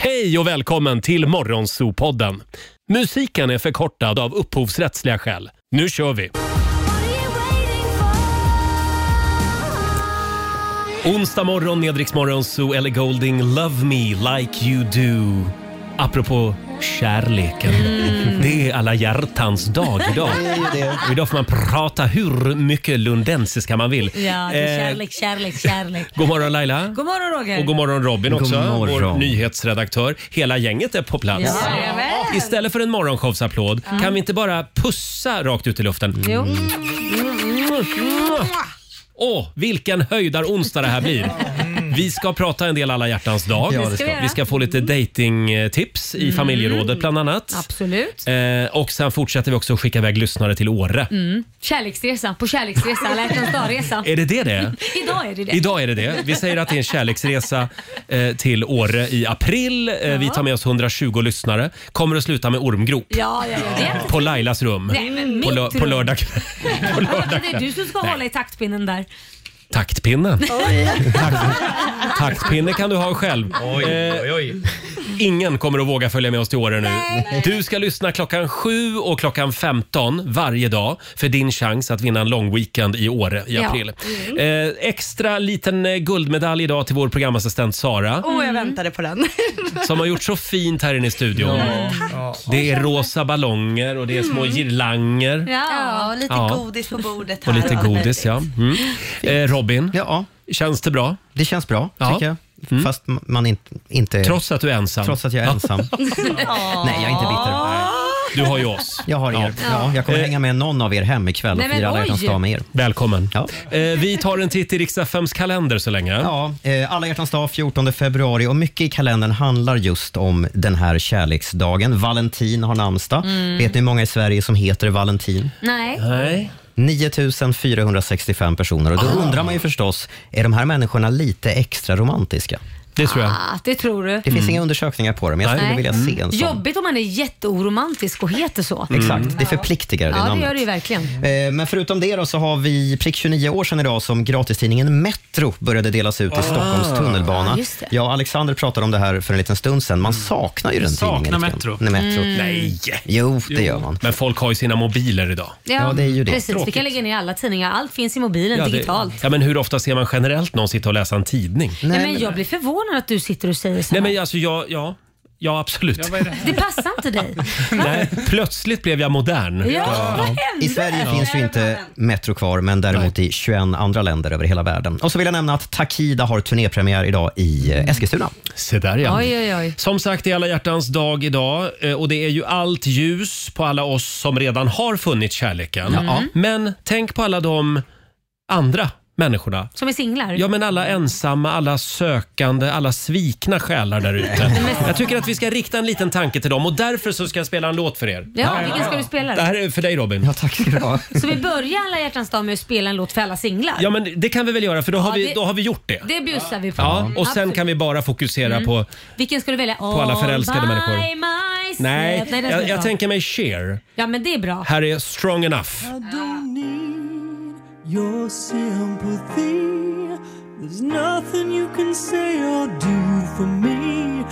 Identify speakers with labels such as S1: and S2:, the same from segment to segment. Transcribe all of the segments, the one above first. S1: Hej och välkommen till Morgonzoo-podden. Musiken är förkortad av upphovsrättsliga skäl. Nu kör vi! Onsdag morgon med Rix Morgon Zoo, Ellie Golding, Love Me Like You Do. Apropå kärleken.
S2: Mm.
S1: Det är alla hjärtans dag idag. Och idag får man prata hur mycket lundensiska man vill.
S2: Ja, det är
S1: Eh,
S2: kärlek, kärlek, kärlek.
S1: god morgon Laila.
S2: God morgon Roger.
S1: Och god morgon Robin också,
S3: God morgon.
S1: vår nyhetsredaktör. Hela gänget är på plats.
S2: Jajamän.
S1: Istället för en morgonshowsapplåd, kan vi inte bara pussa rakt ut i luften?
S2: Jo.
S1: Åh, vilken höjdar onsdag det här blir. Vi ska prata en del alla hjärtans dag.
S3: Ja, det
S2: Mm. ska vi göra. Mm.
S1: vi ska få lite datingtips i familjerådet bland annat.
S2: Absolut.
S1: Eh, och sen fortsätter vi också att skicka iväg lyssnare till Åre.
S2: Mm. Kärleksresa, på kärleksresa, alla hjärtans dag-resa.
S1: Är det det det är?
S2: Idag är det det.
S1: Idag är det det. Vi säger att det är en kärleksresa eh, till Åre i april. Eh, Vi tar med oss 120 lyssnare. Kommer att sluta med ormgrop
S2: Ja, ja, ja. Det.
S1: på Lailas rum
S2: Nej, men
S1: på,
S2: mitt
S1: lö- på
S2: rum.
S1: lördag kväll. På lördag
S2: Det är du som ska hålla i taktpinnen där.
S1: Taktpinnen. Takt- Taktpinne kan du ha själv. Eh, Ingen kommer att våga följa med oss till Åre nu. Du ska lyssna klockan 7 och klockan 15 varje dag för din chans att vinna en lång weekend i Åre i
S2: Ja.
S1: april. Eh, extra liten eh, guldmedalj idag till vår programassistent Sara
S4: Åh, jag väntade på den.
S1: som har gjort så fint här inne i studion. Det är rosa ballonger och det är små girlanger.
S2: Mm. Ja.
S4: Ja, lite
S1: Ja.
S4: godis på bordet här.
S1: Och lite godis, ja. Mm. Eh, Robin,
S3: Ja,
S1: känns det bra?
S3: det känns bra
S1: Ja. Mm.
S3: tycker jag. Fast man inte, inte
S1: Trots att du är ensam?
S3: trots att jag är ensam. Nej, jag är inte bitter.
S1: Du har ju oss. Eh.
S3: Jag har er. Ja, jag kommer hänga med någon av er hem ikväll och
S2: Nej, men
S3: fira alla hjärtans
S2: oj.
S3: dag med er.
S1: Välkommen.
S3: Ja.
S1: Eh, vi tar en titt i Riks-FMs kalender så länge.
S3: Ja, eh, alla hjärtans dag 14 februari och mycket i kalendern handlar just om den här kärleksdagen. Valentin har namnsdag.
S2: Mm.
S3: Vet ni hur många i Sverige som heter Valentin?
S2: Nej.
S1: Nej. Ah.
S3: 9465 personer och då undrar man ju förstås, är de här människorna lite extra romantiska?
S1: Det tror jag.
S2: Ah, det tror du.
S3: Det finns inga undersökningar på det, men jag skulle
S1: Nej.
S3: vilja se
S1: Mm.
S3: en sån. Mm.
S2: Jobbigt om man är jätteoromantisk och heter så.
S3: Exakt, det förpliktigar det
S2: Ja, det
S3: namnet.
S2: gör det ju verkligen.
S3: Eh, Men förutom det då så har vi prick 29 år sedan idag som gratistidningen Metro började delas ut i Stockholms tunnelbana.
S2: Ah. Ja,
S3: Ja,
S2: just det. Mm.
S3: jag och Alexander pratade om det här för en liten stund sedan. Man saknar ju den
S5: Saknar
S3: tidningen. lite
S5: Metro.
S3: grann. Nej, Metro.
S1: Nej!
S3: Jo, det gör man.
S1: Men folk har ju sina mobiler idag.
S3: Ja, det är ju det.
S2: Precis, vi kan lägga ner alla tidningar. Allt finns i mobilen
S1: det-
S2: digitalt.
S1: ja, men hur ofta ser man generellt någon sitta och läsa en tidning?
S2: Nej, men jag blir förvånad att du sitter och säger så
S1: Nej
S2: här.
S1: men alltså jag, ja, ja absolut.
S2: Det passar inte dig.
S1: Nej, plötsligt blev jag modern.
S2: Ja, vad hände?
S3: I Sverige finns ju inte Metro kvar, men däremot i 21 andra länder över hela världen. Och så vill jag nämna att Takida har turnépremiär idag i eh, Eskilstuna.
S1: Se där ja.
S2: Oj, oj, oj.
S1: Som sagt, det är alla hjärtans dag idag eh, och det är ju allt ljus på alla oss som redan har funnit kärleken.
S2: Mm.
S1: Men tänk på alla de andra människorna.
S2: Som är singlar?
S1: Ja, men alla ensamma, alla sökande, alla svikna själar där ute.
S2: Mm.
S1: Jag tycker att vi ska rikta en liten tanke till dem och därför så ska jag spela en låt för er.
S2: Ja, vilken ska du spela
S1: Det
S2: då?
S1: här är för dig Robin.
S3: Ja, tack ska du ha.
S2: Så vi börjar alla hjärtans dag med att spela en låt för alla singlar?
S1: Ja, men det kan vi väl göra för då har,
S2: Ja,
S1: vi,
S2: det-
S1: då har vi gjort det.
S2: Det bjussar vi på.
S1: Ja, och sen
S2: Absolut. Mm.
S1: kan vi bara fokusera på...
S2: Vilken ska du välja? På
S1: alla förälskade människor. Nej,
S2: Nej den ska
S1: jag,
S2: vi
S1: jag
S2: ta.
S1: tänker mig Cher.
S2: Ja, men det är bra.
S1: Här är Strong Enough.
S6: Your sympathy. There's nothing you can say or do for me.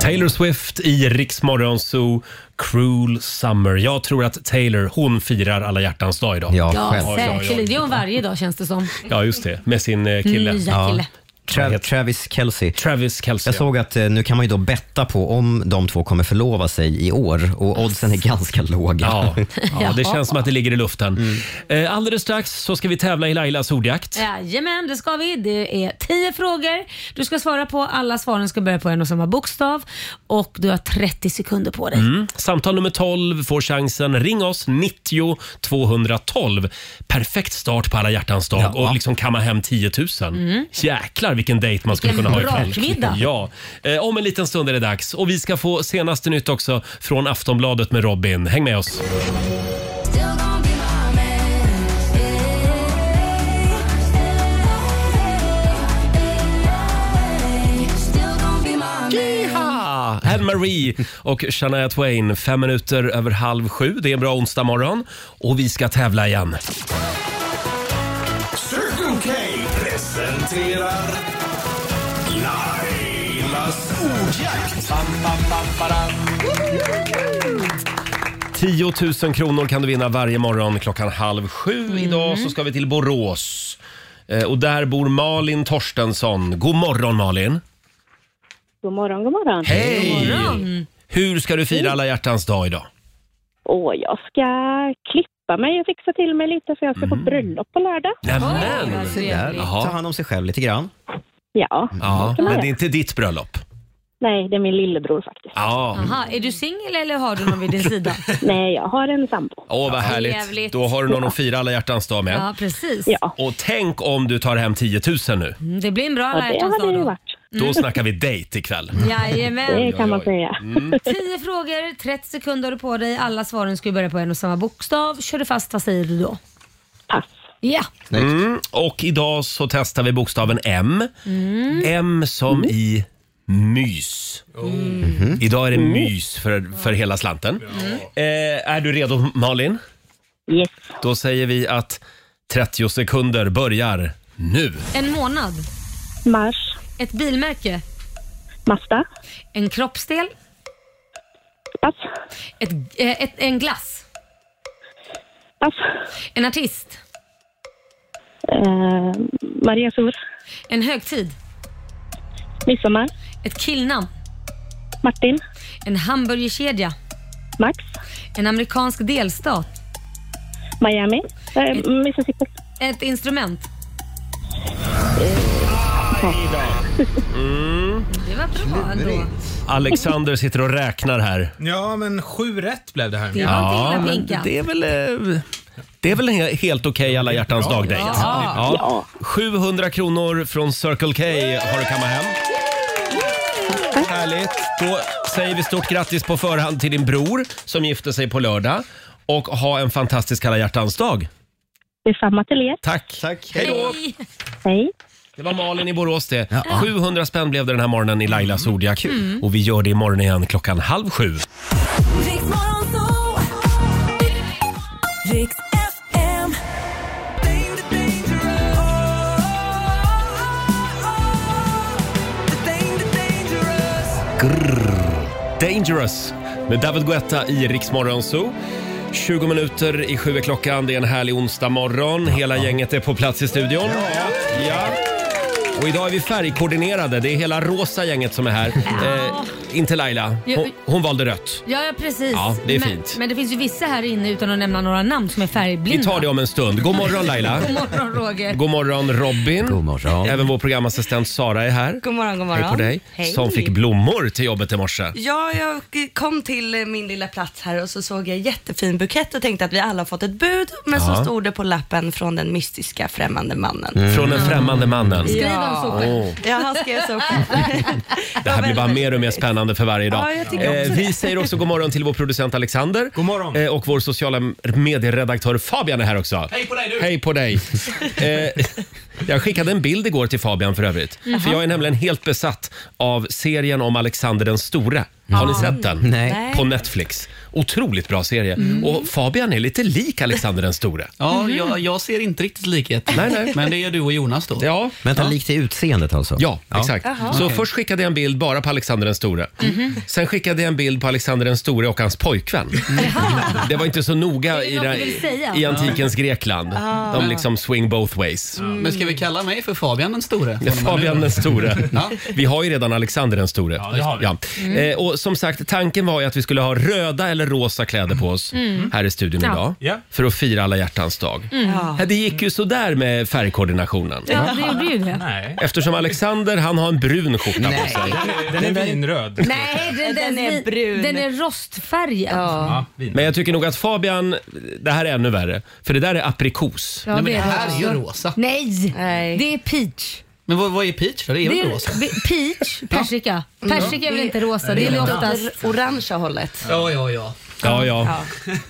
S1: Taylor Swift i Riksmorgon Zoo, Cruel Summer. Jag tror att Taylor, hon firar alla hjärtans dag idag.
S3: Ja,
S2: Ja,
S3: själv.
S2: säkerligen. Det är hon varje dag känns det som.
S1: Ja, just det. Med sin eh, kille.
S2: Nya kille.
S3: Tra- Travis Kelce.
S1: Travis Kelce.
S3: Jag såg att eh, nu kan man ju då betta på om de två kommer förlova sig i år och oddsen är ganska Mm. låga.
S1: Ja, ja, det känns som att det ligger i luften. Eh, Alldeles strax så ska vi tävla i Lailas ordjakt.
S2: Jajamän, det ska vi. Det är 10 frågor. Du ska svara på. Alla svaren ska börja på en och samma bokstav. Och du har 30 sekunder på
S7: Mm.
S2: dig.
S1: Mm. Samtal nummer 12 får chansen. Ring oss, 90 212. Perfekt start på alla hjärtans dag och liksom kamma hem 10 000. Jäklar vilken dejt man skulle
S2: Vilken
S1: kunna ha ikväll.
S2: brakmiddag.
S1: Ja. Eh, Om en liten stund är det dags och vi ska få senaste nytt också från Aftonbladet med Robin. Häng med oss. Yeeha! Anne Ah, Marie och Shania Twain, fem minuter över halv sju. Det är en bra onsdag morgon och vi ska tävla igen.
S7: Circle K presenterar
S5: presenterar Lailas ordjakt. Bam, bam, bam, badam.
S1: 10 000 kronor kan du vinna varje morgon klockan halv sju. Idag så ska vi till Borås. Eh, Och där bor Malin Torstensson. God morgon Malin!
S7: God morgon, god morgon.
S1: Hej! Hur ska du
S2: Oh.
S1: fira alla hjärtans dag idag?
S7: Och jag ska klippa mig och fixa till mig lite för jag ska på bröllop på lördag.
S1: Nämen!
S2: Alltså,
S3: Där,
S1: Jaha.
S3: ta hand om sig själv lite grann.
S7: Ja.
S1: Ja,
S2: Mm.
S1: men det är inte ditt bröllop.
S7: Nej, det är min lillebror faktiskt.
S1: Ja,
S2: Aha, är du singel eller har du någon vid din sida?
S7: Nej, jag har en sambo.
S1: åh vad härligt.
S2: Trevligt.
S1: Då har du någon att fira alla hjärtans dag med.
S2: Ja, precis.
S7: Ja,
S1: Och tänk om du tar hem 10 000 nu.
S2: Mm, Det blir en bra
S7: och
S2: alla
S7: det
S2: hjärtans
S7: har
S2: dag
S7: det ju
S2: då.
S7: varit.
S2: Mm.
S1: Då snackar vi dejt ikväll.
S2: Jajamän.
S7: Det kan man
S1: oj. Mm.
S7: säga.
S2: Tio frågor, 30 sekunder har du på dig. Alla svaren ska ju börja på en och samma bokstav. Kör du fast, vad säger du då?
S7: Pass.
S2: Ja,
S1: Mm. Och idag så testar vi bokstaven M. M som i mys.
S7: Eh,
S1: Idag är det mys för, för hela slanten. Eh, är du redo Malin?
S7: Yes.
S1: Då säger vi att 30 sekunder börjar nu.
S2: en månad.
S7: Mars.
S2: Ett bilmärke.
S7: Masta.
S2: En kroppsdel.
S7: Pass.
S2: Ett, eh, ett, en glass.
S7: Pass.
S2: En artist.
S7: Eh, Maria Sur.
S2: En högtid.
S7: Midsommar.
S2: Ett killnamn.
S7: Martin.
S2: En hamburgerkedja.
S7: Max.
S2: En amerikansk delstat.
S7: Miami. Eh, Mississippi.
S2: Ett instrument. Det var bra ändå.
S1: Alexander sitter och räknar här.
S8: Ja, men sju rätt blev det här.
S2: Det var inte illa
S1: men
S2: pinkat.
S1: det är väl... eh, Det är väl en he- helt okej alla hjärtans dag dejt ja. 700 kronor från Circle K har du kammat hem. Härligt. Då säger vi stort grattis på förhand till din bror som gifter sig på lördag. Och ha en fantastisk alla hjärtans dag.
S7: Detsamma till er.
S1: Tack.
S3: Tack.
S1: Hej då.
S2: Hej.
S7: Hej.
S1: Det var Malin i Borås det. 700 spänn blev det den här morgonen i Lailas ordjakt. Och vi gör det imorgon igen klockan halv sju.
S6: Riks FM.
S1: Dangerous med David Guetta i Rix Morgon Zoo. 20 minuter i sju är klockan. Det är en härlig onsdag morgon. Hela gänget är på plats i studion. Ja. Och idag är vi färgkoordinerade. Det är hela rosa gänget som är här. Eh, inte Laila. Hon, hon valde rött.
S2: Ja, ja, precis.
S1: Ja, det är
S2: men,
S1: fint.
S2: men det finns ju vissa här inne utan att nämna några namn som är färgblinda.
S1: Vi tar det om en stund. God morgon Laila.
S2: God morgon Roger.
S1: God morgon Robin.
S3: God morgon.
S1: Även vår programassistent Sara är här.
S4: God morgon, god morgon.
S1: Hej på dig.
S4: Hej.
S1: Som fick blommor till jobbet i morse.
S4: Ja, jag kom till min lilla plats här och så såg jag en jättefin bukett och tänkte att vi alla har fått ett bud, men så stod det på lappen från den mystiska främmande mannen.
S1: Från den främmande mannen.
S2: Skriv
S4: Ja.
S2: om soporna.
S1: Åh.
S4: Ja, han skrev så.
S1: Det här blir bara mer och mer spännande för varje dag. Eh,
S4: Ja, jag tycker också
S1: vi säger också god morgon till vår producent Alexander.
S8: God morgon.
S1: Eh, och vår sociala medieredaktör Fabian är här också.
S5: Hej på dig, du.
S1: Hej på dig. eh, jag skickade en bild igår till Fabian för övrigt.
S4: Mhm.
S1: För jag är nämligen helt besatt av serien om Alexander den store. Har ni sett den?
S3: Nej.
S1: På Netflix. Otroligt bra serie.
S4: Mm.
S1: Och Fabian är lite lik Alexander den store.
S5: Ja, jag, jag ser inte riktigt likheten.
S1: Mhm. Nej, nej.
S5: Men det är du och Jonas då.
S1: Ja.
S3: Vänta, likt i utseendet alltså?
S1: Ja, exakt. Så först skickade jag en bild bara på Alexander den store.
S2: Mhm.
S1: Sen skickade jag en bild på Alexander den store och hans pojkvän. Det var inte så noga
S2: Det är
S1: i,
S2: något
S1: den,
S2: du vill säga. Ah.
S1: i antikens Grekland. De liksom swing both ways.
S5: Men ska vi kalla mig för Fabian den store?
S2: Mm.
S1: Ja, Fabian den store.
S5: Ja.
S1: Vi har ju redan Alexander den store. Ja,
S5: det har vi.
S2: Mm.
S1: Eh, och som sagt, tanken var ju att vi skulle ha röda eller rosa kläder på oss
S2: Mm.
S1: här i studion idag.
S8: Ja.
S1: För att fira alla hjärtans dag. Ja, Det gick ju sådär med färgkoordinationen.
S2: Ja, det gjorde ju det.
S8: Nej.
S1: Eftersom Alexander, han har en brun skjorta på sig.
S8: Den är vinröd.
S2: Nej, den,
S4: Den är
S2: vi-
S4: brun.
S2: Den är rostfärgad. Ja,
S8: Ja, vin.
S1: Men jag tycker nog att Fabian, det här är ännu värre, för det där är aprikos.
S5: Nej, men
S2: det
S5: det
S2: är
S5: här
S2: det.
S5: är ju rosa.
S2: Nej.
S4: Nej.
S2: det är peach.
S5: Men vad, vad är peach då? Det är
S2: Det
S5: väl
S2: är,
S5: rosa?
S2: be-
S4: Mm.
S2: peach, persika. Persika är väl inte rosa? Det är oftast...
S4: Orangea hållet.
S5: Ja, ja, ja.
S1: Ja, ja.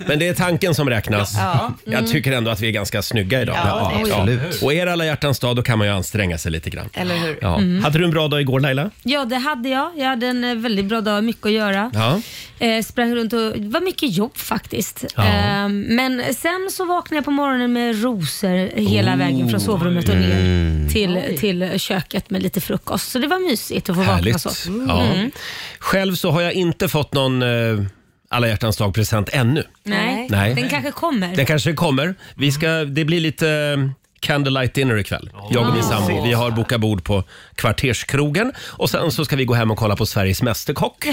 S1: Men det är tanken som räknas.
S2: Ja. Mm.
S1: Jag tycker ändå att vi är ganska snygga idag.
S2: Ja, det är vi.
S1: Och är det alla hjärtans dag, då kan man ju anstränga sig lite grann.
S2: Eller hur?
S1: Ja. Hade du en bra dag igår Laila?
S2: Mm. Ja, det hade jag. Jag hade en eh, väldigt bra dag, mycket att göra.
S1: Ja.
S2: Eh, sprang runt och det var mycket jobb faktiskt.
S1: Ja.
S2: Eh, men sen så vaknade jag på morgonen med rosor
S1: Oh.
S2: hela vägen från sovrummet och ner
S3: Mm.
S1: Mm.
S2: till, till köket med lite frukost. Så det var mysigt att få
S1: Härligt.
S2: vakna så.
S1: Ja.
S2: Mm.
S1: Själv så har jag inte fått någon eh, alla hjärtans dag-present ännu.
S2: Nej.
S1: Nej.
S2: den kanske kommer.
S1: Den kanske kommer. Vi ska, det blir lite eh, candlelight dinner ikväll. Jag och min
S2: Ah.
S1: sambo. Vi har bokat bord på Kvarterskrogen. Och sen så ska vi gå hem och kolla på Sveriges Mästerkock.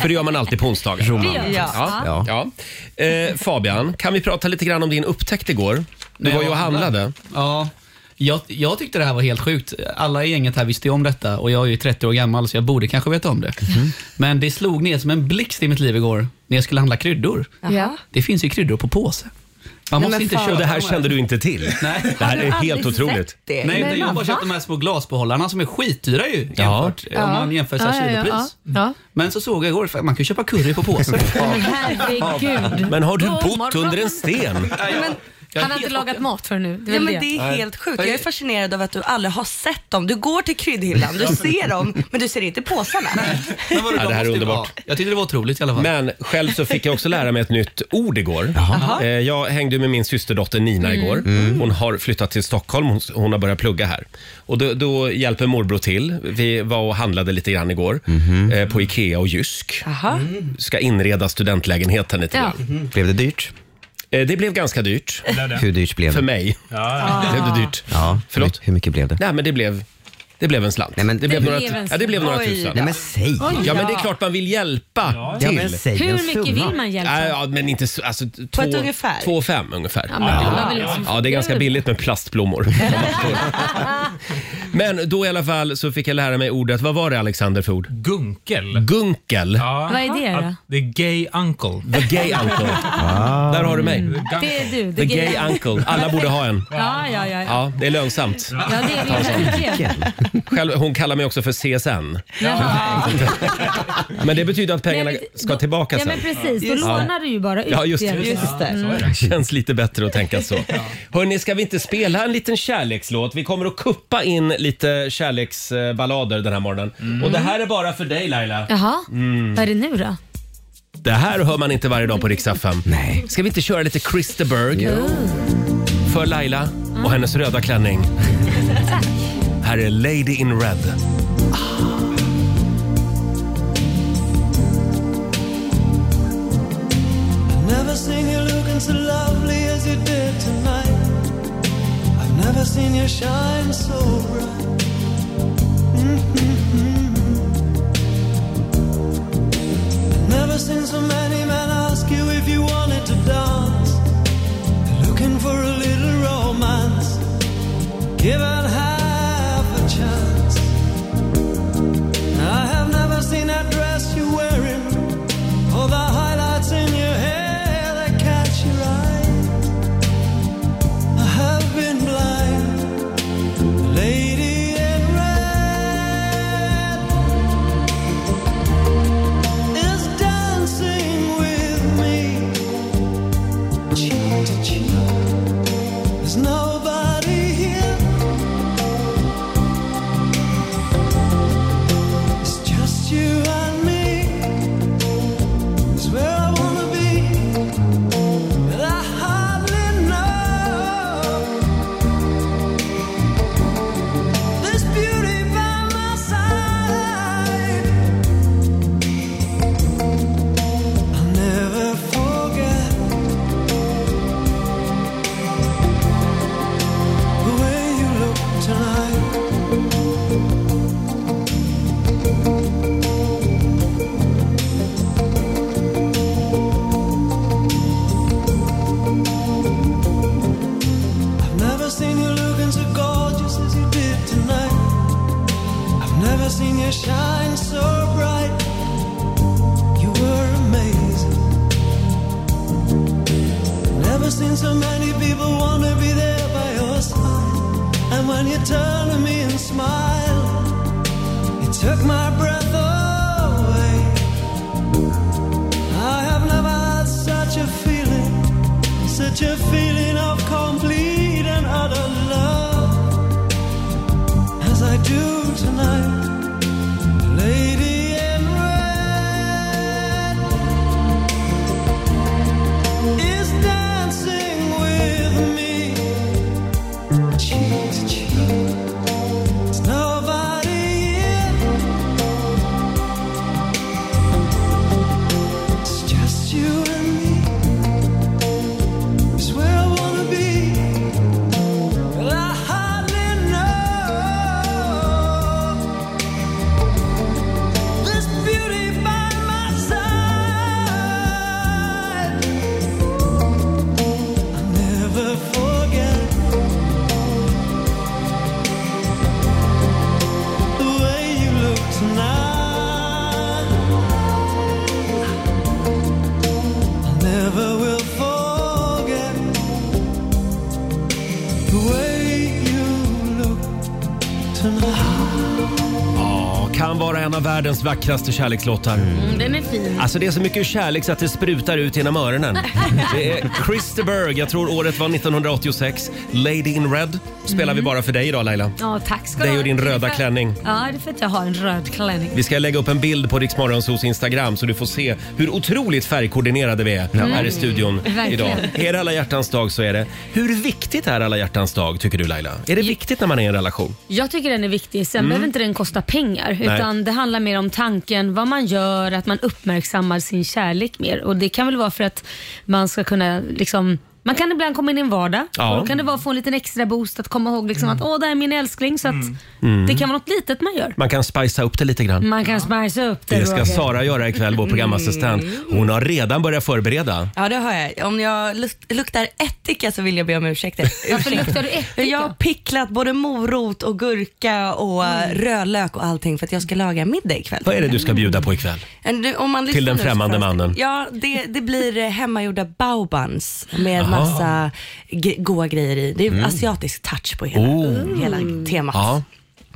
S1: För det gör man alltid på onsdagar.
S2: Romantiskt. Det gör vi.
S1: Ja. Ja. Eh, Fabian, kan vi prata lite grann om din upptäckt igår? Du
S9: När
S1: var ju
S9: jag
S1: och handlade.
S9: Ja. Jag, jag tyckte det här var helt sjukt. Alla i gänget här visste ju om detta och jag är ju 30 år gammal så jag borde kanske veta om det.
S1: Mhm.
S9: Men det slog ner som en blixt i mitt liv igår när jag skulle handla kryddor.
S2: Ja.
S9: Det finns ju kryddor på påse. Man
S1: Nej,
S9: måste
S1: men
S9: inte
S1: fan.
S9: köpa
S1: Och det här
S9: dem
S1: kände du inte till?
S9: Nej.
S1: Det här är helt otroligt.
S9: Nej, utan jag har bara köpt de här små glasbehållarna som är skitdyra ju jämfört eh, om man jämför så här kilopris.
S2: Ja.
S9: Men så såg jag igår, fan, man kan ju köpa curry på påse.
S2: Men herregud.
S1: Men har du
S2: God
S1: bott
S2: morgon.
S1: under en sten?
S9: Jag är
S2: Han har inte
S9: helt
S2: lagat mat för nu. Det är
S4: Ja,
S2: väl
S4: men det är
S1: Nej.
S4: helt sjukt. Jag är fascinerad av att du aldrig har sett dem. Du går till kryddhyllan, du ser dem, men du ser inte påsarna.
S9: Men vadå,
S1: Ja,
S9: de
S1: det här är
S9: måste ju
S1: underbart.
S9: vara- Jag tyckte det var otroligt i alla fall.
S1: Men själv så fick jag också lära mig ett nytt ord igår. Eh, Jag hängde med min systerdotter Nina
S9: Mm.
S1: igår. Hon har flyttat till Stockholm. Hon, hon har börjat plugga här. Och då, då hjälper morbror till. Vi var och handlade lite grann igår eh, på Ikea och Jysk.
S4: Jaha.
S1: Ska inreda studentlägenheten lite
S2: Ja.
S1: grann.
S3: Mhm. Blev det dyrt?
S1: Eh, Det blev ganska dyrt.
S3: Hur dyrt blev det?
S1: För mig blev det dyrt.
S3: Ja,
S1: Förlåt?
S3: Hur mycket blev det?
S1: Nej, men det blev, det blev en slant.
S3: Nej, men-
S1: det blev
S2: Det
S1: några,
S2: blev en
S1: ja, det blev några
S4: slant. Oj.
S1: tusen.
S3: Nej men säg!
S1: Ja, men det är klart man vill hjälpa
S3: Ja,
S1: till.
S3: men säg en
S2: Hur mycket
S3: summa.
S2: vill man hjälpa?
S1: Ja, ja, men inte så, alltså, t-
S4: På
S1: två,
S4: ett ungefär?
S1: Två och fem ungefär.
S2: Ja,
S1: Ja,
S2: men det var väl liksom-
S1: det är ganska billigt med plastblommor. men då i alla fall så fick jag lära mig ordet, vad var det Alexander för ord?
S8: Gunkel.
S1: Gunkel.
S8: Ja.
S2: Vad är det då?
S8: Att Det är gay uncle.
S1: The gay uncle. Där har du mig.
S2: Det är du.
S1: The
S2: Det är
S1: gay uncle. Alla borde ha en.
S2: Ja, ja, ja. ja.
S1: Ja, det är lönsamt.
S2: Ja, det är det ju verkligen.
S1: Själv, hon kallar mig också för CSN.
S2: Jaha.
S1: Men det betyder att pengarna
S2: Nej, men-
S1: ska tillbaka
S2: Ja,
S1: sen.
S2: men precis. Då lånar du ju bara ut Mm.
S1: Ja, just det.
S2: det.
S1: Just Känns lite bättre att tänka så. Hörni, ska vi inte spela en liten kärlekslåt? Vi kommer att kuppa in lite kärleksballader den här morgonen. Och det här är bara för dig Laila.
S2: Jaha,
S1: Mm.
S2: vad är det nu då?
S1: Det här hör man inte varje dag på Rix FM.
S3: Nej.
S1: Ska vi inte köra lite Christer Berg? För Laila och hennes röda klänning. Här är Lady in Red.
S6: I've never seen you looking so lovely as you did tonight. I've never seen you shine so bright. Mhm. I've never seen so many men ask you if you wanted to dance. They're looking for a little romance. Give it half a chance. I have never seen that dress you're wearing. All the highlights in your hair that catch your eye. I have been blind, lady in red is dancing with me, cheek to cheek. There's nobody here. It's just you and me. It's where I wanna be, but I hardly know this beauty by my side. I'll never forget the way you look tonight. I've never seen you looking so gorgeous as you did tonight. I've never seen you shine so bright. You were amazing. Never seen so many people wanna be there by your side. And when you turn to me and smile, you took my breath away. I have never
S1: Ja, kan vara en av världens vackraste kärlekslåtar.
S2: Mm, den är fin.
S1: Alltså det är så mycket kärlek så att det sprutar ut genom öronen. Det är Christer Berg, jag tror året var 1986. Lady in Red spelar vi bara för dig idag Laila.
S2: Mm. Ja, tack ska du
S1: Dig
S2: ha.
S1: och din
S2: Det är
S1: röda
S2: för-
S1: klänning.
S2: Ja, det är för att jag har en röd klänning.
S1: Vi ska lägga upp en bild på Rix Morgonzos Instagram så du får se hur otroligt färgkoordinerade vi är här i studion
S2: Mm, Verkligen.
S1: idag. Är det alla hjärtans dag så är det. Hur viktigt är alla hjärtans dag tycker du Laila? Är det viktigt när man är i en relation?
S2: Jag tycker den är viktig. Sen
S1: Mm.
S2: behöver inte den kosta pengar.
S1: Nej.
S2: Utan Det handlar mer om tanken, vad man gör, att man uppmärksammar sin kärlek mer. Och Det kan väl vara för att man ska kunna liksom man kan ibland komma in i en vardag
S1: Ja.
S2: och då kan det vara att få en liten extra boost att komma ihåg liksom att åh, det här är min älskling. Så att
S1: Mm.
S2: Det kan vara något litet man gör.
S1: Man kan spicea upp det lite grann.
S2: Man kan spicea upp det,
S1: Det ska
S2: Roger. Mm.
S1: Sara göra ikväll, vår programassistent. Hon har redan börjat förbereda.
S4: Ja, det har jag. Om jag luk- luktar ättika så vill jag be om ursäkt. Varför
S2: luktar du ättika?
S4: Jag har picklat både morot och gurka och
S9: Mm.
S4: eh, rödlök och allting för att jag ska laga middag ikväll.
S1: Vad är det du ska bjuda på ikväll?
S4: En- du- om man
S1: Till
S4: lyssnar
S1: den
S4: nu så
S1: främmande
S4: fanns det-
S1: mannen.
S4: Ja, det, det blir eh, hemmagjorda baobans med
S1: Aha.
S4: massa g- goa grejer i. Det är
S1: Mm.
S4: asiatisk touch på hela,
S1: Oh.
S4: hela temat. Mm.
S1: Ja.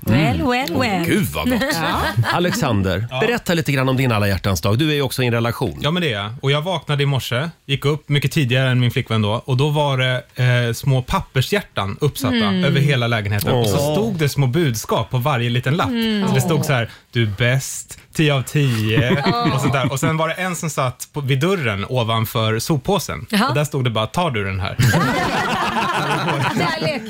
S1: Mm.
S2: Well, well, well.
S1: Gud vad gott.
S2: Ja.
S1: Alexander, berätta lite grann om din alla hjärtans dag. Du är ju också i en relation.
S8: Ja, men det är jag. Och jag vaknade i morse, gick upp mycket tidigare än min flickvän då och då var det eh, små pappershjärtan uppsatta
S10: Mm.
S8: över hela lägenheten. Och så
S10: Åh.
S8: stod det små budskap på varje liten lapp.
S10: Mm.
S8: Så det stod
S10: Åh.
S8: så här, du är bäst, 10 av 10 och sånt där. Och sen var det en som satt på, vid dörren ovanför soppåsen.
S2: Jaha.
S8: Och där stod det bara, tar du den här?
S2: Kärlek.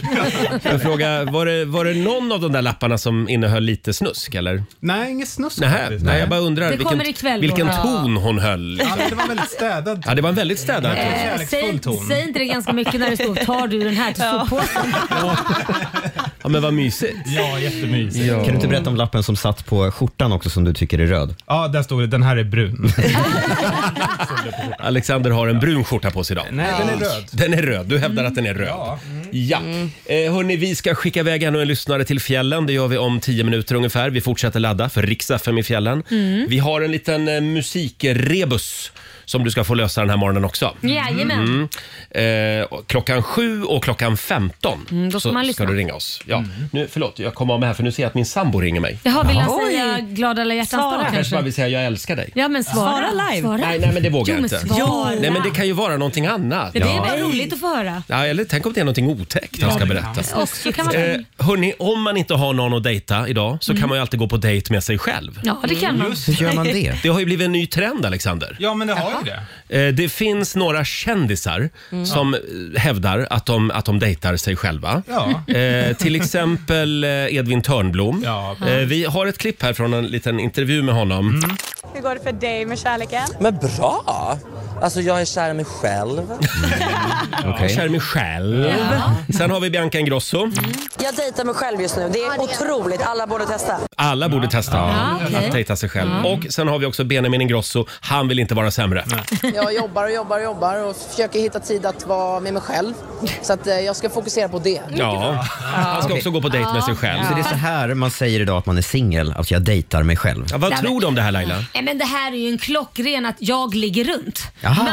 S1: Får jag fråga, var det, var det någon av de där lapparna som innehöll lite snusk eller?
S8: Nej, inget snusk
S1: Nej,
S8: faktiskt.
S1: nej jag bara undrar
S2: Det kommer
S1: vilken,
S2: ikväll,
S1: vilken
S2: Roger.
S1: ton hon höll.
S8: Ja,
S1: Liksom.
S8: men det var väldigt städat.
S1: Ja, det var en väldigt städad
S2: Eh, säg,
S1: ton.
S2: säg inte det ganska mycket när det står tar du den här till soppåsen?
S1: Ja, men vad mysigt.
S8: Ja, jättemysigt.
S3: Kan du inte berätta om lappen som satt på skjortan också som du tycker är röd?
S8: Ja, där stod det, den här är brun.
S1: Alexander har en brun skjorta på sig idag.
S8: Nej, den är röd.
S1: Den är röd. Du hävdar att den är röd. Ja. ja. Eh, hörni, vi ska skicka iväg ännu en lyssnare till fjällen. Det gör vi om tio minuter ungefär. Vi fortsätter ladda för Rix FM i fjällen.
S2: Mm.
S1: Vi har en liten eh, musikrebus som du ska få lösa den här morgonen också.
S2: Jajamän.
S1: Mm. Eh, och klockan sju och klockan 15
S2: Mm, då ska
S1: så
S2: man lyssna.
S1: ska du ringa oss. Ja.
S8: Mm.
S1: Nu, förlåt, jag kom av mig här för nu ser jag att min sambo ringer mig.
S2: Jaha, vill han
S4: Oj.
S2: säga glad alla hjärtans
S4: Svara.
S2: dag
S1: Jag kanske
S2: kanske?
S1: bara vill säga jag älskar dig.
S2: Ja men svara.
S4: Svara live.
S1: Nej, nej, men det vågar
S2: jo,
S1: jag
S2: men
S1: inte.
S2: Svara.
S1: Nej, men det kan ju vara någonting annat.
S2: Men Det är
S1: Ja.
S2: bara roligt att få höra.
S1: Ja, eller tänk om det är någonting otäckt han
S2: Ja,
S1: ska
S2: det
S1: berätta.
S2: kan. Och så kan man-
S1: Eh, hörni, om man inte har någon att dejta idag så kan man ju alltid gå på dejt med sig själv.
S2: Mm. Ja, det kan man.
S1: Hur gör man det? Det har ju blivit en ny trend, Alexander.
S8: Mm, Ja, men det har ju det.
S1: Eh, Det finns några kändisar
S8: Mm.
S1: som eh, hävdar att de, att de dejtar sig själva.
S8: Ja.
S1: Eh, till exempel eh, Edvin Törnblom. Eh, vi har ett klipp här från en liten intervju med honom.
S8: Mm.
S11: Hur går det för dig med kärleken?
S12: Men bra! Alltså jag är kär i mig själv.
S1: Jag kär i mig själv.
S12: Ja.
S1: Sen har vi Bianca Ingrosso.
S2: Mm.
S11: Jag dejtar mig själv just nu. Det är otroligt. Alla borde testa.
S1: Alla borde testa
S11: Ja, okej.
S1: att dejta sig själv.
S2: Mm.
S11: Ja.
S1: Och sen har vi också Benjamin Ingrosso. Han vill inte vara sämre.
S11: Jag jobbar och jobbar och jobbar och försöker hitta tid att vara med mig själv. Så att eh, jag ska fokusera på det.
S1: Ja. Han ska också gå på dejt med sig själv.
S3: Så det är så här man säger idag att man är singel, att jag dejtar mig själv.
S1: vad Nej, men- tror du om det här Laila?
S2: Nej, men det här är ju en klockren att jag ligger runt.
S3: Jaha.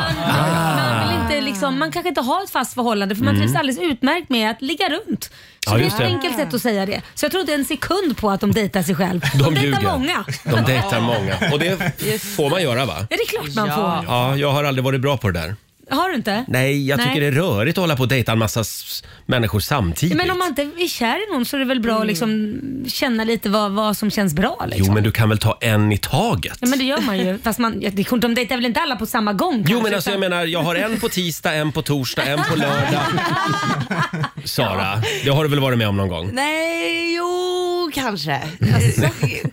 S2: Man, vill inte, liksom, man kanske inte har ett fast förhållande för man
S1: Mm.
S2: trivs alldeles utmärkt med att ligga runt. Så
S1: Ja,
S2: det är
S1: just
S2: ett
S1: det.
S2: enkelt sätt att säga det. Så jag tror inte en sekund på att de dejtar sig själv. De, dejtar många.
S1: De dejtar många. Och det får man göra va?
S2: Ja, det är klart man får.
S1: Ja, jag har aldrig varit bra på det där.
S2: Har du inte?
S1: Nej, jag tycker
S2: Nej.
S1: det är rörigt att hålla på och dejta en massa s- människor samtidigt.
S2: Men om man inte är kär i någon så är det väl bra att liksom känna lite vad, vad som känns bra. Liksom.
S1: Jo, men du kan väl ta en i taget?
S2: Ja men det gör man ju. Fast man, ja, det- de dejtar väl inte alla på samma gång?
S1: Jo, men
S2: kanske,
S1: alltså jag
S2: utan-
S1: menar, jag har en på tisdag, en på torsdag, en på lördag. Sara, det har du väl varit med om någon gång?
S4: Nej, jo, kanske. Alltså,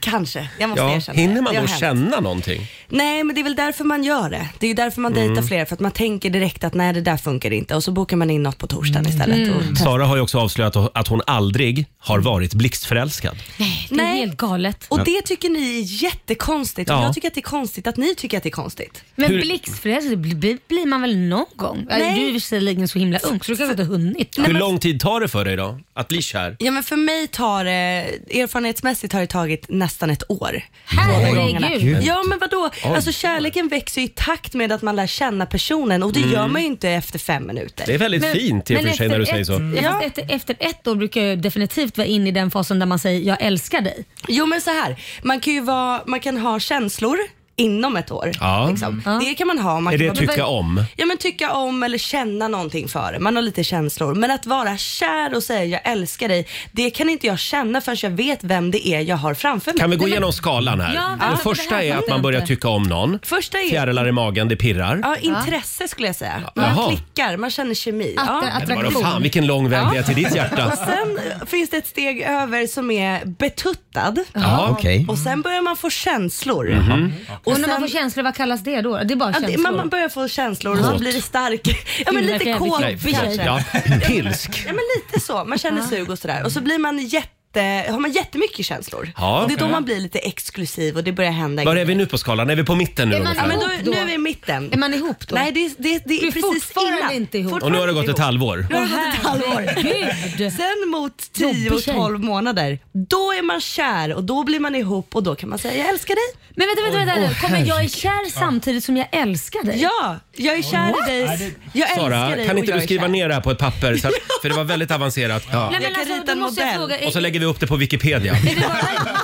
S4: kanske. Jag måste
S1: Ja,
S4: erkänna.
S1: hinner man
S4: Det
S1: då
S4: har hänt.
S1: känna någonting?
S4: Nej, men det är väl därför man gör det. Det är ju därför man
S1: Mm.
S4: dejtar fler, för att man tänker direkt att nej, det där funkar inte och så bokar man in något på torsdagen
S1: Mm.
S4: istället. Och
S1: Sara har ju också avslöjat att hon aldrig har
S4: Mm.
S1: varit blixtförälskad.
S2: Nej, det är helt galet.
S4: Och det tycker ni är jättekonstigt och
S1: Ja.
S4: jag tycker att det är konstigt att ni tycker att det är konstigt.
S2: Men
S1: Hur-
S2: blixtförälskad det blir, blir man väl någon gång? Nej. Du är ju visserligen så himla ung så du kanske inte har hunnit.
S1: Hur lång tid tar det för dig då att bli kär?
S4: Ja men för mig tar det erfarenhetsmässigt har det tagit nästan ett år.
S2: Herregud.
S4: Båda gångerna.
S2: Gud.
S4: Ja men vadå?
S10: Oj.
S4: Alltså kärleken växer ju i takt med att man lär känna personen och det
S1: Mm.
S4: gör man ju inte efter fem minuter.
S1: Det är väldigt fint i och för sig när du säger så.
S2: Ja. fast Efter, efter ett år brukar jag ju definitivt vara inne i den fasen där man säger jag älskar dig.
S4: Jo men så här, man kan ju vara, man kan ha känslor inom ett år.
S1: Ja.
S4: Liksom. Det kan man ha. Man
S1: Är
S4: kan
S1: det
S4: vara-
S1: tycka om?
S4: Ja men tycka om eller känna någonting för det. Man har lite känslor. Men att vara kär och säga jag älskar dig, det kan inte jag känna förrän jag vet vem det är jag har framför mig.
S1: Kan vi gå
S4: Nej, men-
S1: igenom skalan här?
S4: Ja,
S1: det
S4: varför?
S1: första
S4: Det här
S1: är att
S4: fattar
S1: man
S4: jag
S1: börjar
S4: inte.
S1: tycka om någon.
S4: Första är-
S1: Fjärilar i magen, det pirrar.
S4: Ja, intresse skulle jag säga. Man
S1: Jaha.
S4: klickar, man känner kemi.
S2: Att-
S4: ja.
S1: Men vadå fan, vilken lång väg det är till ditt hjärta.
S4: Och sen finns det ett steg över som är betuttad.
S1: Ja, okej.
S4: Och sen börjar man få känslor.
S1: Mhm.
S2: Och när man får känslor, vad kallas det då? Det är bara
S4: Ja, det-
S2: känslor.
S4: man- man börjar få känslor och så
S2: Kåt.
S4: blir det stark. Ja, men
S2: Gud,
S4: lite
S2: verkligen.
S4: kåt
S2: Nej, förlåt.
S4: kanske.
S1: Ja, pilsk.
S4: Ja, men lite så. Man känner sug och sådär. Och så blir man jätte, har man jättemycket känslor.
S1: Ja.
S4: Och det är då
S1: Ja.
S4: man blir lite exklusiv och det börjar hända
S1: Var
S4: grejer.
S1: är vi nu på skalan? Är vi på mitten nu
S4: ja, men
S1: ungefär?
S4: då, Nu är vi i mitten. Är
S2: man ihop då?
S4: Nej, det, är- det, är- det
S2: Du är
S4: är precis innan.
S2: inte
S4: ihop.
S1: Och nu har det gått ett halvår.
S4: Nu har det gått ett halvår.
S2: Herregud.
S4: Sen mot 10 och
S2: Jobbig tjej.
S4: 12 månader, då är man kär och då blir man ihop och då kan man säga jag älskar dig.
S2: Men vänta, vänta, vänta.
S4: Oj.
S2: nu. Kommer jag är kär
S4: Herregud.
S2: samtidigt som jag älskar dig?
S4: Ja, jag är kär i
S2: What?
S4: dig. Nej, det- Jag älskar
S1: Sara,
S4: dig
S1: kan
S4: och
S1: inte
S4: jag
S1: du
S4: är
S1: skriva
S4: kär.
S1: ner det här på ett papper? Så att, för det var väldigt avancerat. Ja.
S2: Nej, men alltså, då måste jag fråga,
S1: Och så
S2: är,
S1: lägger vi upp det på Wikipedia.
S2: är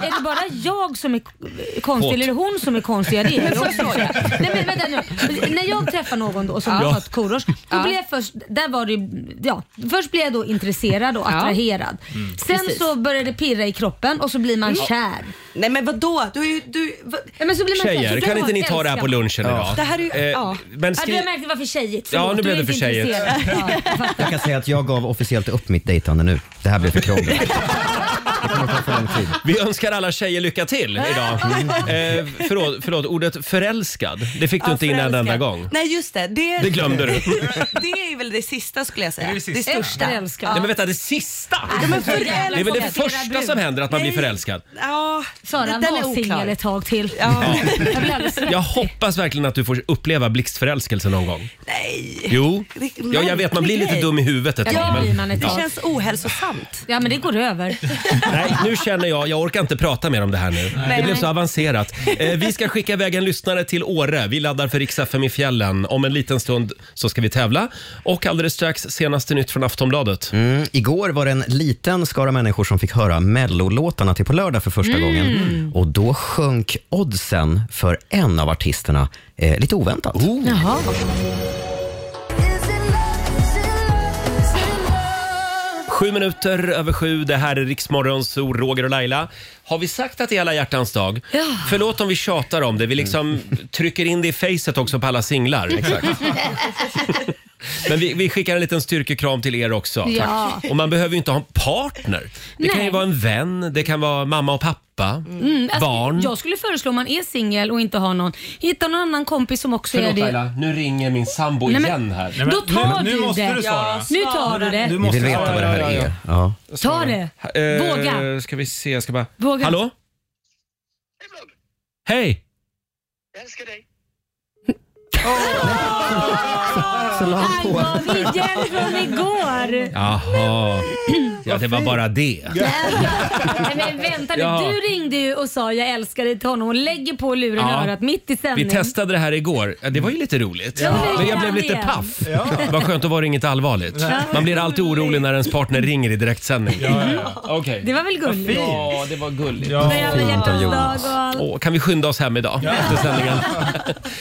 S2: det bara jag som är k- konstig
S1: Kåt.
S2: eller är det hon som är konstig? Ja, det är jag också. Nej, men vänta nu. När jag träffar någon då som
S10: Ja.
S2: har fått korors, då blev jag först, där var det, ju- ja, först blev jag då intresserad och attraherad.
S10: Mm.
S2: Sen
S10: Precis.
S2: så började det pirra i kroppen och så blir man
S4: Mm.
S2: kär.
S4: Nej men vadå? Du, är ju- du, va-
S2: Nej, men så blir man
S1: Tjejer,
S2: kär.
S1: kan inte ni ta det här
S2: Älskar.
S1: på lunchen idag?
S2: Det här är ju,
S1: Eh,
S2: ja.
S1: Men
S2: ja, du
S1: skri...
S2: har märkt att det var för tjejigt.
S1: Ja, nu
S2: Förlåt, du
S1: blev
S2: är
S1: det
S2: inte
S1: för tjejigt.
S2: intresserad. Ja, jag fattar.
S3: Ah. Jag kan säga att jag gav officiellt upp mitt dejtande nu. Det här blev för krångligt.
S1: Vi önskar alla tjejer lycka till idag. Eh, förlåt, förlåt, ordet förälskad, det fick du
S4: Ja,
S1: inte in en
S4: förälskad.
S1: enda gång.
S4: Nej just det. Det,
S1: Det glömde du.
S4: det är väl det sista skulle jag säga. Det,
S1: sista.
S4: största.
S2: Förälskad.
S1: Nej men vänta, det sista!
S4: Ja, men förälskad.
S1: Det är väl det första som händer att man blir förälskad.
S4: Ja,
S2: Sara
S4: den är
S2: var singel
S4: oklar.
S2: ett tag till.
S1: Ja.
S2: Jag blir alldeles
S1: Jag hoppas verkligen att du får uppleva blixtförälskelse någon gång.
S4: Nej.
S1: Jo,
S4: Det-
S1: ja, jag vet man blir lite
S4: grej.
S1: dum i huvudet ett tag. men-
S4: Det känns ohälsosamt.
S2: Ja men det går över.
S1: Nej, nu känner jag, jag orkar inte prata mer om det här nu.
S2: Nej.
S1: Det blev så avancerat. Eh, vi ska skicka iväg en lyssnare till Åre. Vi laddar för Rix FM i fjällen. Om en liten stund så ska vi tävla. Och alldeles strax senaste nytt från Aftonbladet.
S3: Mm, igår var det en liten skara människor som fick höra Mellolåtarna till på lördag för första
S1: Mm.
S3: gången. Och då sjönk oddsen för en av artisterna eh, lite oväntat.
S1: Oh.
S2: Jaha.
S1: Sju minuter över sju, det här är Riksmorgon, så Roger och Laila. Har vi sagt att det är alla hjärtans dag?
S2: Ja. Mm.
S1: Förlåt om vi tjatar om det, vi liksom trycker in det i facet också på alla singlar. Men vi, vi skickar en liten styrkekram till er också.
S2: Ja.
S1: Och man behöver ju inte ha en partner. Det kan ju
S2: Nej.
S1: vara en vän, det kan vara mamma och pappa,
S2: Mm, alltså,
S1: barn.
S2: Jag skulle föreslå om man är singel och inte har någon, hitta någon annan kompis som också är
S1: Förlåt
S2: det.
S1: Laila, nu ringer min sambo
S2: Nej, men-
S1: igen här.
S2: Nej, men- Då tar nu- nu du måste det. du svara. Ja, Nu tar du det. Du måste
S3: Vi vill veta vad det här är. Ja.
S2: Ta det. Våga.
S1: Eh, Ska vi se, jag ska bara...
S2: Våga.
S1: Hallå? Hej!
S3: Så la
S2: han på. Vad vi igen från igår.
S1: Jaha. Ja, det var bara det.
S2: Nej, men vänta nu,
S1: Ja.
S2: du ringde ju och sa jag älskar dig till honom och lägger på luren
S1: Ja.
S2: i örat mitt i sändning.
S1: Vi testade det här igår. Ja, Det var ju lite roligt.
S2: Ja, det
S1: Men jag
S2: gör
S1: blev
S2: vi
S1: lite
S2: igen.
S1: paff. Vad skönt, då var det inget allvarligt. Man blir alltid orolig när ens partner ringer i direktsändning.
S2: ja,
S1: Okej.
S2: Det var väl gulligt?
S1: Ja, det var gulligt.
S2: Ja. Det var hjärtans dag och allt.
S1: Åh, kan vi skynda oss hem idag efter sändningen?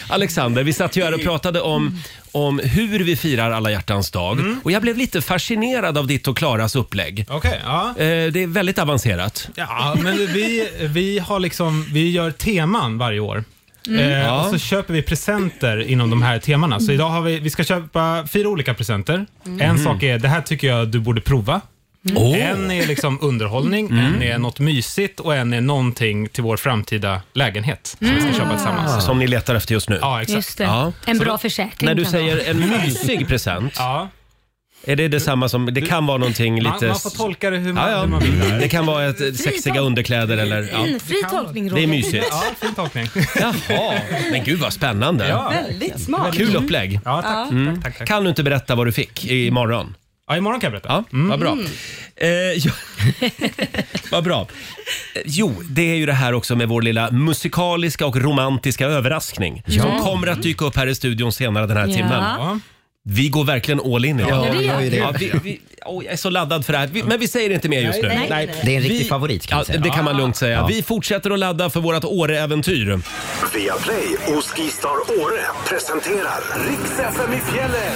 S1: Alexander, vi satt ju här och pratade om, om hur vi firar alla hjärtans dag. Och jag blev lite fascinerad av ditt och Klaras upplägg.
S8: Mm. Okej, ja.
S1: Eh, Det är väldigt avancerat.
S8: Ja, men vi, vi, har liksom, vi gör teman varje år.
S1: Mm.
S8: Eh,
S1: Ja.
S8: Och så köper vi presenter inom de här temana.
S2: Mm.
S8: Så idag har vi, vi ska köpa fyra olika presenter.
S1: Mm.
S8: En sak är, det här tycker jag du borde prova.
S1: Mm.
S2: Oh.
S1: Åh.
S8: En är liksom underhållning,
S2: Mm.
S8: en är något mysigt och en är någonting till vår framtida lägenhet som vi ska köpa tillsammans.
S1: Ah. Som ni letar efter just nu.
S8: Ja, exakt.
S2: Just det.
S1: Ja.
S2: En
S8: Så
S2: bra
S8: då-
S2: försäkring
S1: När du
S2: kan
S1: säger
S2: vara.
S1: en mysig present.
S8: Ja.
S1: Är det detsamma som, det kan vara någonting
S8: Man-
S1: lite...
S8: man får tolka det hur man-
S1: ja, ja.
S8: hur man vill.
S1: Det kan vara ett, ett sexiga underkläder eller... Ja.
S2: Mm, fri tolkning
S1: Det
S2: Roger.
S1: är mysigt.
S8: Ja, fin tolkning.
S1: Jaha, men gud vad spännande.
S8: Ja.
S4: Väldigt smart.
S1: Kul upplägg.
S8: Ja, tack.
S1: Mm. Kan du inte berätta vad du fick imorgon?
S8: Ja, imorgon kan jag berätta.
S1: Ja, vad bra.
S8: Mm.
S1: Eh, ja. Vad bra. Eh, Jo, det är ju det här också med vår lilla musikaliska och romantiska överraskning
S2: Ja.
S1: som kommer
S3: Mm.
S1: att dyka upp här i studion senare den här
S2: Ja.
S1: timmen. Vi går verkligen all in idag.
S2: Ja, det gör vi.
S1: Ja, vi, vi, åh, jag är så laddad för det här. Vi, men vi säger inte mer just nu.
S3: Nej, nej, nej. Det är en riktig favorit, kan man
S1: ja,
S3: säga.
S1: Det kan man lugnt säga.
S3: Ja.
S1: Vi fortsätter att ladda för vårt Åre-äventyr.
S5: Via Play och Skistar Åre presenterar Riks FM i fjällen.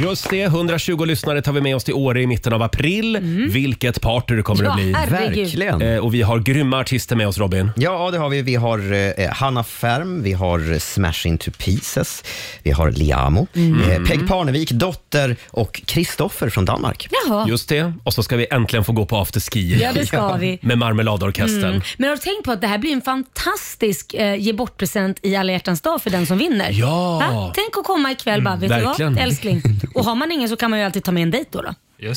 S1: Just det, 120 lyssnare tar vi med oss till Åre i mitten av april.
S2: Mm.
S1: Vilket party det kommer
S3: Ja,
S1: att bli.
S3: herregud. Verkligen.
S1: Eh, och vi har grymma artister med oss Robin.
S3: Ja, det har vi. Vi har eh, Hanna Färm, vi har Smash Into Pieces, vi har Liamo,
S1: Mm.
S3: eh, Peg Parnevik, Dotter och Kristoffer från Danmark.
S2: Jaha.
S1: Just det. Och så ska vi äntligen få gå på afterski.
S2: Ja, det ska vi.
S1: Med Marmeladorkestern.
S2: Mm. Men har du tänkt på att det här blir en fantastisk eh, ge bort-present i alla hjärtans dag för den som vinner?
S1: Ja. Mm,
S2: Va? Tänk att komma ikväll bara, vet
S1: verkligen.
S2: du vad älskling? Och har man ingen så kan man ju alltid ta med en dejt då. då.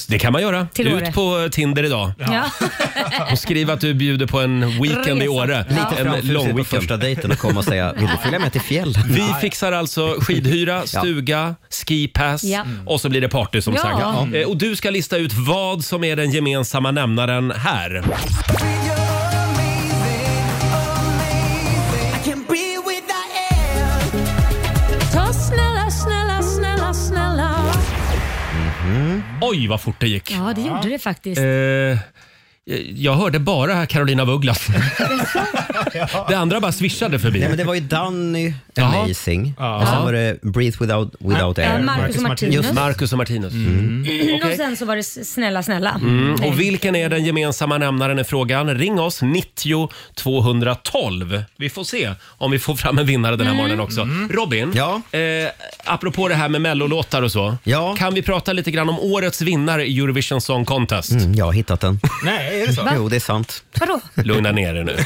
S1: Det kan man göra.
S2: Till Åre.
S1: Ut på Tinder idag.
S2: Ja.
S1: Och skriv att du bjuder på en weekend i
S2: Resa.
S1: Åre.
S2: Lite
S1: en
S3: framfusigt
S1: lång
S3: på
S1: weekend.
S3: första dejten och komma och säga, "Vill du följa med till fjällen?"
S1: Vi
S3: Nej.
S1: fixar alltså skidhyra, stuga, skipass
S2: Ja.
S3: Mm.
S1: och så blir det party som
S2: Ja.
S1: sagt.
S2: Ja.
S1: Eh, Och du ska lista ut vad som är den gemensamma nämnaren här.
S2: Ta snälla, snälla, snälla, snälla.
S3: Mhm.
S1: Oj, vad fort det gick.
S2: Ja, det gjorde det faktiskt.
S1: Eh, jag hörde bara Carolina Vugglas. det andra bara swishade förbi.
S3: Nej, men det var ju Danny
S1: Jaha.
S3: Amazing
S1: Ja.
S3: och sen var det Breathe Without, without
S1: Ja,
S3: Air.
S2: Marcus och Martinus.
S1: Just Marcus och Martinus. Mm.
S2: Och sen så var det s- snälla, snälla.
S1: Mm. Och vilken är den gemensamma nämnaren i frågan? Ring oss, 90 212. Vi får se om vi får fram en vinnare den här
S2: Mm.
S1: morgonen också. Robin, eh, apropå det här med mellolåtar och så. Kan vi prata lite grann om årets vinnare i Eurovision Song Contest?
S3: Mm, jag har hittat den.
S1: Nej, är
S2: Va?
S3: Jo, det är sant.
S2: Vadå?
S1: Lugna ner er nu.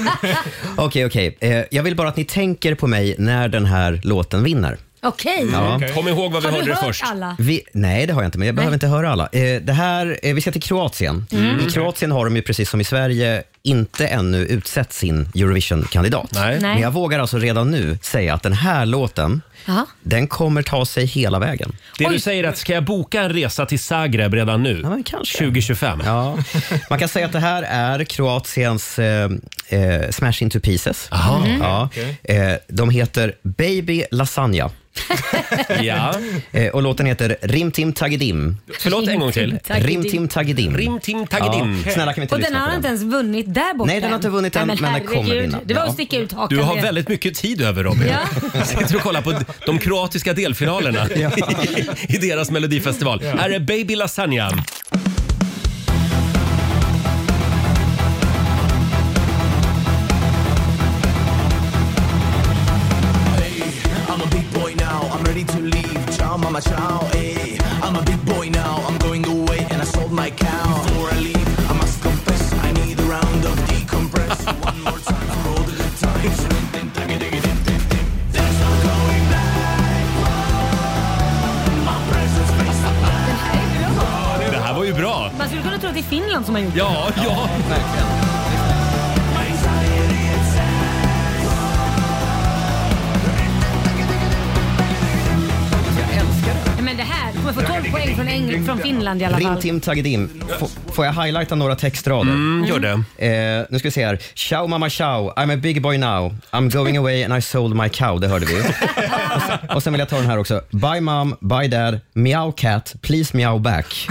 S3: Okej, okej. Eh, jag vill bara att ni tänker på mig när den här låten vinner.
S2: Okej.
S3: Mm. Ja.
S1: Kom ihåg vad vi
S2: har
S1: hörde
S2: du
S1: det
S2: hört
S1: först.
S2: alla?
S3: Vi, nej, det har jag inte, men jag behöver inte höra alla. Eh, det här, eh, vi ska till Kroatien.
S2: Mm.
S3: I Kroatien har de ju precis som i Sverige inte ännu utsett sin Eurovision-kandidat.
S2: Nej.
S3: Men jag vågar alltså redan nu säga att den här låten,
S2: Jaha.
S3: den kommer ta sig hela vägen.
S1: Det du säger är att ska jag boka en resa till Zagreb redan nu? 2025?
S3: Ja. Man kan säga att det här är Kroatiens eh, eh, Smash Into Pieces.
S1: Mhm.
S3: Ja.
S1: Okej.
S3: Eh, de heter Baby Lasagna.
S1: ja.
S3: Eh, och låten heter Rim Tim Tagidim.
S1: Förlåt, en gång till.
S3: Rim Tim Tagidim.
S1: Rim Tim Tagidim.
S3: Ja. Snälla kan vi inte
S2: och den
S3: lyssna på
S2: har
S3: den?
S2: inte ens vunnit där borta
S3: Nej, den har inte vunnit än,
S2: Nej,
S3: men den kommer
S2: herregud.
S3: vinna.
S2: Det var att
S3: Ja.
S2: sticka ut hakan.
S1: Du har
S2: det.
S1: väldigt mycket tid över Robin. Sitter och kollar på de kroatiska delfinalerna i deras melodifestival. Här är Baby Lasagna.
S5: I'm a big boy now, I'm ready to leave. Ciao, mama, ciao, hey. I'm a big boy now, I'm going away and I sold my cow. Before I leave, I must confess, I need a round of decompress. One more time for all the good times. There's no going back. My presence makes the back.
S1: Det här var ju bra.
S2: Man skulle kunna tro att det är Finland som har gjort
S1: Ja,
S2: det.
S1: ja.
S2: Ja, Men det här kommer få 12 poäng från, Engl- från Finland i alla
S3: Rim
S2: fall.
S3: Tim Tagidim. F- får jag highlighta några textrader? Mm,
S1: gör det.
S3: Eh, nu ska vi se här. Ciao mamma ciao, I'm a big boy now. I'm going away and I sold my cow. Det hörde vi. och, sen, och sen vill jag ta den här också. Bye mom, bye dad, meow cat, please meow back.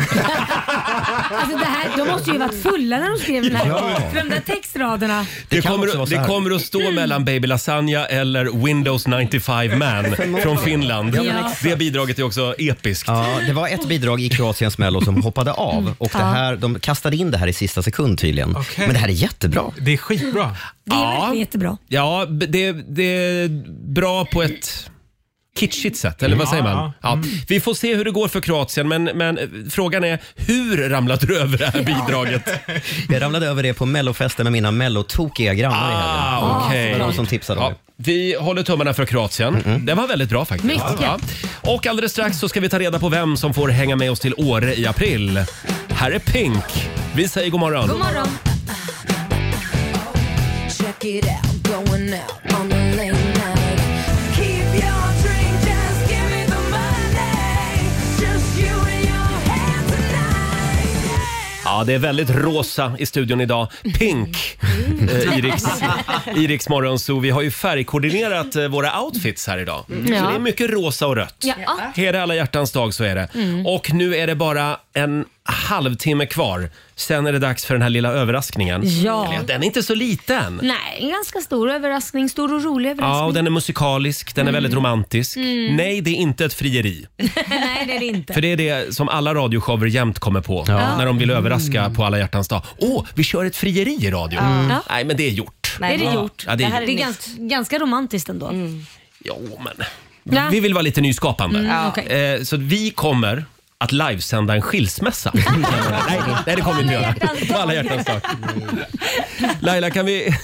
S2: Alltså det här, de måste ju varit fulla när de skrev den här.
S1: Ja.
S2: För de där textraderna.
S1: Det, kommer, det kommer att stå mellan Baby Lasagna eller Windows 95 Man från Finland.
S2: Ja, men exakt.
S1: Det bidraget är också episkt.
S3: Ja, det var ett bidrag i Kroatiens mello som hoppade av och det
S2: Ja.
S3: här, de kastade in det här i sista sekund tydligen. Men det här är jättebra.
S8: Det är skitbra.
S2: Det är verkligen jättebra.
S1: Ja, b- det, det är bra på ett kitschigt sätt, eller vad
S8: Ja,
S1: säger man?
S8: ja. Mm.
S1: Ja. Vi får se hur det går för Kroatien, men, men eh, frågan är hur ramlade du över det här bidraget?
S3: Jag ramlade över det på mellofesten med mina mellotokiga grannar i helgen.
S1: Ah, okej.
S3: Det var de som tipsade om
S1: Ja,
S3: det.
S1: vi håller tummarna för Kroatien. Den var väldigt bra faktiskt.
S3: Mycket.
S1: Och alldeles strax så ska vi ta reda på vem som får hänga med oss till Åre i april. Här är Pink. Vi säger god morgon.
S2: God morgon.
S10: Check it out, going out on the late night. Keep your drink
S1: Ja, det är väldigt rosa i studion idag. Pink eh, i Riks, i Riks Morgonzoo. Vi har ju färgkoordinerat eh, våra outfits här idag.
S2: Mm.
S1: Så
S2: Ja.
S1: det är mycket rosa och rött.
S2: Ja. Ah.
S1: Är det alla hjärtans dag så är det.
S2: Mm.
S1: Och nu är det bara en halvtimme kvar. Sen är det dags för den här lilla överraskningen.
S2: Ja.
S1: Eller, Den är inte så liten.
S2: Nej, en ganska stor överraskning. Stor och rolig
S1: Ja, och
S2: överraskning.
S1: den är musikalisk, den är
S2: Mm.
S1: väldigt romantisk.
S2: Mm.
S1: Nej, det är inte ett frieri.
S2: Nej, det är det inte.
S1: För det är det som alla radioshower jämt kommer på
S2: Ja. Mm.
S1: när de vill överraska på alla hjärtans dag. Åh, vi kör ett frieri i radio.
S2: Ja. Mm.
S1: Nej, men det är gjort.
S2: Nej, det
S1: Ja.
S2: är gjort.
S1: Ja, det är,
S2: det är
S1: gjort.
S2: ganska, ganska romantiskt ändå.
S1: Jo, men...
S2: Nej.
S1: Vi vill vara lite nyskapande.
S2: Mm, Ja. okej.
S1: eh, så vi kommer att livesända en skilsmässa. nej, nej, det kommer vi inte göra. På alla hjärtans dag. Laila, kan vi,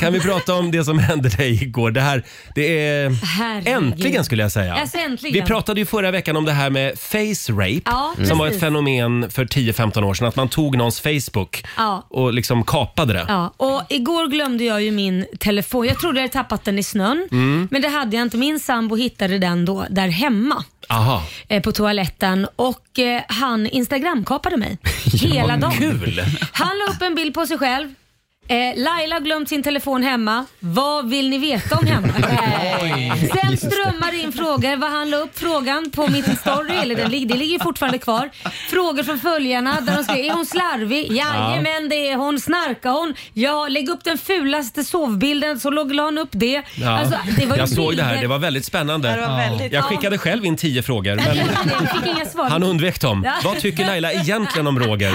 S1: kan vi prata om det som hände dig igår? Det här, det är...
S2: Herregud.
S1: Äntligen skulle jag säga.
S2: Alltså, äntligen.
S1: Vi pratade ju förra veckan om det här med face rape
S2: Ja,
S1: som var ett
S2: precis.
S1: fenomen för 10-15 år sedan. Att man tog någons Facebook
S2: Ja.
S1: och liksom kapade det.
S2: Ja, och igår glömde jag ju min telefon. Jag trodde jag hade tappat den i snön,
S1: Mm.
S2: men det hade jag inte. Min sambo hittade den då där hemma
S1: Aha.
S2: eh, på toaletten och eh, han instagramkapade mig hela
S1: Vad
S2: dagen. Eh,
S1: Kul!
S2: Han la upp en bild på sig själv. Eh, Laila har glömt sin telefon hemma. Vad vill ni veta om henne? Eh,
S10: Oj.
S2: Sen
S10: Just det.
S2: strömmar det in frågor. Vad han la upp frågan på min story, eller den ligger, det ligger ju fortfarande kvar. Frågor från följarna där de skrev, är hon slarvig? Jajamän det är hon. Snarkar hon? Ja, lägg upp den fulaste sovbilden så låg la han upp det.
S1: Ja.
S2: Alltså, det var ju
S1: jag såg det här,
S2: bilder.
S1: det var väldigt spännande.
S2: Ja, det var väldigt-
S1: jag
S2: Ja.
S1: skickade själv in 10 frågor men
S2: Jag fick inga svar.
S1: han undvek dem.
S2: Ja.
S1: Vad tycker Laila egentligen om Roger?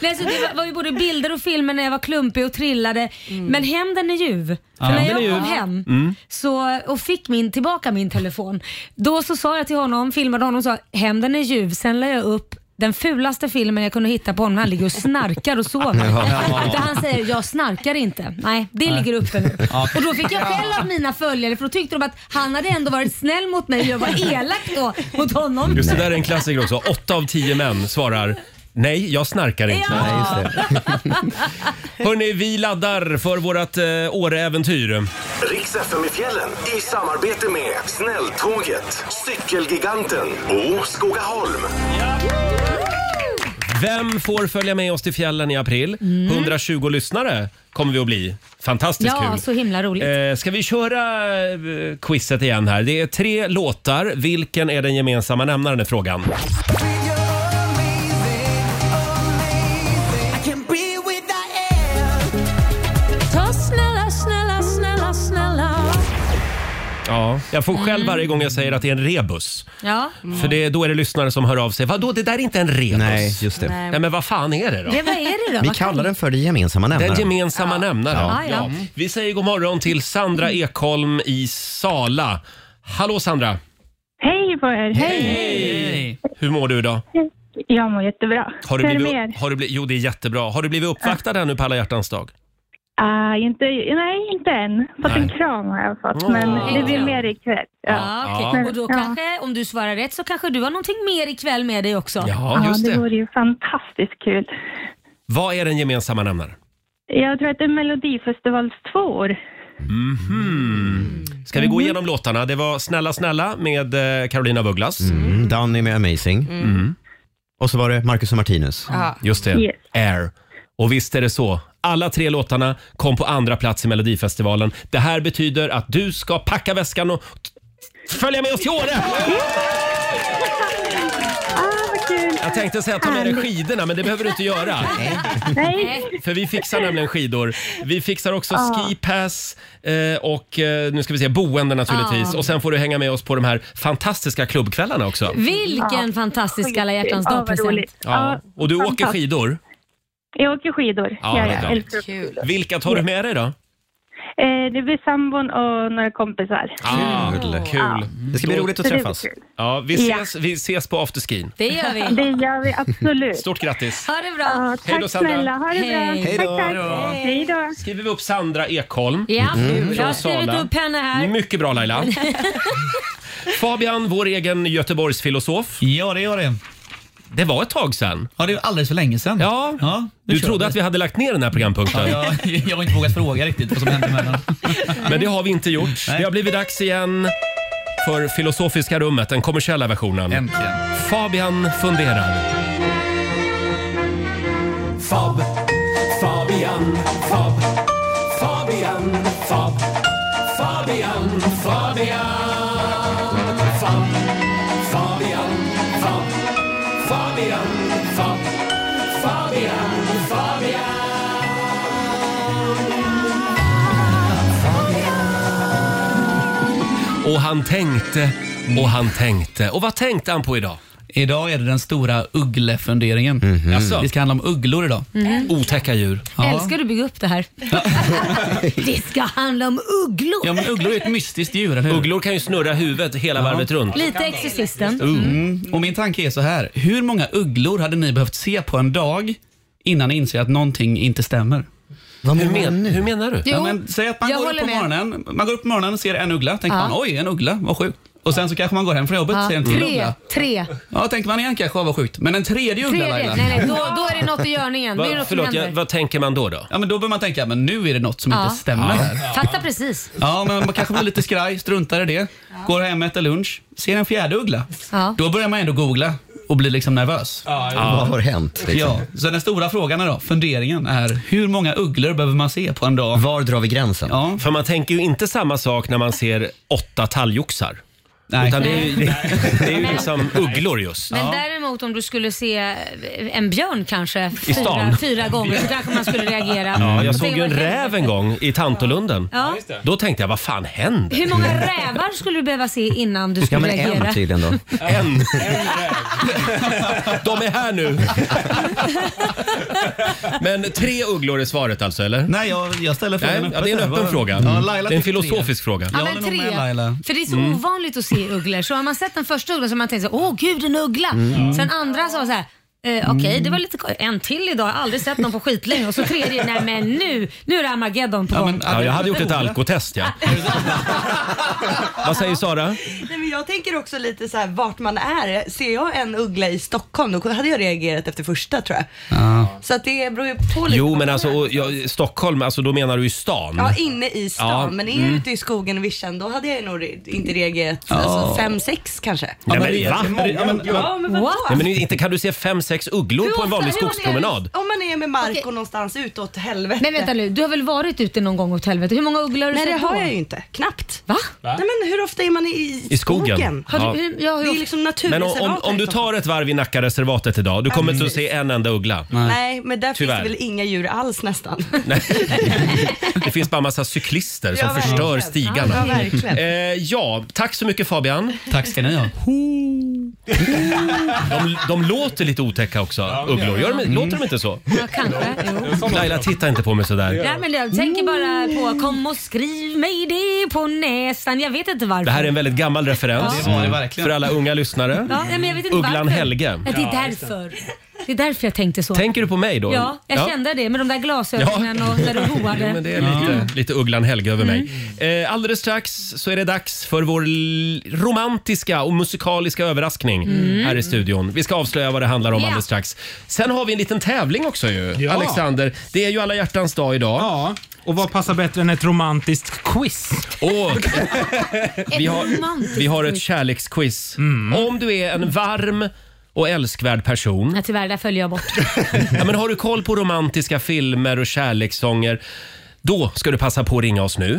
S2: Nej, så det var, var ju både bilder och filmer när jag var klumpig och trillade. Men hämnden är ljuv. För
S1: Ja.
S2: när
S1: Mm. Hämnden
S2: jag
S1: är
S2: kom
S1: ljuv.
S2: hem
S1: Mm.
S2: så, och fick min, tillbaka min telefon, då så sa jag till honom, filmade honom och sa hämnden är ljuv. Sen la jag upp den fulaste filmen jag kunde hitta på honom han ligger och snarkar och sover.
S10: Ja.
S2: Där han säger jag snarkar inte. Nej, det
S10: Nej.
S2: ligger uppe nu.
S10: Ja.
S2: Och då fick jag skäll av mina följare för då tyckte de att han hade ändå varit snäll mot mig och jag var elak då mot honom.
S1: Just det där är en klassiker också. Åtta av tio män svarar Nej, jag snarkar inte.
S2: Ja. Nej,
S1: Hörni, vi laddar för vårt eh, Åre-äventyr.
S13: Riks FM i fjällen i samarbete med Snälltåget, Cykelgiganten och Skogaholm.
S1: Vem får följa med oss till fjällen i april?
S2: Mm.
S1: 120 lyssnare kommer vi att bli. Fantastiskt
S2: Ja,
S1: kul.
S2: så himla roligt.
S1: Eh, ska vi köra eh, quizet igen här? Det är tre låtar. Vilken är den gemensamma nämnaren i frågan?
S2: Ta snälla, snälla, snälla, snälla.
S1: Ja, jag får
S2: Mm.
S1: själv varje gång jag säger att det är en rebus.
S2: Ja.
S1: Mm. För det, då är det lyssnare som hör av sig. Vadå, det där är inte en rebus?
S3: Nej, just det.
S1: Nej, men vad fan är det då?
S2: Det, vad är det då?
S3: Vi
S2: Vad
S3: kallar den för det gemensamma nämnaren.
S1: Den gemensamma nämnaren.
S3: Ja.
S2: Ja, ja.
S1: Vi säger god morgon till Sandra Ekholm i Sala. Hallå Sandra!
S10: Hej på er! Hej!
S1: Hur mår du idag?
S10: Jag mår jättebra.
S1: Har du
S10: Hur är det
S1: blivit,
S10: med er?
S1: har du blivit, jo, det är jättebra. Har du blivit uppvaktad här nu på alla hjärtans dag?
S10: Ah, inte, nej, inte än. Fått
S1: Nej.
S10: en kram har jag fått,
S1: Åh.
S10: men det blir mer ikväll.
S2: Ja, okej.
S1: Ja.
S2: Och då kanske, om du svarar rätt, så kanske du har någonting mer ikväll med dig också.
S1: Ja, just
S10: det.
S1: det.
S10: vore ju fantastiskt kul.
S1: Vad är den gemensamma nämnaren?
S10: Jag tror att det är Melodifestivals tvåor.
S1: Mhm. Ska vi gå igenom låtarna? Det var Snälla snälla med eh, Carolina av Ugglas.
S3: Mm, Danny med Amazing.
S1: Mm.
S3: Och så var det Marcus och Martinus.
S1: Just det.
S3: Yes.
S1: Air. Och visst är det så. Alla tre låtarna kom på andra plats i Melodifestivalen. Det här betyder att du ska packa väskan och t- följa med oss till Åre! Jag tänkte säga ta med dig skidorna, men det behöver du inte göra.
S10: Nej.
S1: För vi fixar nämligen skidor. Vi fixar också
S10: Ja.
S1: skipass eh, och eh, nu ska vi se, boende naturligtvis.
S10: Ah.
S2: Ja.
S1: Och sen får du hänga med oss på de här fantastiska klubbkvällarna också.
S2: Vilken fantastisk alla hjärtans
S10: Ja, vad
S2: dag-present.
S10: roligt.
S1: Ja. Och du åker
S10: fantastiskt.
S1: skidor.
S10: Jag åker skidor.
S1: Ja, det är bra.
S10: älskar att skidor.
S1: Vilka tar du med dig då?
S10: Eh, det blir sambon och några kompisar.
S1: Ah, kul.
S3: Det ska bli roligt att
S10: Så det
S3: träffas.
S10: blir kul.
S1: Ja, vi
S10: Ja.
S1: ses, vi ses på afterskin.
S2: Det gör vi.
S10: Det gör vi absolut.
S1: Stort grattis!
S2: Ha det bra.
S1: Hej då, Sandra.
S10: snälla. Ha det bra.
S1: Hej
S10: Tack,
S1: då.
S10: tack. Hej då.
S1: Skriver vi upp Sandra Ekholm Mm.
S2: Ja, jag har
S1: från
S2: skrivit
S1: Sala.
S2: upp henne här.
S1: Mycket bra Laila. Fabian, vår egen Göteborgsfilosof. Ja, det gör det. Det var ett tag sedan. Ja, det var alldeles för länge sedan. Ja. du trodde att vi hade lagt ner den här programpunkten.
S9: Ja, jag, jag har inte vågat fråga riktigt vad som hände mellan.
S1: Men det har vi inte gjort. Det har blivit dags igen för Filosofiska rummet, den kommersiella versionen. Äntligen. Fabian funderar.
S5: Fob, Fabian, Fob, Fabian, Fabian, Fob, Fabian, Fob, Fabian, Fob, Fabian, Fabian.
S1: Och han tänkte och han tänkte. Och vad tänkte han på idag?
S9: Idag är det den stora ugglefunderingen.
S1: Jaså?
S9: Det ska handla om ugglor idag.
S2: Mhm.
S1: Otäcka djur.
S2: Älskar du bygga upp det här? det ska handla om ugglor.
S9: Ja, men ugglor är ett mystiskt djur, eller hur?
S1: Ugglor kan ju snurra huvudet hela
S9: varvet
S1: runt.
S2: Lite Exorcisten.
S9: Mm. Och min tanke är så här. Hur många ugglor hade ni behövt se på en dag innan ni inser att någonting inte stämmer?
S1: Hur, men, hur menar du?
S9: ja, men, säg att man
S2: jag
S9: går, upp
S2: håller
S9: på
S2: med.
S9: morgonen, man går upp på morgonen och ser en uggla. Tänker
S2: Ja.
S9: man oj, en uggla, vad sjukt. Och sen så kanske man går hem från jobbet och ser en till
S2: Tre,
S9: uggla.
S2: tre.
S9: Ja, tänker man igen kanske, vad sjukt. Men en tredje uggla
S2: Tredje.
S9: Laila.
S2: Nej, nej, då, då är det något i görningen. Det är något som händer.
S1: vad tänker man då? då?
S9: Ja, men då bör man tänka, men nu är det något som
S2: Ja.
S9: inte stämmer här.
S2: Fattar precis.
S9: Ja, men man kanske blir lite skraj, struntar i det. Går hem, äter lunch, ser en fjärde uggla.
S2: Ja.
S9: Då börjar man ändå googla och blir liksom nervös.
S3: ja. Vad har hänt, liksom?
S9: Ja, så den stora frågan är då, funderingen är hur många ugglor behöver man se på en dag?
S3: Var drar vi gränsen?
S9: Ja.
S1: För man tänker ju inte samma sak när man ser åtta talgoxar.
S9: Nej.
S1: Utan det är ju, det, det är ju
S2: Men-
S1: liksom ugglor just.
S2: Men däremot om du skulle se eh, en björn kanske
S1: I stan.
S2: fyra, fyra gånger så kanske man skulle reagera.
S1: Ja, jag
S2: Så
S1: såg ju en
S2: tänker man,
S1: räv en gång i Tantolunden.
S2: Ja. Ja, just det.
S1: Då tänkte jag, vad fan händer?
S2: Hur många rävar skulle du behöva se innan du skulle reagera?
S1: då. En. De är här nu. Men tre ugglor är svaret alltså, eller?
S9: Nej, jag, jag ställer
S1: frågan ja, Det är
S9: öppet
S1: en
S9: här.
S1: öppen
S9: Vad-
S1: fråga. Mm.
S9: Ja, Laila
S1: det är en
S9: tycker tre.
S1: filosofisk fråga.
S2: Ja, men tre. För det är så
S1: Mm.
S2: ovanligt att se ugglor. Så har man sett den första ugglan så har man tänkt så här, åh gud en uggla.
S1: Mm.
S2: Sen andra så var det så här, Eh, Okej, det var lite ko- En till idag, jag har aldrig sett någon på skitlänge. Och så tredje, nej men nu, nu är det Armageddon på gång.
S1: Ja, jag hade gjort ett alkotest, ja. Vad säger Sara?
S4: Nej, men jag tänker också lite så här vart man är. Ser jag en uggla i Stockholm då hade jag reagerat efter första tror jag. Så att det beror ju på lite.
S1: Jo, men alltså och, ja, Stockholm, alltså, då menar du ju stan.
S4: Ja, inne i stan.
S1: Ja,
S4: Men är
S1: mm.
S4: jag ute i skogen och vischan då hade jag ju nog re- inte reagerat.
S1: Ja.
S4: Alltså fem, sex kanske.
S1: Nej, men, va?
S4: Ja, men, vadå?
S1: Nej, men inte kan du se fem, sex ugglor på en vanlig skogspromenad?
S4: Om man är med Marco någonstans ute åt helvete.
S2: Men vänta nu, du har väl varit ute någon gång åt helvete? Hur många ugglor har du
S4: Nej,
S2: sett
S4: det har
S2: då?
S4: jag ju inte. Knappt.
S2: Va?
S4: Nej, men hur ofta är man i,
S1: I skogen?
S4: Har du,
S1: Ja.
S4: hur- ja, hur, det är liksom
S1: Men om,
S4: naturreservat.
S1: om, om du
S4: här i
S1: tar ett varv i Nackareservatet idag, du kommer inte att se en enda uggla.
S4: Stockholm. Nej, men där
S1: Tyvärr.
S4: finns det väl inga djur alls nästan.
S1: Det finns bara massa cyklister som
S4: Ja, verkligen.
S1: förstör
S4: Ja,
S1: stigarna.
S4: verkligen.
S1: eh, ja, tack så mycket Fabian.
S9: Tack ska ni ha.
S1: De, de låter lite otäcka också, ugglor. Gör de,
S2: Mm.
S1: Låter de inte så?
S2: Ja, kanske. Jo.
S1: Laila, titta inte på mig sådär.
S2: Nej, men jag tänker bara på kom och skriv mig det på näsan. Jag vet inte varför.
S1: Det här är en väldigt gammal referens
S2: Ja. Det var det
S1: för alla unga lyssnare.
S2: ja, nej, men jag vet inte
S1: Ugglan
S2: varför.
S1: Helge.
S2: Ja, det är därför. Det är därför jag tänkte så.
S1: Tänker du på mig då?
S2: Ja, jag kände det med de där glasögonen och när du roade.
S1: Jo, men det är
S2: Mm.
S1: lite, lite Ugglan Helge över mig. Eh, alldeles strax så är det dags för vår l- romantiska och musikaliska överraskning
S14: Mm.
S1: här i studion. Vi ska avslöja vad det handlar om
S14: Ja.
S1: alldeles strax. Sen har vi en liten tävling också ju,
S8: Ja.
S1: Alexander. Det är ju alla hjärtans dag idag. Ja, och vad passar bättre än ett romantiskt quiz? vi, har,
S2: romantiskt
S1: vi har ett
S2: quiz.
S1: kärleksquiz. Om du är en varm och älskvärd person
S2: Ja, tyvärr, där följer jag bort.
S1: Ja, men har du koll på romantiska filmer och kärlekssånger då ska du passa på att ringa oss nu.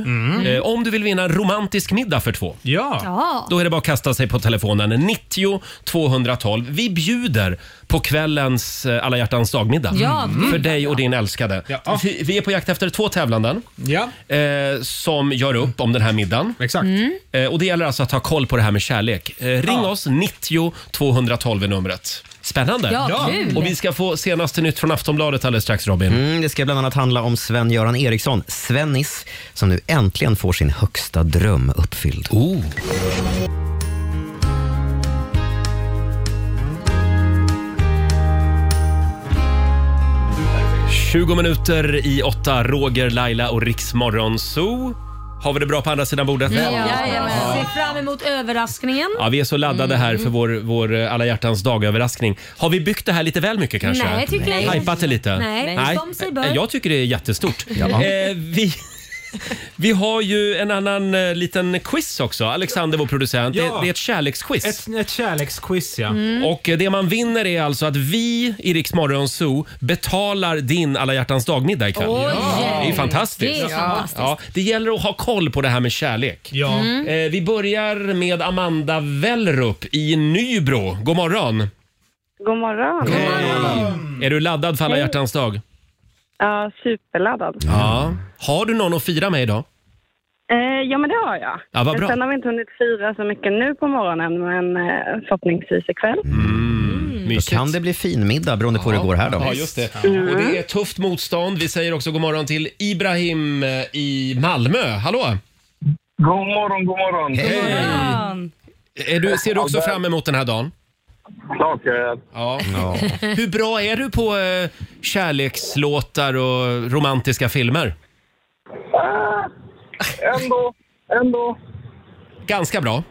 S1: Eh, om du vill vinna en romantisk middag för två.
S2: Ja.
S1: Då är det bara att kasta sig på telefonen. 90 212. Vi bjuder på kvällens eh, alla hjärtans dagmiddag. Mm.
S2: Ja, gud.
S1: För dig och din älskade. Vi, vi är på jakt efter två tävlanden eh, som gör upp om den här middagen.
S8: Exakt.
S1: Eh, och det gäller alltså att ha koll på det här med kärlek. Eh, ring oss, 90 212 är numret. Spännande.
S3: Ja, Ja. kul.
S1: Och vi ska få senaste nytt från Aftonbladet alldeles strax Robin.
S3: Mm, det ska bland annat handla om Sven-Göran Eriksson, Svennis, som nu äntligen får sin högsta dröm uppfylld. Mm.
S1: Oh. Mm. 20 minuter i åtta, Roger, Laila och Riksmorgon Zoo. Har vi det bra på andra sidan bordet?
S2: Ja, jajamän. Ser fram emot överraskningen.
S1: Ja, vi är så laddade här för vår, vår eh, alla hjärtans dag-överraskning. Har vi byggt det här lite väl mycket kanske?
S2: Nej, tycker jag inte.
S1: Hypat det lite?
S2: Nej, som sig bör.
S1: Jag tycker det är jättestort.
S2: Ja.
S1: Eh, vi... Vi har ju en annan eh, liten quiz också. Alexander, vår producent. Det,
S8: Ja.
S1: det är ett kärleksquiz.
S8: Ett, ett kärleksquiz ja.
S2: Mm.
S1: Och eh, det man vinner är alltså att vi i Rix Morgon Zoo betalar din alla hjärtans dagmiddag ikväll.
S6: Oj!
S1: Det är ju fantastiskt.
S6: Det är fantastiskt.
S1: Ja, det gäller att ha koll på det här med kärlek.
S6: Ja. Mm.
S1: Eh, vi börjar med Amanda Wellrup i Nybro. God morgon.
S10: God morgon.
S1: Är du laddad för alla
S10: Hej.
S1: hjärtans dag?
S10: Ja, superladdad.
S1: Ja. Har du någon att fira med idag?
S10: Eh, ja, men det har jag.
S1: Ja, vad bra.
S10: Sen har vi inte hunnit fira så mycket nu på morgonen, men eh, förhoppningsvis ikväll.
S1: Då
S3: kan det bli finmiddag beroende på hur det går här då.
S1: Mm, Ja, just det. Och det är tufft motstånd. Vi säger också god morgon till Ibrahim eh, i Malmö. Hallå!
S14: God morgon, god morgon.
S1: Hej! Mm. Är du, ser du också fram emot den här dagen?
S14: Klart jag är.
S1: Ja. Hur bra är du på eh, kärlekslåtar och romantiska filmer?
S14: Ändå, ändå.
S1: Ganska bra.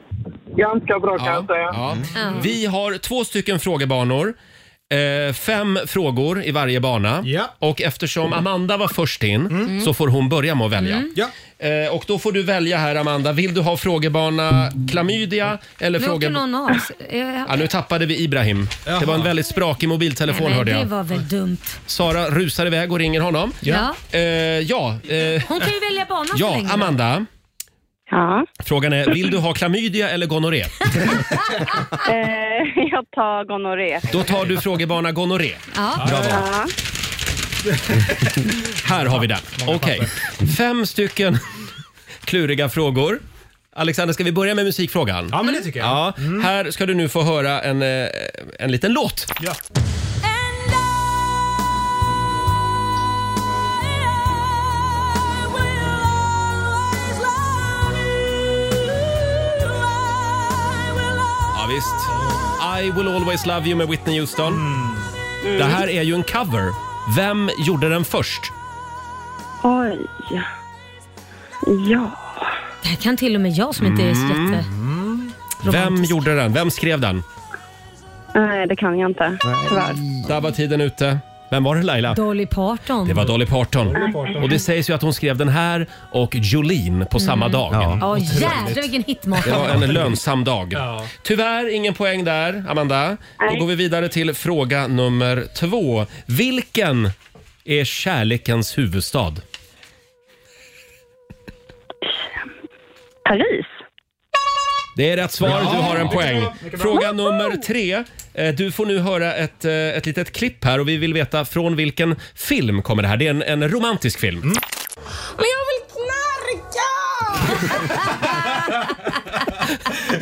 S14: Ganska bra kan jag säga.
S1: Ja.
S14: Mm.
S1: Vi har två stycken frågebanor. Eh, fem frågor i varje bana. Och eftersom Amanda var först in så får hon börja med att välja.
S2: Mm.
S1: Eh, och då får du välja här Amanda. Vill du ha frågebana klamydia eller
S2: Nu åker
S1: fråge...
S2: någon av oss. Eh,
S1: Ja, nu tappade vi Ibrahim. Det var en väldigt sprakig mobiltelefon
S2: nej,
S1: hörde
S2: det
S1: jag.
S2: var väl dumt.
S1: Sara rusar iväg och ringer honom.
S2: Ja.
S1: Eh, ja, eh,
S2: Hon kan ju välja bana så
S1: ja
S2: länge.
S1: Amanda. Frågan är, vill du ha klamydia eller gonorré?
S10: Eh, jag tar gonorré.
S1: Då tar du frågebana gonorré.
S10: Ja.
S1: Bravo.
S10: Ja.
S1: Här har vi den. Okej. Fem stycken kluriga frågor. Alexander, ska vi börja med musikfrågan? Ja,
S8: men det tycker jag. Mm.
S1: Ja, Här ska du nu få höra en, eh, en liten låt.
S8: Ja.
S1: Ja, visst. I will always love you med Whitney Houston. Det här är ju en cover. Vem gjorde den först?
S10: Oj. Ja.
S2: Det här kan till och med jag som inte är så
S1: Mm.
S2: jätte...
S1: Vem gjorde den? Vem skrev den?
S10: Nej, det kan jag inte. Tyvärr.
S1: Där var tiden ute. Vem var det Laila?
S2: Dolly Parton.
S1: Det var Dolly Parton. Och det sägs ju att hon skrev den här och Jolene på samma dag.
S2: Mm. Ja, jädrar vilken hitmakare.
S1: Det var en lönsam dag.
S2: Ja.
S1: Tyvärr ingen poäng där, Amanda. Då går vi vidare till fråga nummer två. Vilken är kärlekens huvudstad?
S10: Paris.
S1: Det är rätt svar. Du har en
S6: mycket
S1: poäng.
S6: bra, mycket bra.
S1: Fråga nummer tre. Eh, Du får nu höra ett, eh, ett litet klipp här och vi vill veta från vilken film kommer det här. Det är en, en romantisk film.
S8: Mm.
S6: Men jag vill knarka!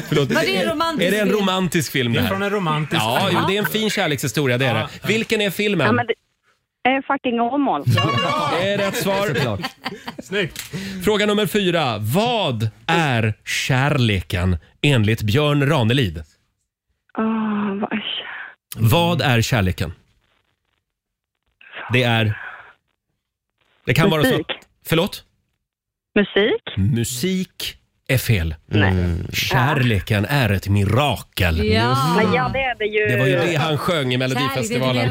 S1: Förlåt.
S6: Var det en romantisk
S1: är det en
S6: film?
S1: romantisk film?
S8: Det är
S1: här?
S8: från en romantisk
S1: ja,
S8: film.
S1: Jo, det är en fin kärlekshistoria. Det är det. Vilken är filmen?
S10: Ja, men det är fucking Åmål.
S1: Det är rätt svar.
S8: Snyggt.
S1: Fråga nummer fyra. Vad är kärleken enligt Björn Ranelid?
S10: Åh, Ah, vad är
S1: Vad är kärleken? Det är... Det kan vara så...
S10: Musik.
S1: Förlåt?
S10: Musik?
S1: Musik är fel. Kärleken är ett mirakel.
S10: Men ja, det är det ju.
S1: Det var ju det han sjöng i Melodifestivalen.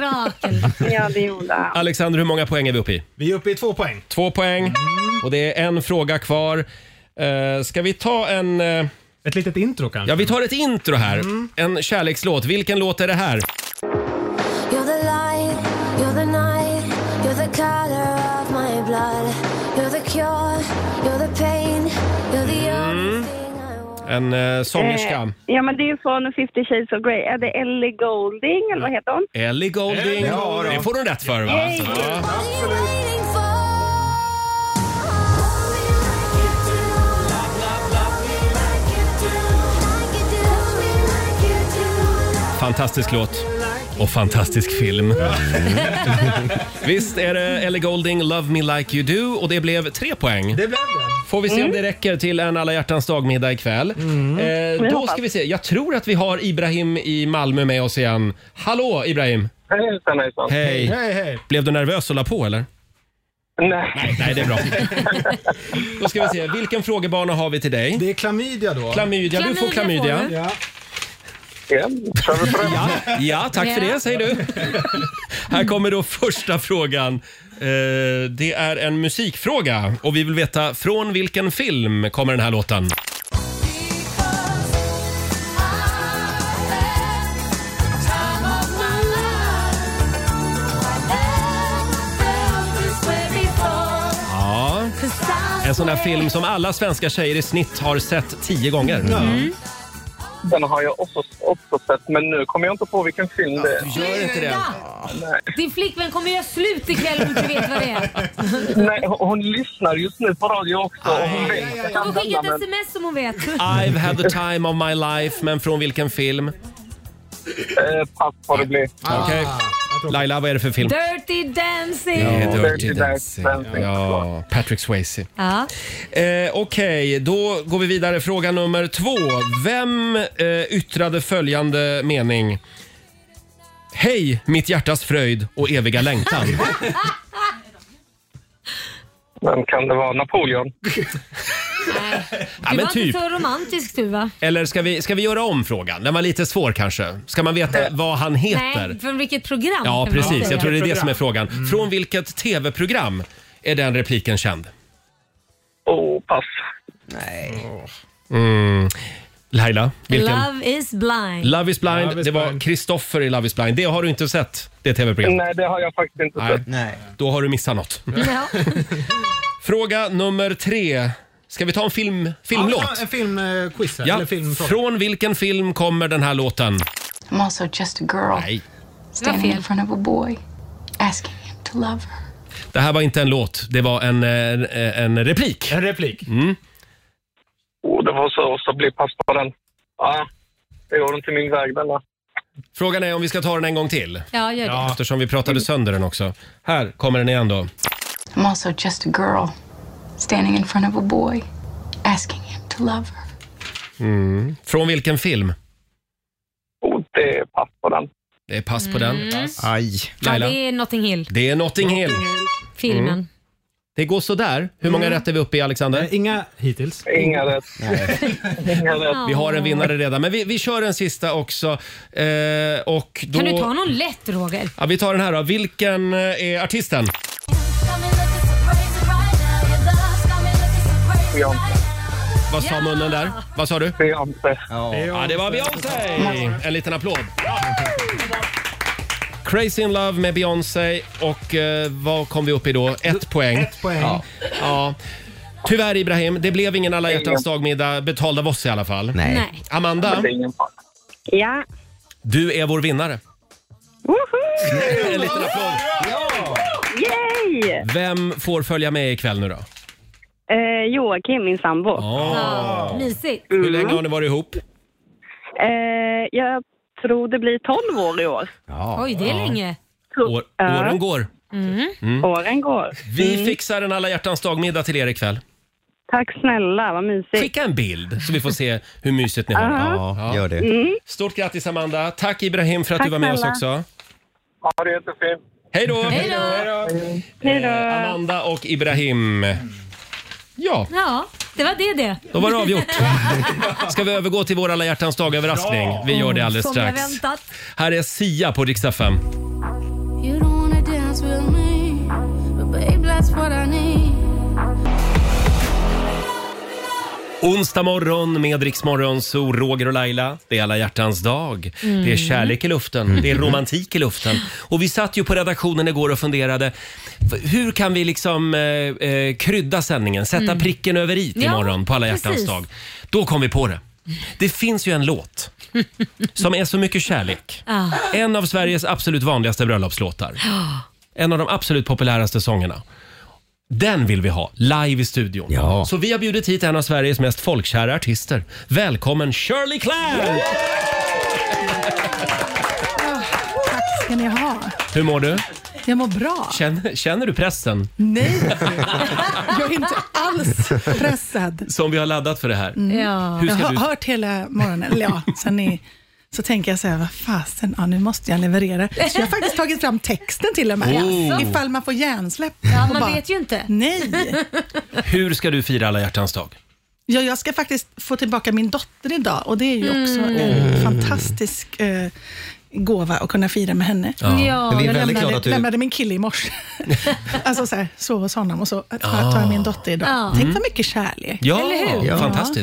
S10: Ja, det gjorde han.
S1: Alexander, hur många poäng är vi uppe i?
S8: Vi är uppe i två poäng.
S1: Två poäng. Och det är en fråga kvar. Uh, ska vi ta en... eh,
S8: Ett litet intro kanske?
S1: Ja, vi tar ett intro här.
S8: Mm.
S1: En kärlekslåt. Vilken låt är det här?
S6: You're the light, you're the night, you're the color of my blood. You're the cure, you're the pain, you're the
S1: Mm. En eh, sångerska.
S10: Eh, ja, men det är ju från 50 shades of Grey. Är det Ellie Golding, eller vad heter hon?
S1: Ellie Golding.
S10: Ja, då.
S1: det får hon rätt för va?
S10: Yay.
S1: Ja. Fantastisk låt. Och fantastisk film. Visst är det Ellie Golding, Love Me Like You Do och det blev tre poäng. Det
S8: blev det.
S1: Får vi se om
S8: Mm.
S1: det räcker till en alla hjärtans dag-middag ikväll. Eh, då
S8: hoppas.
S1: ska vi se. Jag tror att vi har Ibrahim i Malmö med oss igen. Hallå Ibrahim!
S14: Hejsan, hejsan.
S1: Hej.
S8: Hej, hej.
S1: Blev du nervös och la på eller?
S14: Nej.
S1: Nej, nej det är bra. då ska vi se. Vilken frågebana har vi till dig?
S8: Det är klamydia då.
S1: Klamydia, du får Klamydia får klamydia. du.
S14: igen. Kör vi på det?
S1: Ja, tack för
S14: Ja.
S1: det säger du. Här kommer då första frågan. Eh, Det är en musikfråga och vi vill veta från vilken film kommer den här låten? Ja. En sån där film som alla svenska tjejer i snitt har sett tio gånger. Mm.
S14: Den har jag också, också sett, men nu kommer jag inte på vilken film det är.
S1: Gör inte det.
S2: Din flickvän kommer göra slut ikväll om du inte vet vad det är.
S14: Nej, hon, hon lyssnar just nu på radio också. Och hon vet. att jag
S2: Hon
S14: kan
S2: skickar
S14: denna,
S2: ett
S14: men-
S2: sms om hon vet.
S1: I've had the time of my life, men från vilken film?
S14: Eh, pass får det bli.
S1: Okej. Laila, vad är det för film?
S2: Dirty dancing.
S1: Det är
S14: Dirty
S1: Dirty
S14: Dancing.
S1: Dancing. Ja, Patrick Swayze.
S2: Ja.
S1: Eh, Okej, då går vi vidare. Fråga nummer två. Vem eh, yttrade följande mening? Hej, mitt hjärtas fröjd och eviga längtan.
S14: Vem kan det vara? Napoleon?
S1: ja,
S2: Du
S1: men
S2: var
S1: typ.
S2: inte så romantisk du va?
S1: Eller ska vi, ska vi göra om frågan? Den var lite svår kanske. Ska man veta vad han heter?
S2: Nej, från vilket program?
S1: Ja,
S2: kan man
S1: precis.
S2: säga.
S1: Jag tror det är det som är frågan.
S14: Mm.
S1: Från vilket tv-program är den repliken känd?
S14: Åh, pass.
S1: Nej. Mm. Laila, vilken?
S2: Love is blind.
S1: Love is blind. det var Kristoffer i Love is blind. Det har du inte sett, det tv-programmet?
S14: Nej, det har jag faktiskt inte
S1: Nej.
S14: sett.
S1: Då har du missat något. Fråga nummer tre. Ska vi ta en film, filmlåt?
S8: Ja, en filmquiz här.
S1: Ja.
S8: Eller film
S1: Från vilken film kommer den här låten?
S15: I'm also just a girl
S1: Nej.
S15: standing in front of a boy asking him to love her.
S1: Det här var inte en låt, det var en, en, en replik. En replik? Mm.
S14: Åh, det var så, så blir pass på den. Ja, det går inte min väg denna.
S1: Frågan är om vi ska ta den en gång till.
S2: Ja, gör det.
S1: Eftersom vi pratade sönder den också. Här kommer den igen då.
S15: I'm also just a girl standing in front of a boy asking him to love her.
S1: Mm. Från vilken film?
S14: Oh, det är pass på den.
S1: Det är pass på den.
S2: Mm.
S1: Aj.
S2: Ja,
S1: Laila?
S2: det är Notting Hill,
S1: Det är Notting Hill.
S2: filmen.
S1: Mm. Det går sådär. Hur många
S2: Mm.
S1: rätt är vi uppe i, Alexander? Inga hittills.
S14: Inga rätt. Inga rätt.
S1: Mm. Vi har en vinnare redan, men vi, vi kör en sista också. Eh, och då...
S2: Kan du ta någon lätt Roger?
S1: Ja, vi tar den här då. Vilken eh, är artisten? Vad sa munnen där? Vad sa du?
S14: Beyoncé.
S1: Ja. det var Beyoncé! En liten applåd. Crazy in love med Beyoncé och eh, vad kom vi upp i då? Ett poäng.
S8: Ett poäng.
S1: Ja. ja. Tyvärr Ibrahim, det blev ingen alla hjärtans dag-middag betald av oss i alla fall.
S5: Nej. Nej.
S1: Amanda,
S10: Ja.
S1: du är vår vinnare. En liten applåd.
S10: Yay!
S1: Vem får följa med ikväll nu då?
S10: Eh, Joakim, min sambo. Mm.
S1: Ja,
S2: mysigt.
S1: Hur länge har ni varit ihop?
S10: Eh, jag tror det blir 12 år i år.
S2: Oj, det är länge.
S1: År,
S10: Ja.
S1: åren går.
S10: Mm.
S1: Mm.
S10: Åren går.
S1: Vi fixar en alla hjärtans dag-middag till er ikväll.
S10: Tack snälla, vad mysigt.
S1: Skicka en bild så vi får se hur mysigt ni har
S10: Ja,
S3: gör det.
S10: Mm.
S1: Stort grattis Amanda. Tack Ibrahim för att
S10: Tack
S1: du var med
S10: snälla.
S1: oss också.
S14: Ja, det är jättefint.
S1: Hej då!
S2: Hej då!
S10: Hej då.
S1: Eh, Amanda och Ibrahim. Ja,
S2: Ja, det var det det.
S1: då var det avgjort. Ska vi övergå till vår alla hjärtans dag-överraskning? Vi gör det alldeles
S2: Som
S1: strax.
S2: jag väntat.
S1: Här är Sia på riksdag 5.
S16: You don't wanna dance with me, but babe, that's what I need.
S1: Onsdag morgon med Riksmorgon, så Roger och Laila. Det är alla hjärtans dag.
S17: Mm.
S1: Det är kärlek i luften. Det är romantik i luften. Och vi satt ju på redaktionen igår och funderade. v- Hur kan vi liksom eh, eh, krydda sändningen? Sätta
S17: Mm.
S1: pricken över i
S17: Ja,
S1: imorgon på alla
S17: precis.
S1: hjärtans dag. Då kom vi på det. Det finns ju en låt som är så mycket kärlek.
S2: Ja.
S1: En av Sveriges absolut vanligaste bröllopslåtar. En av de absolut populäraste sångerna. Den vill vi ha live i studion. Så vi har bjudit hit en av Sveriges mest folkkära artister. Välkommen Shirley Clamp!
S18: Tack ska ni ha.
S1: Hur mår du?
S18: Jag mår bra.
S1: Känner, känner du pressen
S18: Nej, jag är inte alls pressad.
S1: som vi har laddat för det här?
S18: Mm.
S1: Hur
S18: jag
S1: ska
S18: har
S1: du-
S18: hört hela morgonen, eller ja, sen ni, så tänker jag så här, vad fasen, ja, nu måste jag leverera. Så jag har faktiskt tagit fram texten till och med,
S1: Oh.
S18: ifall man får hjärnsläpp.
S2: Ja,
S18: Och
S2: man
S18: bara,
S2: vet ju inte.
S18: Nej.
S1: Hur ska du fira alla hjärtans dag?
S18: Ja, jag ska faktiskt få tillbaka min dotter idag och det är ju också
S1: Mm.
S18: en fantastisk eh, gåva att kunna fira med henne.
S1: Ja. Ja, Men vi är väldigt
S18: jag
S1: glada
S18: lämnade,
S1: att du-
S18: lämnade min kille i morse. alltså så här, sov hos honom och så tar
S1: Ja.
S18: tar jag min dotter idag.
S2: Ja.
S18: Tänk
S3: Mm.
S18: vad mycket kärlek.
S3: Och vi är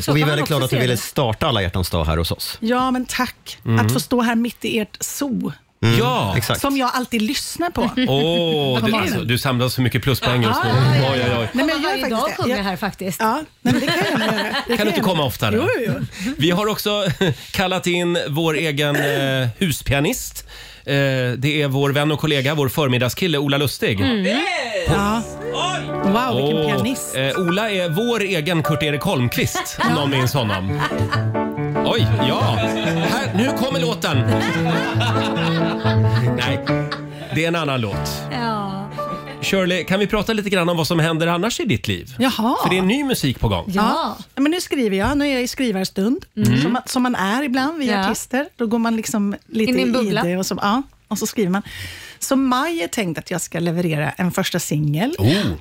S18: Så kan man
S3: väldigt glada
S18: också
S3: att du
S18: se
S3: ville
S18: det.
S3: starta alla hjärtans dag här hos oss.
S18: Ja, men tack.
S3: Mm.
S18: Att få stå här mitt i ert zoo.
S3: Mm, Ja. exakt.
S18: Som jag alltid lyssnar på.
S1: Åh,
S18: På
S1: du,
S18: morgonen.
S1: alltså, du samlar så mycket pluspoäng just nu. Oj, oj, oj.
S18: Nej, men jag gör
S2: Varje dag
S18: faktiskt
S2: sjunger
S18: Jag-
S2: här faktiskt.
S18: Ja, nej, men det kan jag göra.
S1: Kan du
S18: Det jag
S1: inte komma
S18: göra.
S1: oftare?
S18: Jo, jo.
S1: Vi har också kallat in vår egen eh, huspianist. Eh, det är vår vän och kollega, vår förmiddagskille Ola Lustig.
S18: Mm. Ja. Wow, vilken
S1: Åh,
S18: pianist.
S1: eh, Ola är vår egen Kurt-Erik Holmqvist, om någon minns honom. Oj, ja. Här, nu kommer låten. Nej, det är en annan låt.
S2: Ja.
S1: Shirley, kan vi prata lite grann om vad som händer annars i ditt liv?
S18: Jaha.
S1: För det är ny musik på gång.
S18: Ja. men nu skriver jag. Nu är jag i skrivarstund,
S1: Mm.
S18: som, man- som man är ibland, vi
S2: Ja.
S18: artister. Då går man liksom lite
S2: In i en bubbla.
S18: det och så, ja, och så skriver man. Så maj är tänkt att jag ska leverera en första singel.
S1: Oh.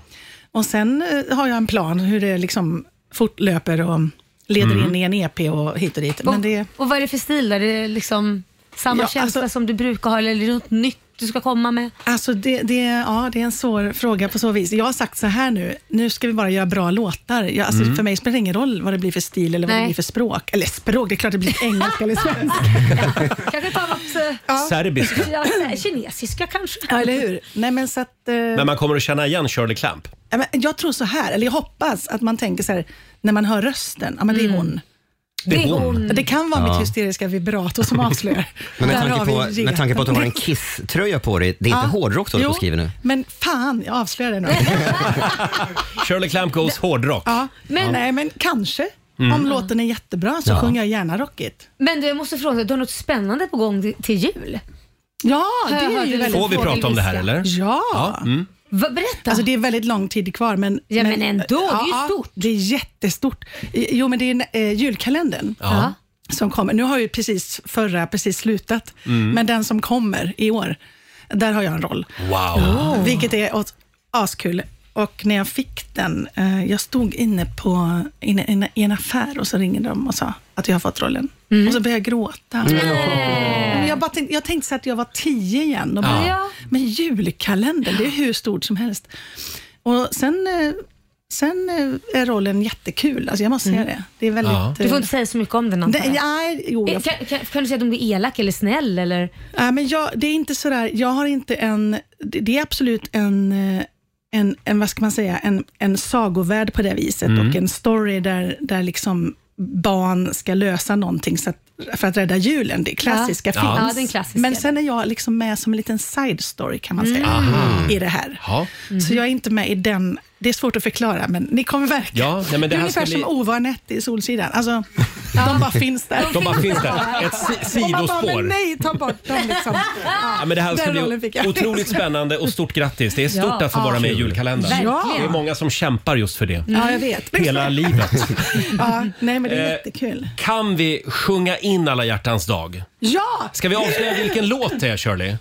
S18: Och sen eh, har jag en plan hur det liksom fortlöper och leder
S2: Mm.
S18: in i en EP och hit och dit.
S2: Och,
S18: Men det,
S2: och vad är det för stil? Är det liksom samma
S18: Ja,
S2: känsla som du brukar ha eller är det något nytt du ska komma med?
S18: alltså det, det, ja, det är en svår fråga på så vis. Jag har sagt så här nu, nu ska vi bara göra bra låtar. Jag, alltså
S2: Mm.
S18: För mig spelar det ingen roll vad det blir för stil eller vad
S2: Nej.
S18: det blir för språk. Eller språk, det är klart det blir engelska eller svenska.
S2: Kanske ta något... eh,
S1: Serbiska.
S2: Ja, så här, kinesiska kanske.
S18: Ja, eller hur? Nej, men så att, eh,
S1: Men man kommer att känna igen Shirley Clamp.
S18: ja, men jag tror så här, eller jag hoppas att man tänker så här, när man hör rösten, ja men det är
S2: Mm.
S18: hon.
S1: Det är hon.
S18: Det kan vara
S3: Ja.
S18: mitt hysteriska vibrato som avslöjar.
S3: Men med
S18: Där
S3: tanke,
S18: har vi
S3: på,
S18: reten.
S3: med tanke på att du har en Kiss-tröja på dig, det är inte
S18: Ja.
S3: hårdrock du håller på
S18: Jo,
S3: och skriver nu?
S18: Men fan, jag avslöjar det nu.
S1: Shirley Clamp goes hårdrock.
S18: ja, men,
S1: Ja.
S18: Nej, men kanske.
S1: Mm.
S18: Om låten är jättebra så
S1: Ja.
S18: sjunger jag gärna rockigt.
S2: Men du, jag måste fråga, du har något spännande på gång till- till jul?
S18: Ja,
S2: Har
S18: det
S2: jag
S18: är
S2: hört
S18: ju
S2: det?
S18: väldigt
S1: Får vi
S18: få
S1: prata om det här
S18: vill
S1: eller?
S18: säga. Ja.
S1: mm.
S2: Berätta.
S18: Alltså det är väldigt lång tid kvar. Men,
S2: Ja, men ändå, det är ju
S18: stort. Det är jättestort. I- Jo, men det är eh, julkalendern.
S2: Ja.
S18: Som kommer. Nu har ju precis förra precis slutat,
S1: Mm.
S18: men den som kommer i år, där har jag en roll.
S1: Wow.
S18: Oh. Vilket är åt- askul. Och när jag fick den, eh, jag stod inne på, inne, inne, i en affär och så ringde de och sa att jag har fått rollen.
S2: Mm.
S18: Och så började jag gråta. Men Jag, bara tänkte, jag tänkte så att jag var tio igen. Och bara,
S2: Ja.
S18: Men julkalendern, det är hur stort som helst. Och sen, eh, sen eh, är rollen jättekul. Alltså jag måste säga det. Det är väldigt...
S2: Ja. Mm. Du får
S18: eh,
S2: inte säga så mycket om den antar
S18: Nej,
S2: jag.
S18: nej, jo,
S2: Eh,
S18: jag,
S2: kan, kan, kan du säga att de blir elak eller snäll? Eller?
S18: Nej, men jag, det är inte sådär, jag har inte en, det det är absolut en, eh, en, en vad ska man säga, en, en sagovärld på det viset
S17: Mm.
S18: och en story där, där liksom barn ska lösa någonting så att, för att rädda julen. Det är klassiska
S2: Ja.
S18: films.
S2: Ja, den klassiska.
S18: Men sen är jag liksom med som en liten side story kan man säga
S1: Mm. Aha.
S18: i det här.
S1: Ja.
S18: Så
S2: Mhm.
S18: jag är inte med i den, det är svårt att förklara, men ni kommer verkligen.
S1: Ja, nej, men det
S18: är
S1: här
S18: ungefär
S1: ska bli-
S18: som Ovanett i Solsidan. Alltså, De bara finns där.
S1: De bara finns där. Ett si-
S18: Och man bara,
S1: sidospår.
S18: men nej, ta bort dem liksom.
S1: Ja, men det här ska
S18: Den rollen
S1: bli
S18: fick jag.
S1: otroligt spännande och stort grattis. Det är stort
S18: Ja.
S1: att få vara
S18: Ja.
S1: med i julkalendern.
S18: Verkligen.
S1: Det är många som kämpar just för det.
S18: Ja, jag vet.
S1: Hela livet.
S18: Ja, nej, men det är
S1: Eh,
S18: jättekul.
S1: Kan vi sjunga in alla hjärtans dag?
S18: Ja!
S1: Ska vi avslöja vilken låt det är Shirley?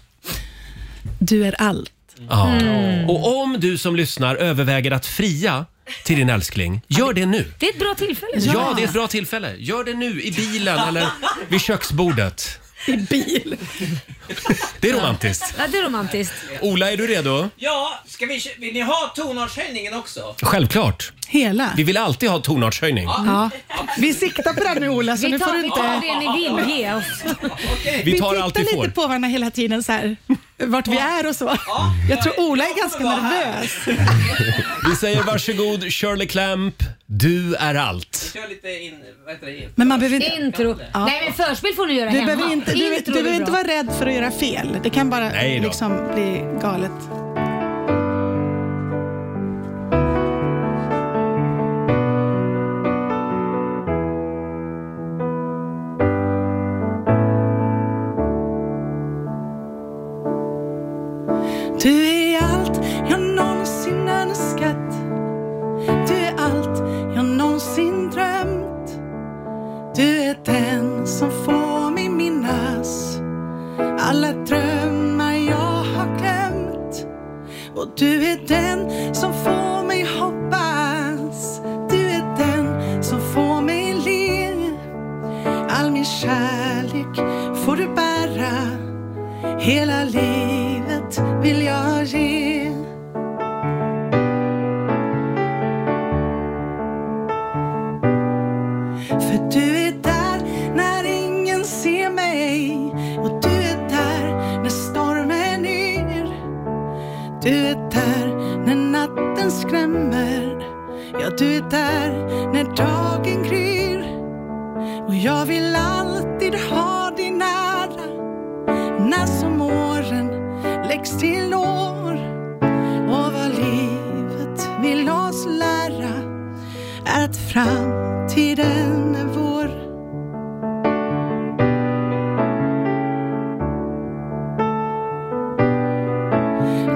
S18: Du är allt.
S1: Ja.
S2: Mm.
S18: Mm.
S1: Och om du som lyssnar överväger att fria till din älskling, gör det nu.
S2: Det är ett bra tillfälle.
S1: Ja, det är ett bra tillfälle. Gör det nu i bilen eller vid köksbordet.
S18: I bil.
S1: Det är romantiskt.
S2: Ja, det är romantiskt.
S1: Ola, är du redo?
S19: Ja, ska vi, vill ni ha tonartshöjningen också?
S1: Självklart.
S18: Hela.
S1: Vi vill alltid ha tonartshöjning.
S18: Ja. Vi siktar på den nu Ola, så
S2: Vi
S18: nu
S2: tar-
S18: får du
S2: vi
S18: inte...
S2: tar det ni vill ge oss.
S1: Vi tar
S18: tittar
S1: allt vi får.
S18: lite på varandra hela tiden så här, vart vi är och så. Jag tror Ola är ganska nervös.
S1: Vi säger varsågod Shirley Clamp, du är allt.
S19: Kör lite in, vad heter det?
S18: Men man behöver inte...
S2: Intro. Nej, men förspel får ni göra
S18: Du
S2: hemma.
S18: behöver inte, du,
S2: Intro
S18: du
S2: är
S18: behöver
S2: bra.
S18: inte vara rädd för att göra fel. Det kan bara
S1: Nej då.
S18: liksom bli galet. Du är allt jag någonsin önskat. Du är allt jag någonsin drömt. Du är den som får mig minnas alla drömmar jag har glömt. Och du är den som får mig hoppas. Du är den som får
S5: kärlek får du bära Hela livet vill jag ge För du är där när ingen ser mig Och du är där när stormen yr Du är där när natten skrämmer Ja, du är där när dagen gryr Och jag vill alltid ha dig nära När som åren läggs till år Och vad livet vill oss lära Är att framtiden är vår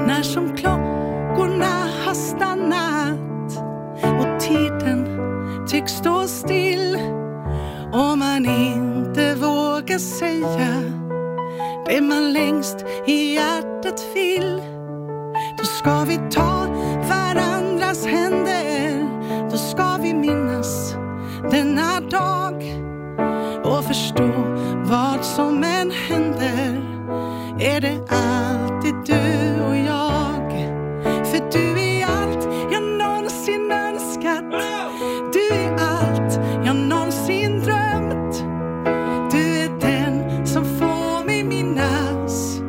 S5: När som klockorna har stannat och tiden tycks stå still och man inte vågar säga det man längst i hjärtat vill. Då ska vi ta varandras händer, då ska vi minnas denna dag och förstå vad som än händer är det alltid du och jag. För du är allt jag någonsin önskat. Du är allt jag någonsin drömt. Du är den som får mig minnas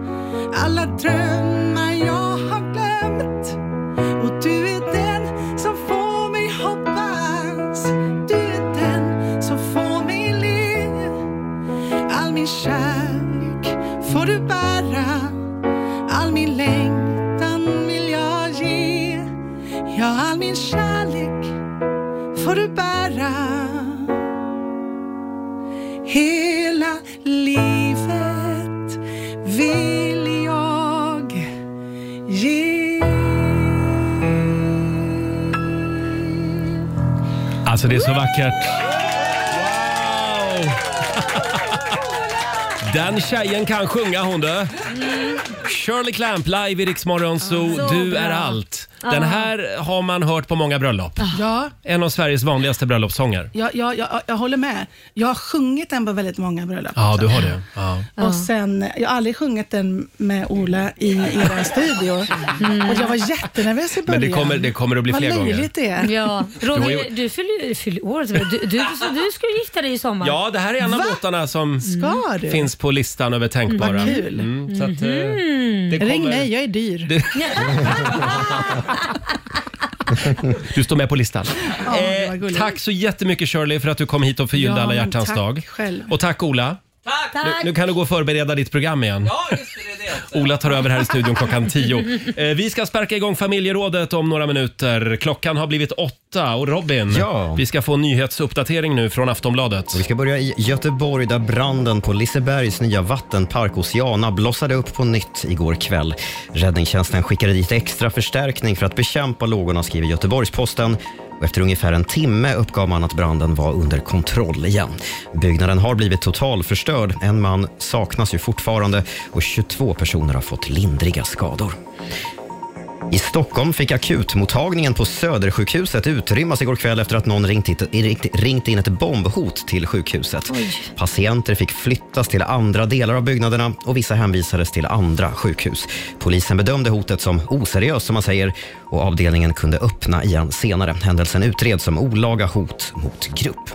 S5: alla drömmar jag har glömt. Och du är den som får mig hoppas. Du är den som får mig le. All min kärlek får du bära. All min längtan vill jag ge. Ja, all min kärlek får du bära Hela livet vill jag ge
S1: Alltså det är så vackert. Den tjejen kan sjunga hon du.
S2: Mm.
S1: Shirley Clamp live i Rix Morgon Zoo.
S15: Så
S1: Du
S15: bra.
S1: är allt.
S15: Ja.
S1: Den här har man hört på många bröllop.
S2: Ah.
S5: Ja,
S1: En av Sveriges vanligaste bröllopssånger.
S5: jag, jag, jag, jag håller med. Jag har sjungit den på väldigt många bröllop.
S1: Ja, du har det. Ja.
S5: Och sen, jag har aldrig sjungit den med Ola i er studio.
S2: Mm.
S5: Och jag var jättenervös i början.
S1: Men det kommer, det kommer att bli
S5: Vad
S1: fler gånger.
S5: löjligt det är.
S2: Ja,
S1: Du
S2: Roger,
S1: har ju-
S2: du fyller ju fyller år. Du, du, du, du skulle gifta dig i sommar.
S1: Ja, det här är en av
S2: Va?
S1: låtarna som
S2: Ska du?
S1: finns på listan över tänkbara.
S2: Vad kul.
S1: Mm, så att, eh,
S5: Mm.
S1: det kommer-
S5: Ring mig, jag är dyr.
S1: Du- Du står med på listan.
S5: Ja, det var gulligt.
S1: Eh, Tack så jättemycket Shirley för att du kom hit och förgyllde
S5: Ja,
S1: alla
S5: men
S1: hjärtans
S5: tack
S1: dag.
S5: själv.
S1: Och tack Ola.
S5: Tack.
S1: Nu, nu kan du gå och förbereda ditt program igen. Ola tar över här i studion klockan 10. Eh, vi ska sparka igång familjerådet om några minuter. Klockan har blivit åtta och Robin,
S3: Ja.
S1: vi ska få en nyhetsuppdatering nu från Aftonbladet.
S3: Och Vi ska börja i Göteborg där branden på Lisebergs nya vattenpark Oceana blossade upp på nytt igår kväll. Räddningstjänsten skickade dit extra förstärkning för att bekämpa lågorna, skriver Göteborgs-Posten. Och efter ungefär en timme uppgav man att branden var under kontroll igen. Byggnaden har blivit totalförstörd. En man saknas ju fortfarande och 22 personer har fått lindriga skador. I Stockholm fick akutmottagningen på Södersjukhuset utrymmas igår kväll efter att någon ringt, hit, ringt- ringt in ett bombhot till sjukhuset. Patienter fick flyttas till andra delar av byggnaderna och vissa hänvisades till andra sjukhus. Polisen bedömde hotet som oseriöst som man säger och avdelningen kunde öppna igen senare. Händelsen utreds som olaga hot mot grupp.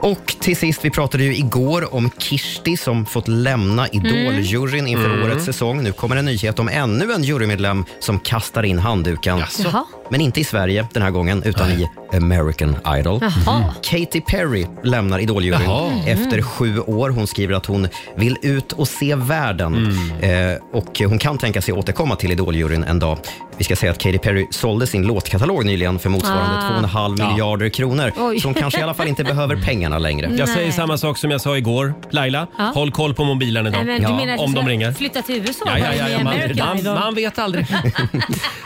S3: Och till sist, vi pratade ju igår om Kirsti som fått lämna Idol-juryn inför
S15: Mm.
S3: årets säsong. Nu kommer en nyhet om ännu en jurymedlem som kastar in handduken.
S15: Jaha.
S3: Men inte i Sverige den här gången, utan i American Idol.
S15: Jaha.
S3: Mm. Katy Perry lämnar
S15: Jaha.
S3: Idoljuryn
S15: Mm.
S3: efter sju år. Hon skriver att hon vill ut och se världen.
S1: Mm.
S3: Eh, och hon kan tänka sig återkomma till Idoljuryn en dag. Vi ska säga att Katy Perry sålde sin låtkatalog nyligen för motsvarande
S1: Ah.
S3: 2,5
S1: Ja.
S3: miljarder kronor.
S1: Oj.
S3: Så hon kanske i alla fall inte behöver pengarna längre.
S1: Jag säger samma sak som jag sa igår. Laila,
S2: Ja.
S1: håll koll på mobilen
S2: Nej,
S1: idag.
S2: men, du menar att
S1: om
S2: du
S1: de
S2: ska
S1: ringer.
S2: Flytta till USA?
S1: Ja, ja, ja,
S2: med
S1: ja, man-
S2: American
S1: man-
S2: Idol?
S1: man vet aldrig.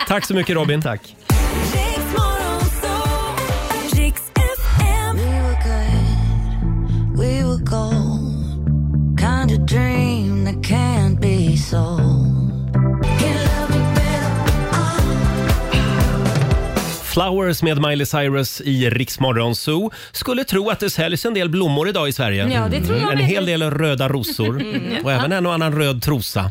S1: Tack så mycket Robin. Tack.
S4: We were gold, kind of dream that can't be sold. Can love me better.
S3: Fly
S1: Flowers med Miley Cyrus i Rix Morgon Zoo. Skulle tro att det säljs en del blommor idag i Sverige. Mm.
S2: Ja, det tror jag
S1: En
S2: med.
S1: hel del röda rosor
S2: Mm.
S1: och även en och annan röd trosa.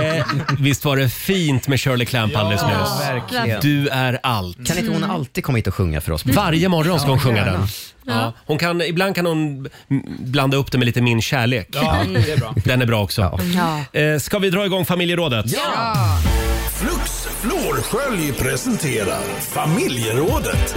S1: eh, visst var det fint med Shirley Clamp alldeles
S3: Ja,
S1: nyss?
S3: verkligen.
S1: Du är allt. Mm.
S3: Kan inte hon alltid komma hit och sjunga för oss?
S1: Varje morgon ska hon
S3: Ja,
S1: sjunga den.
S3: gärna.
S1: Ja.
S3: Ja.
S1: Hon kan, ibland kan hon m- blanda upp det med lite Min kärlek.
S5: Ja, det är bra.
S1: Den är bra också.
S5: Ja.
S1: Eh, ska vi dra igång familjerådet?
S5: Flux Florskölj presenterar Familjerådet.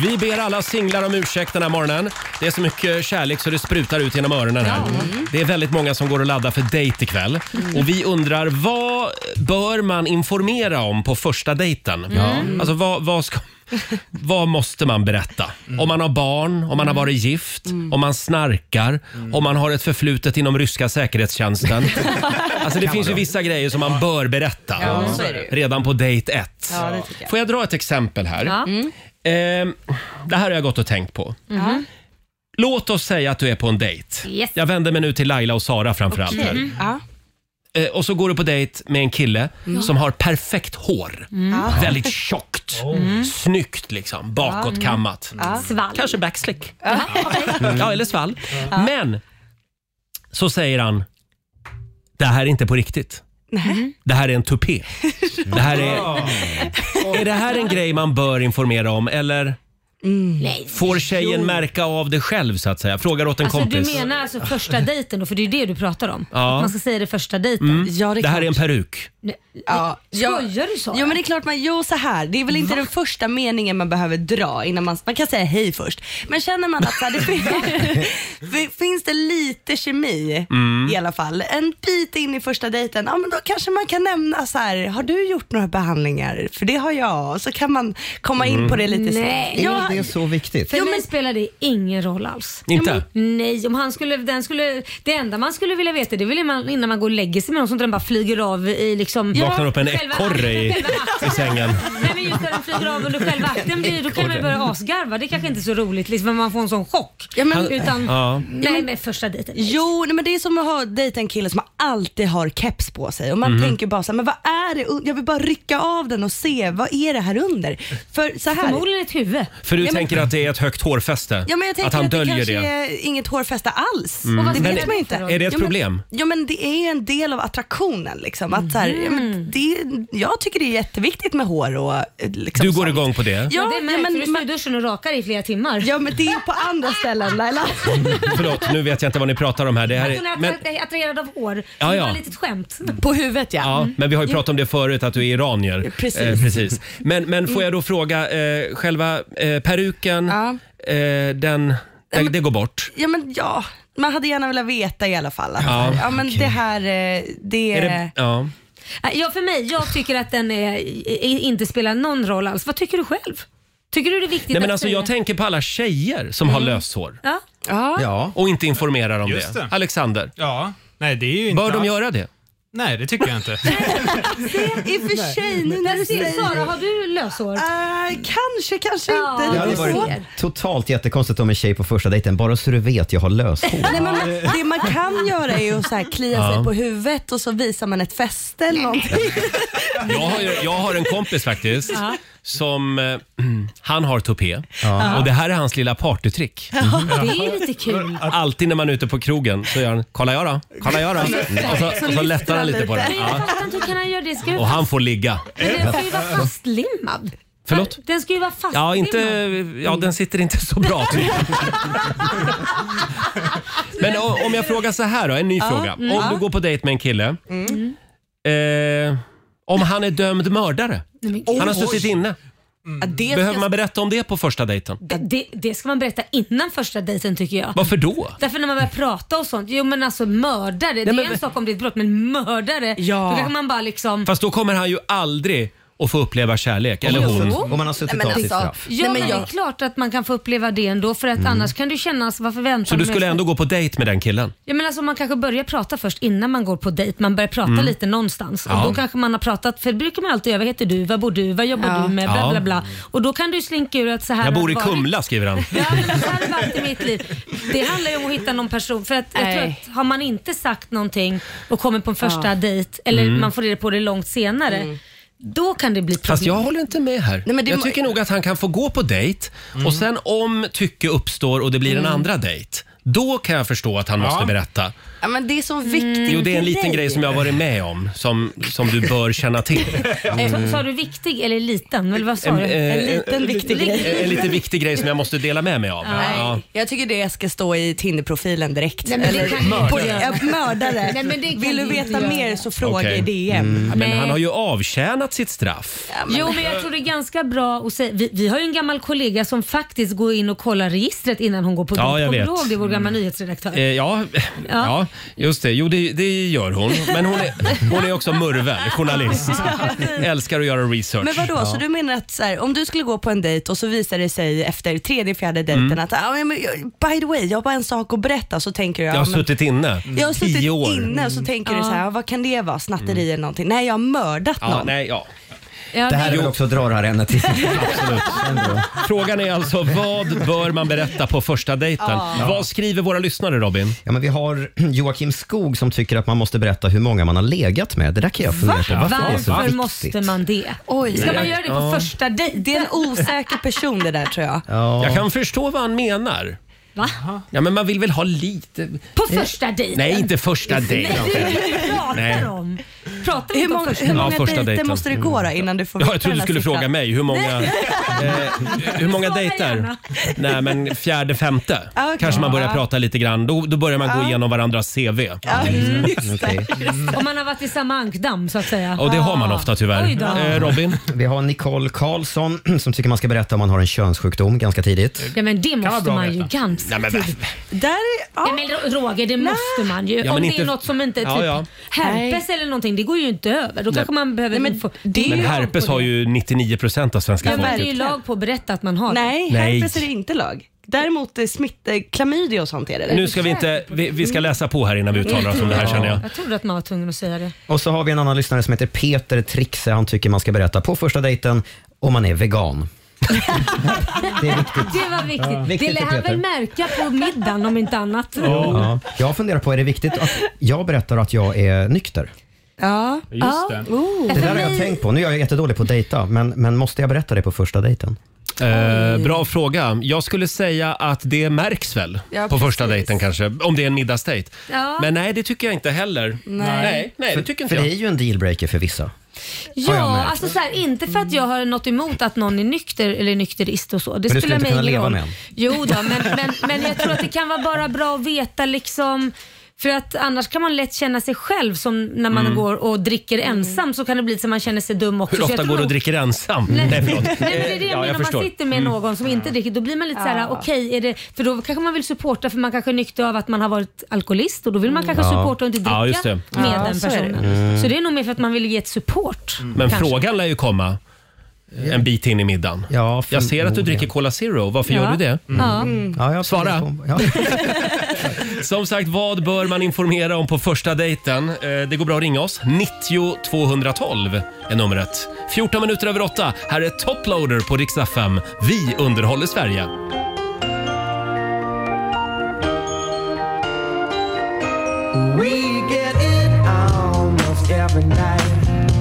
S1: Vi ber alla singlar om ursäkt den här morgonen. Det är så mycket kärlek så det sprutar ut genom öronen här. Mm. Det är väldigt många som går och laddar för dejt ikväll.
S5: Mm.
S1: Och vi undrar, vad bör man informera om på första dejten?
S5: Ja.
S1: Alltså vad, vad, ska, vad måste man berätta?
S5: Mm.
S1: Om man har barn, om man har varit gift, om man snarkar,
S5: Mm.
S1: om man har ett förflutet inom ryska säkerhetstjänsten. Alltså det
S5: Kan
S1: finns ju
S5: vara.
S1: vissa grejer som man bör berätta
S5: Ja, så är det ju.
S1: redan på dejt ett.
S5: Ja, det tycker jag.
S1: Får jag dra ett exempel här?
S5: Ja.
S1: Ehm, det här har jag gått och tänkt på.
S5: Mhm.
S1: Låt oss säga att du är på en dejt.
S5: Yes.
S1: Jag vänder mig nu till Laila och Sara framförallt.
S5: Okej.
S1: här.
S5: Mm. Ja.
S1: Eh, och så går du på dejt med en kille
S5: Mm.
S1: som har perfekt hår.
S5: Mm. Ja.
S1: Väldigt tjockt.
S5: Mm.
S1: Snyggt liksom. Bakåtkammat.
S2: Svall.
S1: Kanske backslick.
S2: Ja.
S5: Mm.
S1: Ja, eller svall. Men så säger han, det här är inte på riktigt.
S18: Mm.
S4: Nej.
S1: Det här är en tupé. Det här är, är det här en grej man bör informera om eller
S18: Mm.
S2: Nej.
S1: får tjejen märka av det själv så att säga? Frågar åt en
S2: Alltså,
S1: kompis.
S2: du menar alltså första dejten då? För det är ju det du pratar om.
S1: Ja.
S2: Att man ska säga det första dejten.
S1: Mm. det här är en peruk.
S4: Ja,
S2: Skojar du så?
S4: Jo men det är klart man, jo så här, det är väl inte den första meningen man behöver dra innan man, man kan säga hej först. Men känner man att så här, det fin- finns det lite kemi
S5: Mm.
S4: i alla fall, en bit in i första dejten, ja men då kanske man kan nämna så här, har du gjort några behandlingar? För det har jag. Så kan man komma in på det lite
S2: Mm. Nej.
S4: Ja,
S2: Är det
S3: så viktigt?
S2: För mig spelar det ingen roll alls.
S1: Inte?
S2: Ja, men, nej, om han skulle, den skulle, det enda man skulle vilja veta det är väl man, innan man går och lägger sig med någon som den bara flyger av i liksom...
S1: Vaknar upp en
S2: själva-
S1: ekorre i,
S2: själva
S1: i
S2: akten.
S1: sängen.
S2: Nej men just när den flyger av under själva akten, det- då kan man ju börja asgarva. Det kanske inte är så roligt liksom, men man får en sån chock.
S4: men-
S2: Utan,
S4: Ja.
S2: Nej men första dejten. liksom.
S4: Jo, nej, men det är som att ha dejta en kille som alltid har keps på sig och man
S2: Mhm.
S4: tänker bara så här, men vad är det? un- Jag vill bara rycka av den och se, vad är det här under? För så här.
S2: Förmodligen ett huvud.
S1: För du
S4: ja,
S1: tänker
S4: men,
S1: att det är ett högt hårfäste?
S4: Ja, men jag tänker
S1: att han döljer
S4: kanske
S1: det?
S4: är inget hårfäste alls.
S1: Mm. Och vad
S4: Det
S1: spelar
S4: vet man
S1: det
S4: ju inte.
S1: för roll? Är det ett
S4: ja, men,
S1: problem?
S4: Ja, men det är en del av attraktionen. Liksom, att så här, ja,
S2: Mm.
S4: men det, jag tycker det är jätteviktigt med hår och eh, liksom,
S1: Du går
S4: sånt.
S1: igång på det?
S4: Ja,
S2: det märks,
S4: ja, men-
S2: för du står i duschen och rakar i flera timmar.
S4: Ja men det är på andra ställen Laila.
S1: Förlåt, nu vet jag inte vad ni pratar om här. Det här
S4: Alltså,
S2: Att hon
S1: är,
S2: är
S1: Alltså, men,
S2: attra- attraherad av hår.
S1: Ja,
S2: Det
S1: ja. Mm.
S2: var ett litet skämt.
S4: På huvudet
S1: ja,
S2: Mm.
S1: men vi har ju pratat om det förut, att du är iranier. Eh,
S2: Precis.
S1: precis. Men, men får jag då fråga, eh, själva eh, peruken, eh, den, den, det går bort.
S4: Ja, men ja. Man hade gärna velat veta i alla fall. Att,
S1: Ja,
S4: ja, men det här, eh, det...
S1: Är det, ja.
S2: Ja, för mig, jag tycker att den är, i- inte spelar någon roll alls. Vad tycker du själv? Tycker du det är viktigt
S1: Nej, men
S2: att
S1: alltså,
S2: säga?
S1: jag tänker på alla tjejer som har löshår.
S2: Ja.
S1: Ja. Och inte informerar om
S8: Just
S1: det.
S8: det.
S1: Alexander,
S8: Ja, nej det är ju inte
S1: bör de
S8: alls-
S1: göra det?
S8: Nej, det tycker jag inte.
S4: I och för sig, nu när du säger Äh,
S2: Sara, har du löshår?
S4: kanske, kanske inte.
S3: Det hade varit totalt jättekonstigt om en tjej på första dejten, bara så du vet, jag har löshår.
S4: Nej, men man, det man kan göra är ju att så här klia
S3: Ja.
S4: sig på huvudet och så visar man ett fäste eller någonting.
S1: Jag har, ju- jag har en kompis faktiskt
S4: Ja.
S1: som, eh, han har tupé
S5: Ja.
S1: och det här är hans lilla partytrick.
S2: Det är lite kul.
S1: Alltid när man är ute på krogen så gör han “kolla jag då, kolla jag då” och så, och så lättar han lite på det.
S2: Men jag
S1: Ja.
S2: fattar inte hur kan han göra det? Ska ju
S1: Och han får ligga.
S2: Men den ska ju vara fastlimmad.
S1: Förlåt?
S2: Den ska ju vara fastlimmad.
S1: Ja, inte, ja, den sitter inte så bra till. Men o- om jag frågar så här då, en ny
S5: Ja,
S1: fråga.
S5: mm.
S1: Om
S5: Ja.
S1: du går på dejt med en kille,
S18: Mm.
S2: Mm.
S1: eh, om han är dömd mördare? Han har suttit inne.
S4: Mm.
S2: Ja, det,
S1: Behöver
S2: ska,
S1: man berätta om det på första dejten?
S2: det, det ska man berätta innan första dejten tycker jag.
S1: Varför då?
S2: Därför när man börjar prata och sånt, jo men alltså mördare, det är en sak om det är ett brott men mördare,
S1: Ja.
S2: då kanske man bara liksom...
S1: Fast då kommer han ju aldrig och få uppleva kärlek. Eller
S2: Jo.
S1: hon.
S2: Om man har suttit Nej, men av sitt alltså, Ja, men, det är klart att man kan få uppleva det ändå för att
S1: Mm.
S2: annars kan du känna, alltså, varför väntar
S1: Så du
S2: med-
S1: skulle ändå gå på dejt med den killen?
S2: Ja, men alltså, man kanske börjar prata först innan man går på dejt. Man börjar prata
S1: Mm.
S2: lite någonstans.
S1: Ja.
S2: Och då kanske man har pratat, för det brukar man alltid göra. Vad heter du? Vad bor du? Vad jobbar
S1: Ja.
S2: du med? Bla,
S1: Ja.
S2: bla, bla. Och då kan du slinka ur att så här
S1: Jag
S2: har
S1: bor i
S2: det varit.
S1: Kumla, skriver han.
S2: allt i mitt liv. Det handlar ju om att hitta någon person. För att jag tror
S20: Nej.
S2: att har man inte sagt någonting och kommer på en första
S20: Ja. Mm.
S2: dejt eller
S1: Mm.
S2: man får reda på det långt senare. Då kan det bli problem.
S1: Fast jag håller inte med här.
S2: Nej, men det
S1: jag
S2: må-
S1: tycker nog att han kan få gå på dejt och sen om tycke uppstår och det blir en
S4: Mm.
S1: andra dejt, då kan jag förstå att han måste berätta.
S4: Ja, men det är så viktigt.
S1: Jo, det är en liten grej som jag har varit med om som, som du bör känna till.
S2: Eh, Sa du viktig eller liten? Eller vad sa
S1: Mm. En,
S2: du?
S1: eh, En, en lite viktig grej som jag måste dela med mig av.
S4: Nej.
S1: Ja.
S4: Jag tycker det ska stå i Tinder-profilen direkt.
S2: Nej, men det kan du inte
S4: Poli-
S2: göra.
S4: ja, mördare.
S2: Nej, men det kan
S4: Vill du
S2: du inte
S4: veta
S2: göra.
S4: mer så fråga
S1: Okej.
S4: i DM.
S1: Mm. Men han har ju avtjänat sitt straff.
S2: Jo, men jag tror det är ganska bra att säga. Vi, vi har ju en gammal kollega som faktiskt går in och kollar registret innan hon går på
S1: Ja,
S2: dejt.
S1: jag
S2: Kommer
S1: vet.
S2: du ihåg det? Vår gamla nyhetsredaktör.
S1: Eh, ja, ja. just det. Jo, det, det gör hon. Men hon är, hon är också murvel, journalist. Älskar att göra research.
S4: Men vadå, så
S1: Ja.
S4: du menar att så här, om du skulle gå på en dejt och så visar det sig efter tredje, fjärde dejten
S1: Mm.
S4: att ah, men, jag- by the way, jag har bara en sak att berätta så tänker du
S1: Jag har
S4: "Ja, men-
S1: suttit inne
S4: Mm. Jag har suttit
S1: tio år. Mm.
S4: inne och så tänker du så här, "Ah, vad kan det vara? Snatteri eller någonting? Nej, jag har mördat
S1: Ja,
S4: någon.
S1: nej, ja.
S2: Ja,
S3: Det här är väl också att dra det här ämnet till.
S1: Absolut. Frågan är alltså, vad bör man berätta på första dejten?
S3: Ja.
S1: Vad skriver våra lyssnare Robin?
S3: Ja, men vi har Joakim Skog som tycker att man måste berätta hur många man har legat med. Det där kan jag fundera på. Varför, är det så
S2: Varför
S3: viktigt?
S2: måste man det? Oj. Ska
S3: Nej,
S2: man
S3: jag-
S2: göra det på
S3: ja.
S2: första dejten?
S4: Det är en osäker person det där tror jag.
S3: Ja.
S1: Jag kan förstå vad han menar.
S2: Va?
S1: Ja, men man vill väl ha lite...
S2: På första dejten?
S1: Nej, inte första dejten.
S2: Nej, det är det vi pratar
S1: Nej.
S2: om. Pratar vi
S4: Hur
S2: inte om
S4: många,
S2: första
S4: hur många
S1: Ja, första
S4: dejter
S1: dejten. Mm.
S4: måste det gå då innan du får
S1: Ja,
S4: veta
S1: jag trodde
S4: den
S1: du
S4: här
S1: skulle
S4: siffran?
S1: fråga mig hur många, eh, hur många
S4: Svara
S1: dejter.
S4: gärna.
S1: Nej, men fjärde, femte
S4: Ja, okej.
S1: kanske man börjar
S4: Ja.
S1: prata lite grann. Då, då börjar man gå
S2: Ja.
S1: igenom varandras CV.
S2: Mm.
S1: Okej.
S2: Om man har varit i samma ankdamm så att säga.
S1: Och det har man ofta
S2: Ah. Oj
S1: tyvärr.
S2: då.
S1: Eh, Robin?
S3: Vi har Nicole Karlsson som tycker man ska berätta om man har en könssjukdom ganska tidigt.
S2: Ja, men det måste
S3: bra
S2: man
S3: att
S2: ju ganska
S3: Nej, men
S2: tidigt.
S4: Där,
S2: ja. men Roger, det måste man ju.
S3: men
S2: Om det
S3: inte-
S2: är något som inte är typ
S1: Ja, ja.
S2: herpes eller någonting, det går ju inte över. Då
S1: Nej.
S2: kanske man behöver... Nej, men
S1: Men herpes har ju 99 procent av svenska
S2: Ja, men det är ju
S1: folket.
S2: lag på att berätta att man har
S4: Nej,
S1: Nej.
S4: herpes är det inte lag. Däremot är smitt, eh, klamydia och sånt är det. eller?
S1: Nu ska vi inte... Vi, vi ska läsa på här innan vi uttalar oss om det här känner jag.
S2: Jag trodde att man var tvungen att säga det.
S3: Och så har vi en annan lyssnare som heter Peter Trixe. Han tycker man ska berätta på första dejten om man är vegan. Det är viktigt.
S2: Det var viktigt.
S3: Ja. Viktigt
S2: det lär
S3: för
S2: han
S3: Peter.
S2: väl märka på middagen om inte annat.
S3: Ja. Jag funderar på, är det viktigt att jag berättar att jag är nykter?
S4: Ja.
S2: Just
S4: det.
S3: Det där har jag tänkt på. Nu är jag jättedålig på att dejta, men, men måste jag berätta det på första dejten?
S1: Eh, bra fråga. Jag skulle säga att det märks väl
S2: Ja,
S1: på
S2: precis.
S1: första dejten kanske, om det är en middagsdejt.
S2: Ja.
S1: Men nej, det tycker jag inte heller.
S2: Nej.
S1: nej, nej det
S3: För-
S1: tycker inte
S3: För
S1: jag.
S3: det är ju en dealbreaker för vissa. Har jag
S2: Ja,
S3: märkt.
S2: alltså så här, inte för att jag har något emot att någon är nykter eller nykterist och så. Det
S3: Men du skulle
S2: spelar
S3: inte
S2: mig
S3: kunna
S2: ingen
S3: leva
S2: roll.
S3: med en.
S2: Jo då, men, men, men jag tror att det kan vara bara bra att veta liksom för att annars kan man lätt känna sig själv som när man
S1: Mm.
S2: går och dricker ensam så kan det bli så att man känner sig dum också.
S1: Hur
S2: Så
S1: ofta går
S2: jag tror-
S1: du och dricker ensam?
S2: Nej,
S1: Mm. Nej, förlåt. Eh,
S2: Nej, men det är det
S1: Ja,
S2: jag menar. Man sitter med
S1: Mm.
S2: någon som inte dricker, då blir man lite såhär, okej, är det, för då kanske man vill supporta för man kanske är nykter av att man har varit alkoholist och då vill man kanske
S1: Ja.
S2: supporta och inte dricka
S1: Ja, just det.
S2: med
S1: Ja,
S2: den
S1: så är det.
S2: personen. Så,
S1: Mm.
S2: det är nog mer för att man vill ge ett support.
S1: Men
S2: Mm. kanske.
S1: frågan lär ju komma eh, en bit in i middagen. jag ser att du dricker Cola Zero. Varför
S2: oh, Ja.
S1: gör du det?
S2: Ja. Mm.
S1: Svara! Som sagt, vad bör man informera om på första dejten? Eh, Det går bra att ringa oss. 90 212 är numret. 14 minuter över 8. Här är Toploader på Rix FM. Vi underhåller Sverige.
S5: We get it almost every night.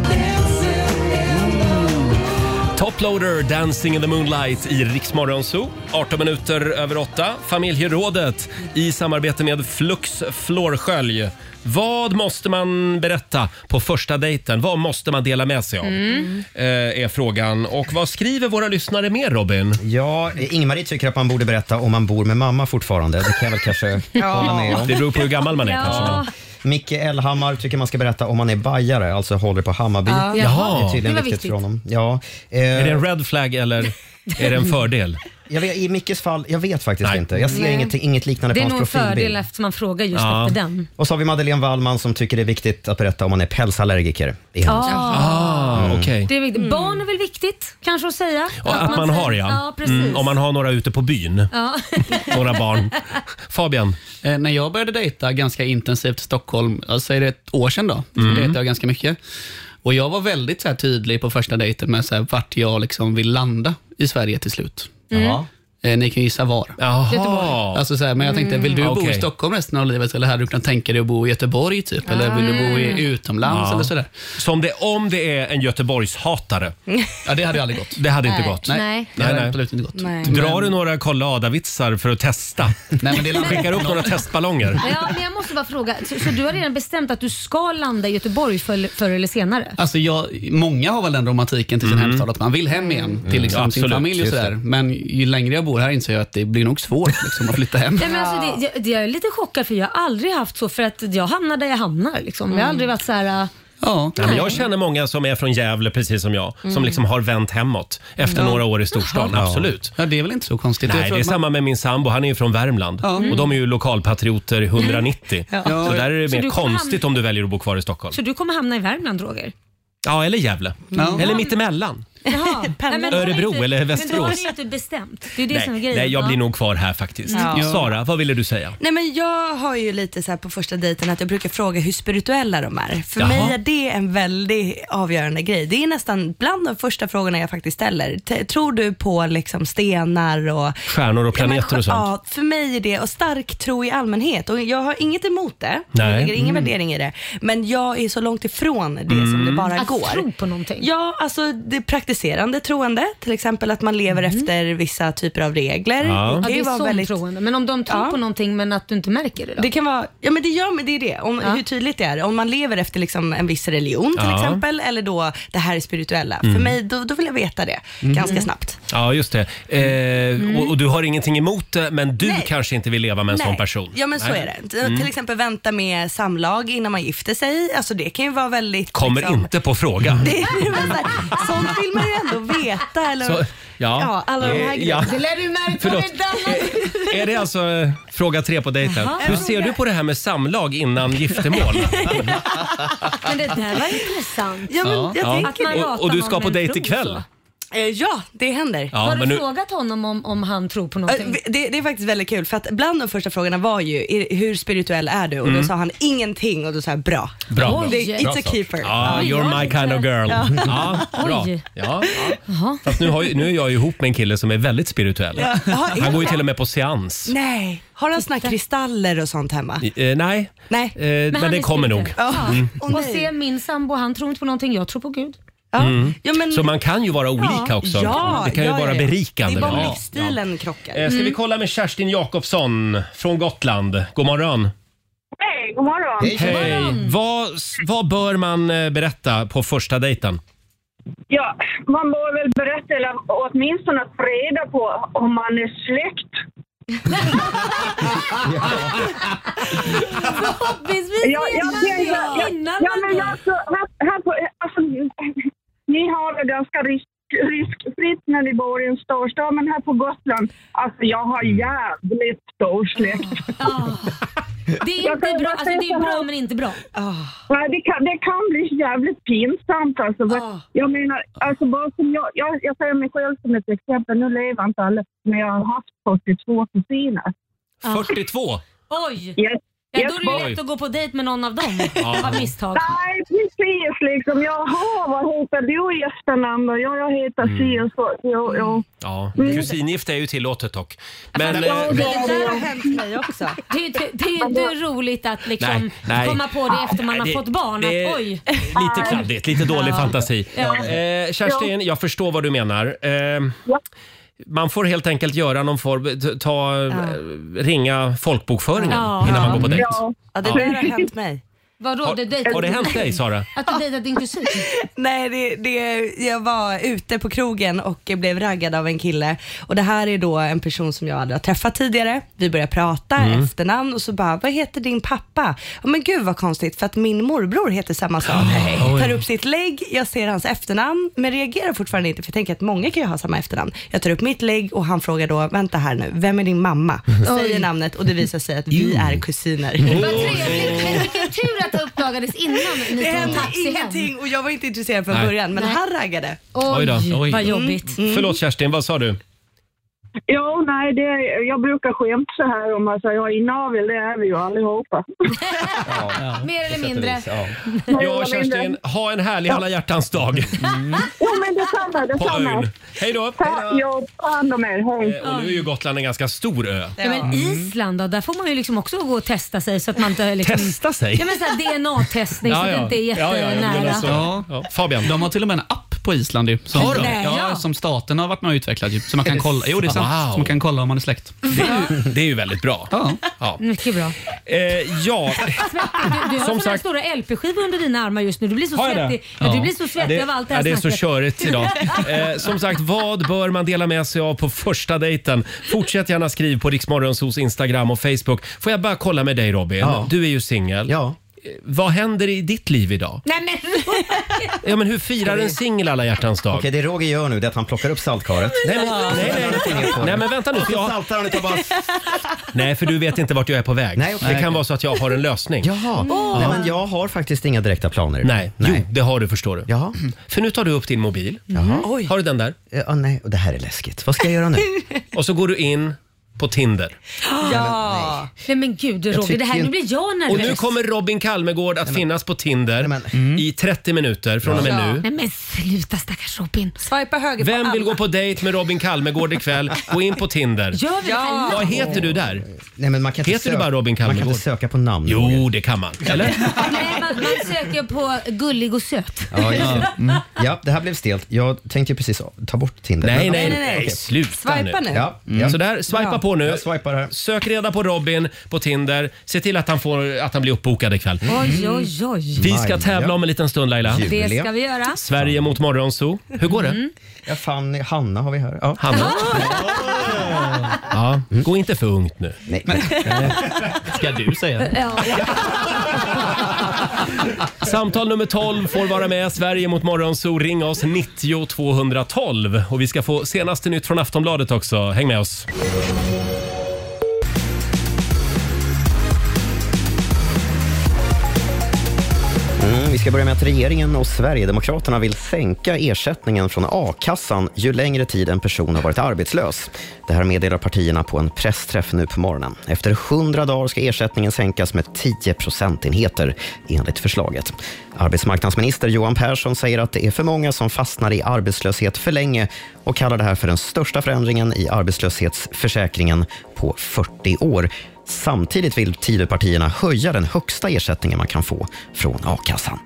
S5: Dancing in the
S1: Toploader, Dancing in the Moonlight i Riksmorgon Zoo. 18 minuter över 8. Familjerådet i samarbete med Flux Florskölj. Vad måste man berätta på första dejten? Vad måste man dela med sig av?
S2: Mm.
S1: Eh, är frågan. Och vad skriver våra lyssnare mer Robin?
S3: Ja, Ingmarie tycker att man borde berätta om man bor med mamma fortfarande. Det kan jag väl kanske
S1: Ja.
S3: hålla med om.
S1: Det beror på hur gammal man är, Ja. kanske, men-
S3: Micke Elhammar tycker man ska berätta om man är bajare, alltså håller på Hammarby.
S1: Ja. Jaha.
S3: Det är
S1: Det
S3: tydligen
S1: var
S3: viktigt
S1: viktigt.
S3: för honom. Ja. Eh,
S1: Är det en red flag eller är det en fördel?
S3: Jag vet, I Mickes fall, jag vet faktiskt inte. Jag ser
S2: Nej.
S3: inget, inget liknande
S2: Det är
S3: på
S2: nog en
S3: hans profilbild.
S2: fördel eftersom man frågar just
S3: Ja.
S2: efter den.
S3: Och så har vi Madeleine Wallman som tycker det är viktigt att berätta om man är pälsallergiker. Det är hennes.
S2: Ah.
S1: Ah, okej.
S2: Det är viktigt. Barn är väl viktigt kanske att säga.
S1: Och att man har ja.
S2: Ja, precis.
S1: Mm, om man har några ute på byn.
S2: Ja.
S1: Några barn. Fabian?
S9: Eh, när jag började dejta ganska intensivt i Stockholm, alltså är det ett år sedan då, så
S1: Mm.
S9: dejtade jag ganska mycket. Och jag var väldigt så här, tydlig på första dejten med så här, vart jag liksom vill landa i Sverige till slut.
S2: Mm. Jaha.
S9: Eh, ni kan gissa var.
S1: Jaha.
S9: Alltså, så här, men jag tänkte, vill du
S1: Mm.
S9: bo i
S1: Okej.
S9: Stockholm resten av livet eller hade du kunnat tänka dig att bo i Göteborg typ? Eller vill du bo
S2: Ah.
S9: i, utomlands
S1: Ja.
S9: eller sådär?
S1: Som det, om det är en Göteborgshatare.
S9: Ja, det hade aldrig gått.
S1: Det hade inte
S9: Nej.
S1: gått.
S9: Nej. Det hade absolut inte gått. Nej.
S1: Drar du några Karl Ada-vitsar för att testa?
S9: Nej, men det-
S1: Skickar upp några testballonger?
S2: Ja, men jag måste bara fråga. Så, så du har redan bestämt att du ska landa i Göteborg förr, förr eller senare?
S9: Alltså jag, många har väl den romantiken till sin hemstad att man vill hem igen till liksom
S1: Mm,
S9: sin
S1: absolut.
S9: familj och
S1: Just
S9: sådär. Men ju längre jag bor här inser jag att det blir nog svårt liksom, att flytta hem.
S2: Ja, men alltså, det, jag, det, jag är lite chockad för jag har aldrig haft så för att jag hamnar där jag hamnar. Liksom. Jag har aldrig varit så här... äh,
S9: Ja.
S1: Nej, men jag känner många som är från Gävle, precis som jag, som
S2: Mm.
S1: liksom har vänt hemåt efter
S9: Ja.
S1: några år i storstan.
S9: Jaha.
S1: Absolut.
S9: Ja, det är väl inte så konstigt. Jag
S1: Nej, det är
S9: tror att man-
S1: samma med min sambo. Han är ju från Värmland
S9: Ja.
S1: och de är ju lokalpatrioter 190.
S2: Ja.
S1: Så där är det
S2: Så
S1: mer
S2: du kommer
S1: konstigt om du väljer att bo kvar i Stockholm.
S2: Så du kommer hamna i Värmland, Roger?
S1: Ja, eller Gävle.
S2: Ja.
S1: Eller mittemellan.
S2: Jaha. Nej, men då har du
S1: Örebro
S2: inte-
S1: eller
S2: Men då har
S1: Västerås.
S2: du inte bestämt. Det är det som är
S1: Nej,
S2: grejen.
S1: nej, jag
S2: Ja.
S1: blir nog kvar här faktiskt.
S4: Ja.
S1: Sara, vad ville du säga?
S4: Nej men jag har ju lite så här på första dejten att jag brukar fråga hur spirituella de är. För
S1: Jaha.
S4: mig är det en väldigt avgörande grej. Det är nästan bland de första frågorna jag faktiskt ställer. T- tror du på liksom stenar och
S1: Stjärnor och
S4: Ja, men
S1: planeter och sånt.
S4: Ja, för mig är det, och stark tro i allmänhet. Och jag har inget emot det.
S1: Nej.
S4: Jag lägger ingen
S1: Mm.
S4: värdering i det. Men jag är så långt ifrån det som
S1: Mm.
S4: det bara
S2: Att
S4: går.
S2: tro på någonting.
S4: Ja, alltså det praktiserande troende. Till exempel att man lever
S1: Mm.
S4: efter vissa typer av regler.
S2: Ja,
S4: ju
S2: det är
S4: vara
S2: sånt troende. Men om de tror
S4: Ja.
S2: på någonting men att du inte märker det då?
S4: Det kan vara, ja men det gör men det är det, om,
S2: Ja.
S4: hur tydligt det är. Om man lever efter liksom en viss religion till
S1: Ja.
S4: exempel, eller då det här är spirituella.
S1: Mm.
S4: För mig, då, då vill jag veta det
S1: Mm.
S4: ganska
S1: Mm.
S4: snabbt.
S1: Ja, just det. Eh, och, och du har ingenting emot det, men du
S4: Nej.
S1: kanske inte vill leva med en sån person.
S4: Ja men så
S1: Nej.
S4: är det. T-
S1: Mm.
S4: Till exempel vänta med samlag innan man gifter sig. Alltså det kan ju vara väldigt...
S1: Kommer
S4: liksom-
S1: inte på fråga.
S4: Det är, men, så här, sånt vill man ju ändå veta. Eller,
S1: Så- ja.
S4: ja, alla de här
S1: Eh,
S4: grejerna.
S1: ja.
S2: Det lär du märka
S1: Förlåt. Är det alltså eh, fråga tre på dejten?
S2: Jaha.
S1: Hur ser du på det här med samlag innan giftermål?
S2: Men det där var intressant.
S4: Ja, men jag tänker
S2: Att man
S4: det.
S2: ratar
S1: Och, och du
S2: någon
S1: ska på
S2: med en
S1: dejt
S2: tro
S1: ikväll?
S2: så.
S4: Eh, Ja, det händer.
S1: Ja, Har du men nu-
S2: frågat honom om, om han tror på
S4: någonting? Det, det är faktiskt väldigt kul för att bland de första frågorna var ju "Är- hur spirituell är du? Och då
S1: Mm.
S4: sa han ingenting och då sa jag bra.
S1: Bra.
S4: Det, it's a keeper.
S1: Ja, you're my kind of girl.
S4: Ja.
S1: Ja, bra.
S4: Oj.
S1: Ja. Fast nu, har, ju- nu är jag ju ihop med en kille som är väldigt spirituell.
S4: Ja. Ja, är
S1: Han går ju
S4: det?
S1: till och med på seans.
S4: Nej, har han såna kristaller och sånt hemma?
S1: Eh, nej,
S4: Nej.
S1: Eh, men,
S2: han
S1: det
S2: är
S1: kommer nog.
S2: spirituell. Ja.
S1: Mm.
S2: Och se min sambo, han tror inte på någonting, jag tror på Gud.
S1: Mm.
S4: Ja, men-
S1: Så man kan ju vara olika
S2: Ja.
S1: också.
S2: Ja,
S1: det kan ju
S2: ja,
S1: vara
S2: ja.
S1: berikande.
S4: Det är bara
S1: Ja.
S4: livsstilen krockar.
S1: Eh, Ska vi
S4: Mm.
S1: kolla med Kerstin Jakobsson från Gotland? God morgon.
S10: Hej, god morgon.
S1: Hej. Vad, vad bör man eh, berätta på första dejten?
S10: Ja, man bör väl berätta eller åtminstone få reda på om man är släkt.
S2: Förhoppningsvis
S10: ja, jag
S2: redan
S10: tänker,
S2: det
S10: ja,
S2: innan
S10: ja,
S2: man
S10: men
S2: dör.
S10: alltså, här, här på, alltså, Ni har det ganska risk, riskfritt när ni bor i en storstad, men här på Gotland, alltså jag har jävligt stor släkt.
S2: Det är,
S10: Jag
S2: inte
S10: kan
S2: bra.
S10: bara
S2: Alltså,
S10: säga
S2: det är
S10: så här.
S2: bra men inte bra.
S1: Ah.
S10: Nej, det, kan, det kan bli jävligt pinsamt. Alltså. För
S1: Ah.
S10: Jag menar, alltså, bara som jag, jag, jag säger mig själv som ett exempel. Nu lever inte alla, men jag har haft 42 kusiner.
S1: 42?
S2: Oj!
S10: Yes.
S2: Ja,
S10: Yes,
S2: då är det ju
S10: boy.
S2: lätt att gå på dejt med någon av dem
S1: Ja.
S2: av misstag.
S10: Nej, precis liksom. Jaha, vad heter du i efternamn? Och jag, jag heter
S1: Mm.
S10: si och så. Jo, jo.
S1: Ja,
S10: Mm.
S1: kusingifte är ju tillåtet dock. Men,
S2: Ja,
S1: eh,
S2: det, det där har
S4: hänt mig också.
S2: Det är ju inte- det är ju inte roligt att liksom
S1: Nej, nej.
S2: komma på det efter man har
S1: Nej, det-
S2: fått barn.
S1: det är
S2: att, oj. Ah.
S1: lite kladdigt, lite dålig
S2: Ja.
S1: fantasi.
S2: Ja.
S1: Eh, Kerstin, jag förstår vad du menar. Eh, man får helt enkelt göra någon form, t- ta, eh, ringa folkbokföringen innan man går på dejt.
S4: Ja, det där har hänt mig.
S2: Vadå?
S1: Har-
S2: du dejtade-
S1: har det hänt dig, Sara?
S2: Att du dejtat din kusin?
S4: Nej, det, det, jag var ute på krogen och blev raggad av en kille. Och Det här är då en person som jag aldrig har träffat tidigare. Vi börjar prata,
S2: Mm.
S4: efternamn och så bara, vad heter din pappa? Ja, men gud vad konstigt för att min morbror heter samma sak.
S2: Oj.
S4: Tar upp sitt lägg, jag ser hans efternamn men reagerar fortfarande inte för jag tänker att många kan ju ha samma efternamn. Jag tar upp mitt lägg och han frågar då, vänta här nu, vem är din mamma? Säger namnet och det visar sig att vi är kusiner.
S1: Oh.
S2: Vad trevligt. Men vilken tur att detta uppdagades innan ni
S4: Det
S2: tog
S4: hände
S2: taxi hem?
S4: ingenting och jag var inte intresserad från
S1: Nej.
S4: början men
S2: Nej.
S4: han raggade.
S1: Mm.
S2: Mm.
S1: Förlåt Kerstin, vad sa du?
S10: Jo, nej, det, jag brukar skämta så här om alltså, jag är inavel, det är vi ju allihopa.
S2: Mer eller mindre.
S1: Ja, Kerstin, ha en härlig alla hjärtans dag
S10: Jo, men detsamma,
S1: på
S10: detsamma.
S1: ön. Hej då!
S10: Ta, ja, ta hand om er, hej.
S1: Eh, Och nu Mm. är ju Gotland en ganska stor ö.
S2: Ja, men Island då, där får man ju liksom också gå och testa sig så att man inte... Liksom,
S1: Testa sig?
S2: Ja men såhär DNA-testning så att det inte är jättenära.
S1: alltså- Fabian.
S9: De har till och med en app på Island ju, som,
S2: Har de? Nej,
S9: ja,
S2: ja.
S9: som staten har varit med och utvecklat. Ju, så man
S1: Är
S9: kan
S1: det
S9: kolla. Jo, det är sant.
S1: sant?
S9: Så man kan kolla om man är släkt.
S1: Det är ju, det är ju väldigt bra. Ja.
S2: Mycket bra.
S1: Eh, ja.
S2: Svettig. Du, du har
S1: Som
S2: såna
S1: sagt-
S2: stora LP-skivor under dina armar just nu. Du blir så
S1: Har jag det?
S2: svettig, ja. du blir så svettig
S1: det,
S2: av allt det
S1: ja,
S2: här
S1: det är så
S2: snacket.
S1: körigt idag. Eh, som sagt, vad bör man dela med sig av på första dejten? Fortsätt gärna skriv på Riksmorgonsos Instagram och Facebook. Får jag bara kolla med dig Robin?
S2: Ja.
S1: Du är ju singel. Ja. Vad händer i ditt liv idag?
S2: Nej men
S1: Ja, men hur firar en singel alla hjärtans dag?
S3: Okej, det Roger gör nu det är att han plockar upp saltkaret.
S1: Nej, men, nej, nej. nej, men vänta nu. för jag-
S3: Saltar han och tar bara...
S1: Nej, för du vet inte vart jag är på väg.
S3: Nej, okej.
S1: Det kan vara så att jag har en lösning.
S3: Jaha.
S1: Ja.
S3: Nej, men jag har faktiskt inga direkta planer.
S1: Nej. Jo, det har du förstår du. För nu tar du upp din mobil.
S2: Mm.
S1: Har du den där?
S3: Ja, Eh, ah, nej, och det här är läskigt. Vad ska jag göra nu?
S1: Och så går du in på Tinder.
S2: Ja. Nej men gud
S1: Jag
S2: Roger, det här,
S1: tycker-
S2: nu blir jag nervös.
S1: Och nu kommer Robin Kalmegård att finnas på Tinder i 30 minuter från och med nu.
S2: Nej men sluta stackars Robin.
S4: Swipa höger
S1: Vem vill gå på dejt med Robin Kalmegård ikväll? Gå in på Tinder.
S2: Gör vi det här live?
S1: Vad heter du där?
S3: Nej, men man kan inte
S1: Heter du
S3: söka-
S1: bara Robin Kalmegård?
S3: Man kan inte söka på namn.
S1: Jo, det kan man. Eller?
S2: Nej, man, man söker på gullig och söt.
S3: Ja, just det. Mm. ja, det här blev stelt. Jag tänkte ju precis ta bort Tinder. Men-
S1: Nej, nej, nej,
S3: Okej.
S1: sluta
S2: Swipa nu.
S3: Ja,
S1: Mm.
S3: ja.
S1: Så där, swipa
S3: Ja.
S1: på nu.
S3: Jag swipar här.
S1: Sök reda på Robin på Tinder. Se till att han, får, att han blir uppbokad ikväll.
S2: Oj, oj, oj.
S1: Vi ska tävla om en liten stund Laila.
S2: Det ska vi göra. Mm.
S1: Sverige mot Morgonzoo. Hur går det?
S3: Ja, Fanny, Hanna har vi här. Ja.
S1: Hanna? Ja, gå inte för ungt nu.
S3: Nej, men...
S1: Ska du säga.
S2: Ja.
S1: Samtal nummer 12 får vara med. Sverige mot Morgonzoo. Ring oss 90 212. Och vi ska få senaste nytt från Aftonbladet också. Häng med oss.
S3: Mm, vi ska börja med att regeringen och Sverigedemokraterna vill sänka ersättningen från a-kassan ju längre tid en person har varit arbetslös. Det här meddelar partierna på en pressträff nu på morgonen. Efter 100 dagar ska ersättningen sänkas med 10 procentenheter enligt förslaget. Arbetsmarknadsminister Johan Persson säger att det är för många som fastnar i arbetslöshet för länge och kallar det här för den största förändringen i arbetslöshetsförsäkringen på 40 år. Samtidigt vill Tidöpartierna höja den högsta ersättningen man kan få från a-kassan.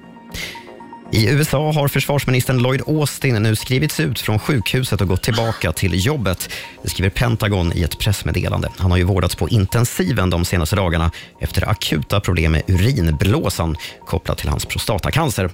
S3: I USA har försvarsministern Lloyd Austin nu skrivits ut från sjukhuset och gått tillbaka till jobbet. Det skriver Pentagon i ett pressmeddelande. Han har ju vårdats på intensiven de senaste dagarna efter akuta problem med urinblåsan kopplat till hans prostatacancer.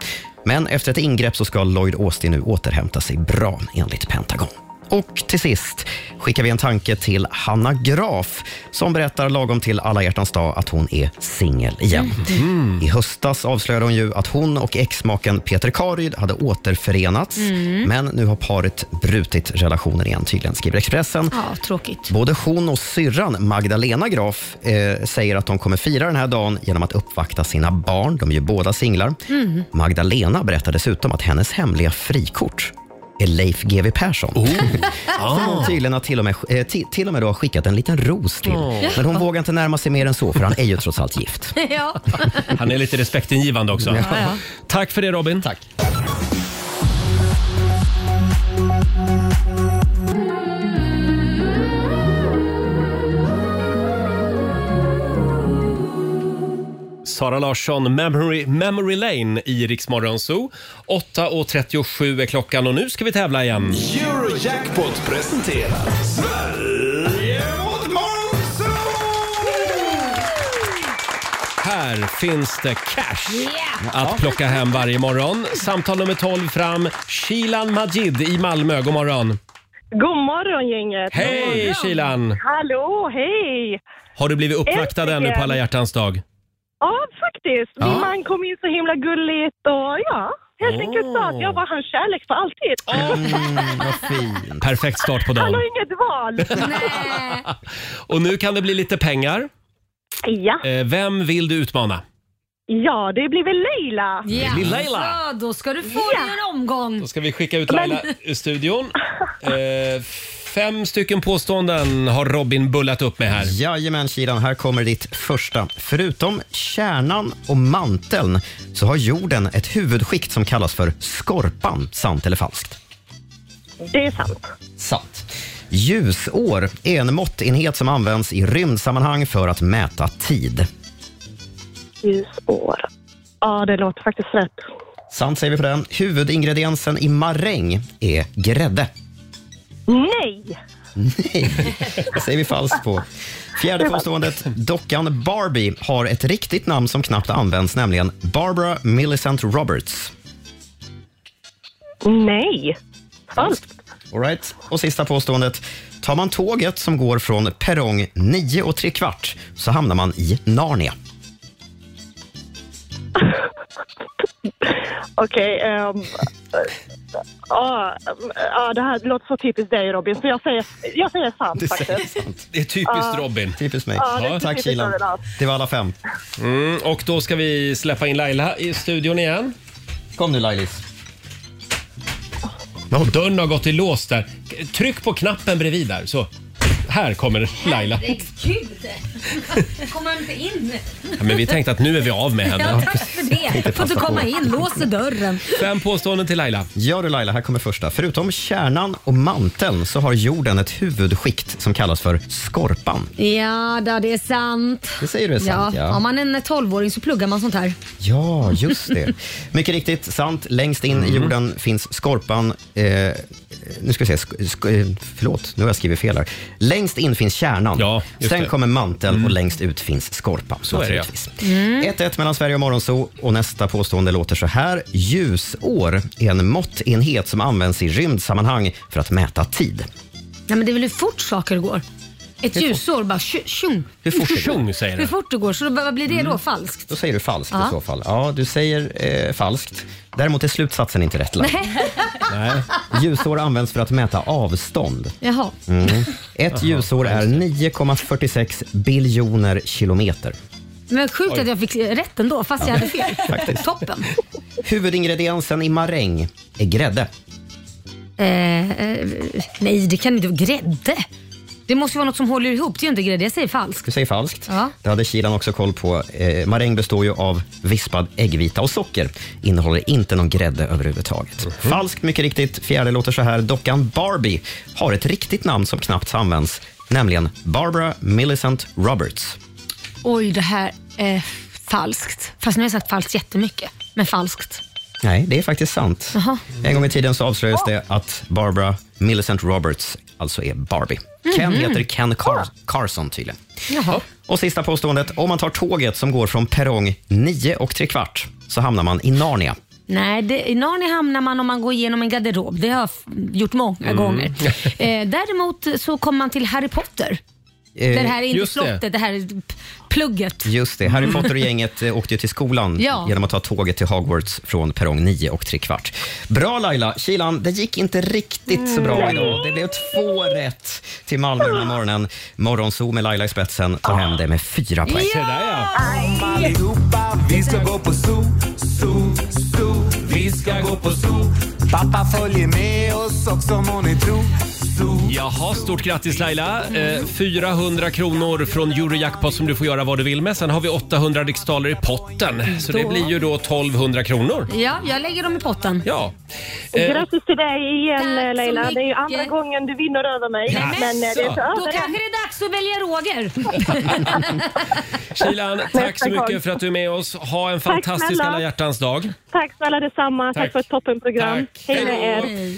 S3: Men efter ett ingrepp så ska Lloyd Austin nu återhämta sig bra enligt Pentagon. Och till sist skickar vi en tanke till Hanna Graf som berättar lagom till alla hjärtans dag att hon är singel igen.
S2: Mm.
S3: I höstas avslöjade hon ju att hon och exmaken Peter Karyd hade återförenats.
S2: Mm.
S3: Men nu har paret brutit relationen igen tydligen, skriver Expressen.
S2: Ja, tråkigt.
S3: Både hon och syrran Magdalena Graf eh, säger att de kommer fira den här dagen genom att uppvakta sina barn. De är ju båda singlar.
S2: Mm.
S3: Magdalena berättar dessutom att hennes hemliga frikort är Leif GW Persson.
S1: Oh.
S3: Som
S1: Ah.
S3: hon tydligen har till och med, eh, ti- till och med då har skickat en liten ros till.
S1: Åh.
S3: Men hon vågar inte närma sig mer än så, för han är ju trots allt gift.
S2: Ja.
S1: Han är lite respektingivande också.
S3: Ja,
S2: ja.
S1: Tack för det Robin. Tack. Sara Larsson, Memory, Memory Lane i Rix Morgon Zoo. 8.37 är klockan och nu ska vi tävla igen.
S13: Eurojackpot presenterar Sverige mot
S1: Här finns det cash att plocka hem varje morgon. Samtal nummer 12 fram. Shilan Majid i Malmö. God morgon.
S20: God morgon gänget!
S1: Hej,
S20: God morgon.
S1: Kilan.
S20: Hallå, hej!
S1: Har du blivit uppvaktad
S20: Äntligen.
S1: ännu på alla hjärtans dag?
S20: Ja, faktiskt.
S1: Ja.
S20: Min man kom in så himla gulligt och ja, helt enkelt sa att jag var hans kärlek för alltid.
S1: Mm, Perfekt start på
S20: Han
S1: dagen.
S20: har inget val.
S1: Och nu kan det bli lite pengar.
S20: ja,
S1: Eh, Vem vill du utmana?
S20: Ja, det blir väl Leila.
S1: Det blir Leila.
S2: Ja, då ska du få dig en omgång.
S1: Då ska vi skicka ut Laila
S2: Men-
S1: ur studion. Eh, fem stycken påståenden har Robin bullat upp med här.
S3: Jajamän Kiran, här kommer ditt första. Förutom kärnan och manteln så har jorden ett huvudskikt som kallas för skorpan. Sant eller falskt?
S20: Det är sant.
S3: Sant. Ljusår är en måttenhet som används i rymdsammanhang för att mäta tid.
S20: Ljusår. Ja, det låter faktiskt rätt.
S3: Sant säger vi på den. Huvudingrediensen i maräng är grädde.
S20: Nej!
S3: Nej, det säger vi falskt på. Fjärde påståendet. Dockan Barbie har ett riktigt namn som knappt används, nämligen Barbara Millicent Roberts.
S20: Nej. Falskt.
S3: All right. Och sista påståendet. Tar man tåget som går från perrong 9 och tre kvart så hamnar man i Narnia.
S20: Okej. ehm, Ja, ja, det här låter så typiskt dig Robin, så jag säger, jag säger sant
S3: Du säger
S20: faktiskt.
S3: sant.
S1: Det är typiskt
S20: Ja.
S1: Robin.
S3: Typiskt mig.
S20: Ja, det är typiskt
S3: Tack Kilan.
S20: Robin, ja.
S3: Det var alla fem.
S1: Mm, och då ska vi släppa in Laila i studion igen.
S3: Kom nu Lailis.
S1: Dörren har gått i lås där. Tryck på knappen bredvid där. Så. Här kommer Laila.
S2: Herregud! Kommer inte in?
S1: Ja, men vi tänkte att nu är vi av med
S2: Ja,
S1: henne.
S2: tack för det. Får inte komma in, låser dörren.
S1: Fem påståenden till Laila.
S3: Ja du Laila, här kommer första. Förutom kärnan och manteln så har jorden ett huvudskikt som kallas för skorpan.
S2: Ja, då, det är sant.
S3: Det säger du är sant, ja.
S2: Om man är en tolvåring så pluggar man sånt här.
S3: Ja, just det. Mycket riktigt, sant. Längst in
S1: Mm.
S3: i jorden finns skorpan. Eh, nu ska vi se, sk- sk- eh, förlåt, nu har jag skrivit fel här. Längst in finns kärnan, ja,
S1: just
S3: sen
S1: det. Mm.
S3: kommer manteln och längst ut finns skorpan.
S1: Så är det, ja.
S3: naturligtvis.
S2: Mm.
S3: 1-1 mellan Sverige och Morgonzoo och nästa påstående låter så här. Ljusår är en måttenhet som används i rymdsammanhang för att mäta tid.
S2: Nej, men det är väl hur fort saker går? Ett
S3: Hur fort?
S2: ljusår bara tju- tjong.
S3: Hur fort det Mm. går. Tjong, säger den.
S2: Hur fort det går. Så då, vad blir det då? Falskt?
S3: Då säger du falskt
S2: Ja.
S3: i så fall. Ja, du säger eh, falskt. Däremot är slutsatsen inte rätt. Laila.
S2: Nej.
S3: Nej. Ljusår används för att mäta avstånd.
S2: Jaha.
S3: Mm. Ett ljusår är 9,46 biljoner kilometer.
S2: Men sjukt
S3: Oj.
S2: att jag fick rätt ändå fast jag hade fel.
S3: Faktiskt.
S2: Toppen.
S3: Huvudingrediensen i maräng är grädde.
S2: Eh, eh, nej, det kan inte vara grädde. Det måste ju vara något som håller ihop. Det är ju inte grädde. Jag säger falskt.
S3: Du säger falskt.
S2: Ja.
S3: Det hade Kilan också koll på. Eh, maräng består ju av vispad äggvita och socker. Innehåller inte någon grädde överhuvudtaget. Falskt, mycket riktigt. Fjärde låter så här. Dockan Barbie har ett riktigt namn som knappt används, nämligen Barbara Millicent Roberts.
S2: Oj, det här är falskt. Fast nu har jag sagt falskt jättemycket. Men falskt.
S3: Nej, det är faktiskt sant.
S2: Jaha.
S3: En gång i tiden så avslöjades det att Barbara Millicent Roberts alltså är Barbie. Ken
S2: Mhm.
S3: heter Ken Car- Carson tydligen.
S2: Jaha.
S3: Och sista påståendet. Om man tar tåget som går från perrong 9 och tre kvart så hamnar man i Narnia.
S2: Nej, det, i Narnia hamnar man om man går igenom en garderob. Det har jag f- gjort många
S3: Mm.
S2: gånger. Eh, däremot så kommer man till Harry Potter.
S3: Eh,
S2: det här är inte
S3: just det.
S2: slottet, det. här är p- plugget.
S3: Just det. Harry Potter och gänget eh, åkte ju till skolan
S2: Ja.
S3: genom att ta tåget till Hogwarts från perrong 9 och tre kvart. Bra Laila! Kilan, det gick inte riktigt så bra
S2: Mm.
S13: Nej.
S3: idag. Det blev två rätt till Malmö den här morgonen. Morgonzoo med Laila i spetsen tar hem det med fyra poäng.
S5: Allihopa, vi ska gå på zoo, zoo, zoo. Vi ska gå på zoo. Pappa följer med oss också må ni tro.
S1: Jaha, stort grattis Laila. Eh, 400 kronor från Eurojackpot som du får göra vad du vill med. Sen har vi 800 riksdaler i potten. Så det
S2: Då-
S1: blir ju då 1200 kronor.
S2: Ja, jag lägger dem i potten.
S1: Ja. Eh,
S20: Grattis till dig igen
S2: Tack så
S20: Leila. Det är ju
S2: mycket.
S20: andra gången du vinner över mig.
S1: Nej, men
S20: Men eh, det är
S1: så.
S20: så
S2: Då kanske det är dags att välja Roger.
S1: Kilan, tack så
S20: Nästa gång.
S1: mycket för att du är med oss. Ha en
S20: Tack
S1: fantastisk
S20: snälla.
S1: alla hjärtans dag.
S20: Tack snälla detsamma. Tack,
S1: Tack.
S20: för ett toppenprogram.
S1: Tack.
S20: Hej med er.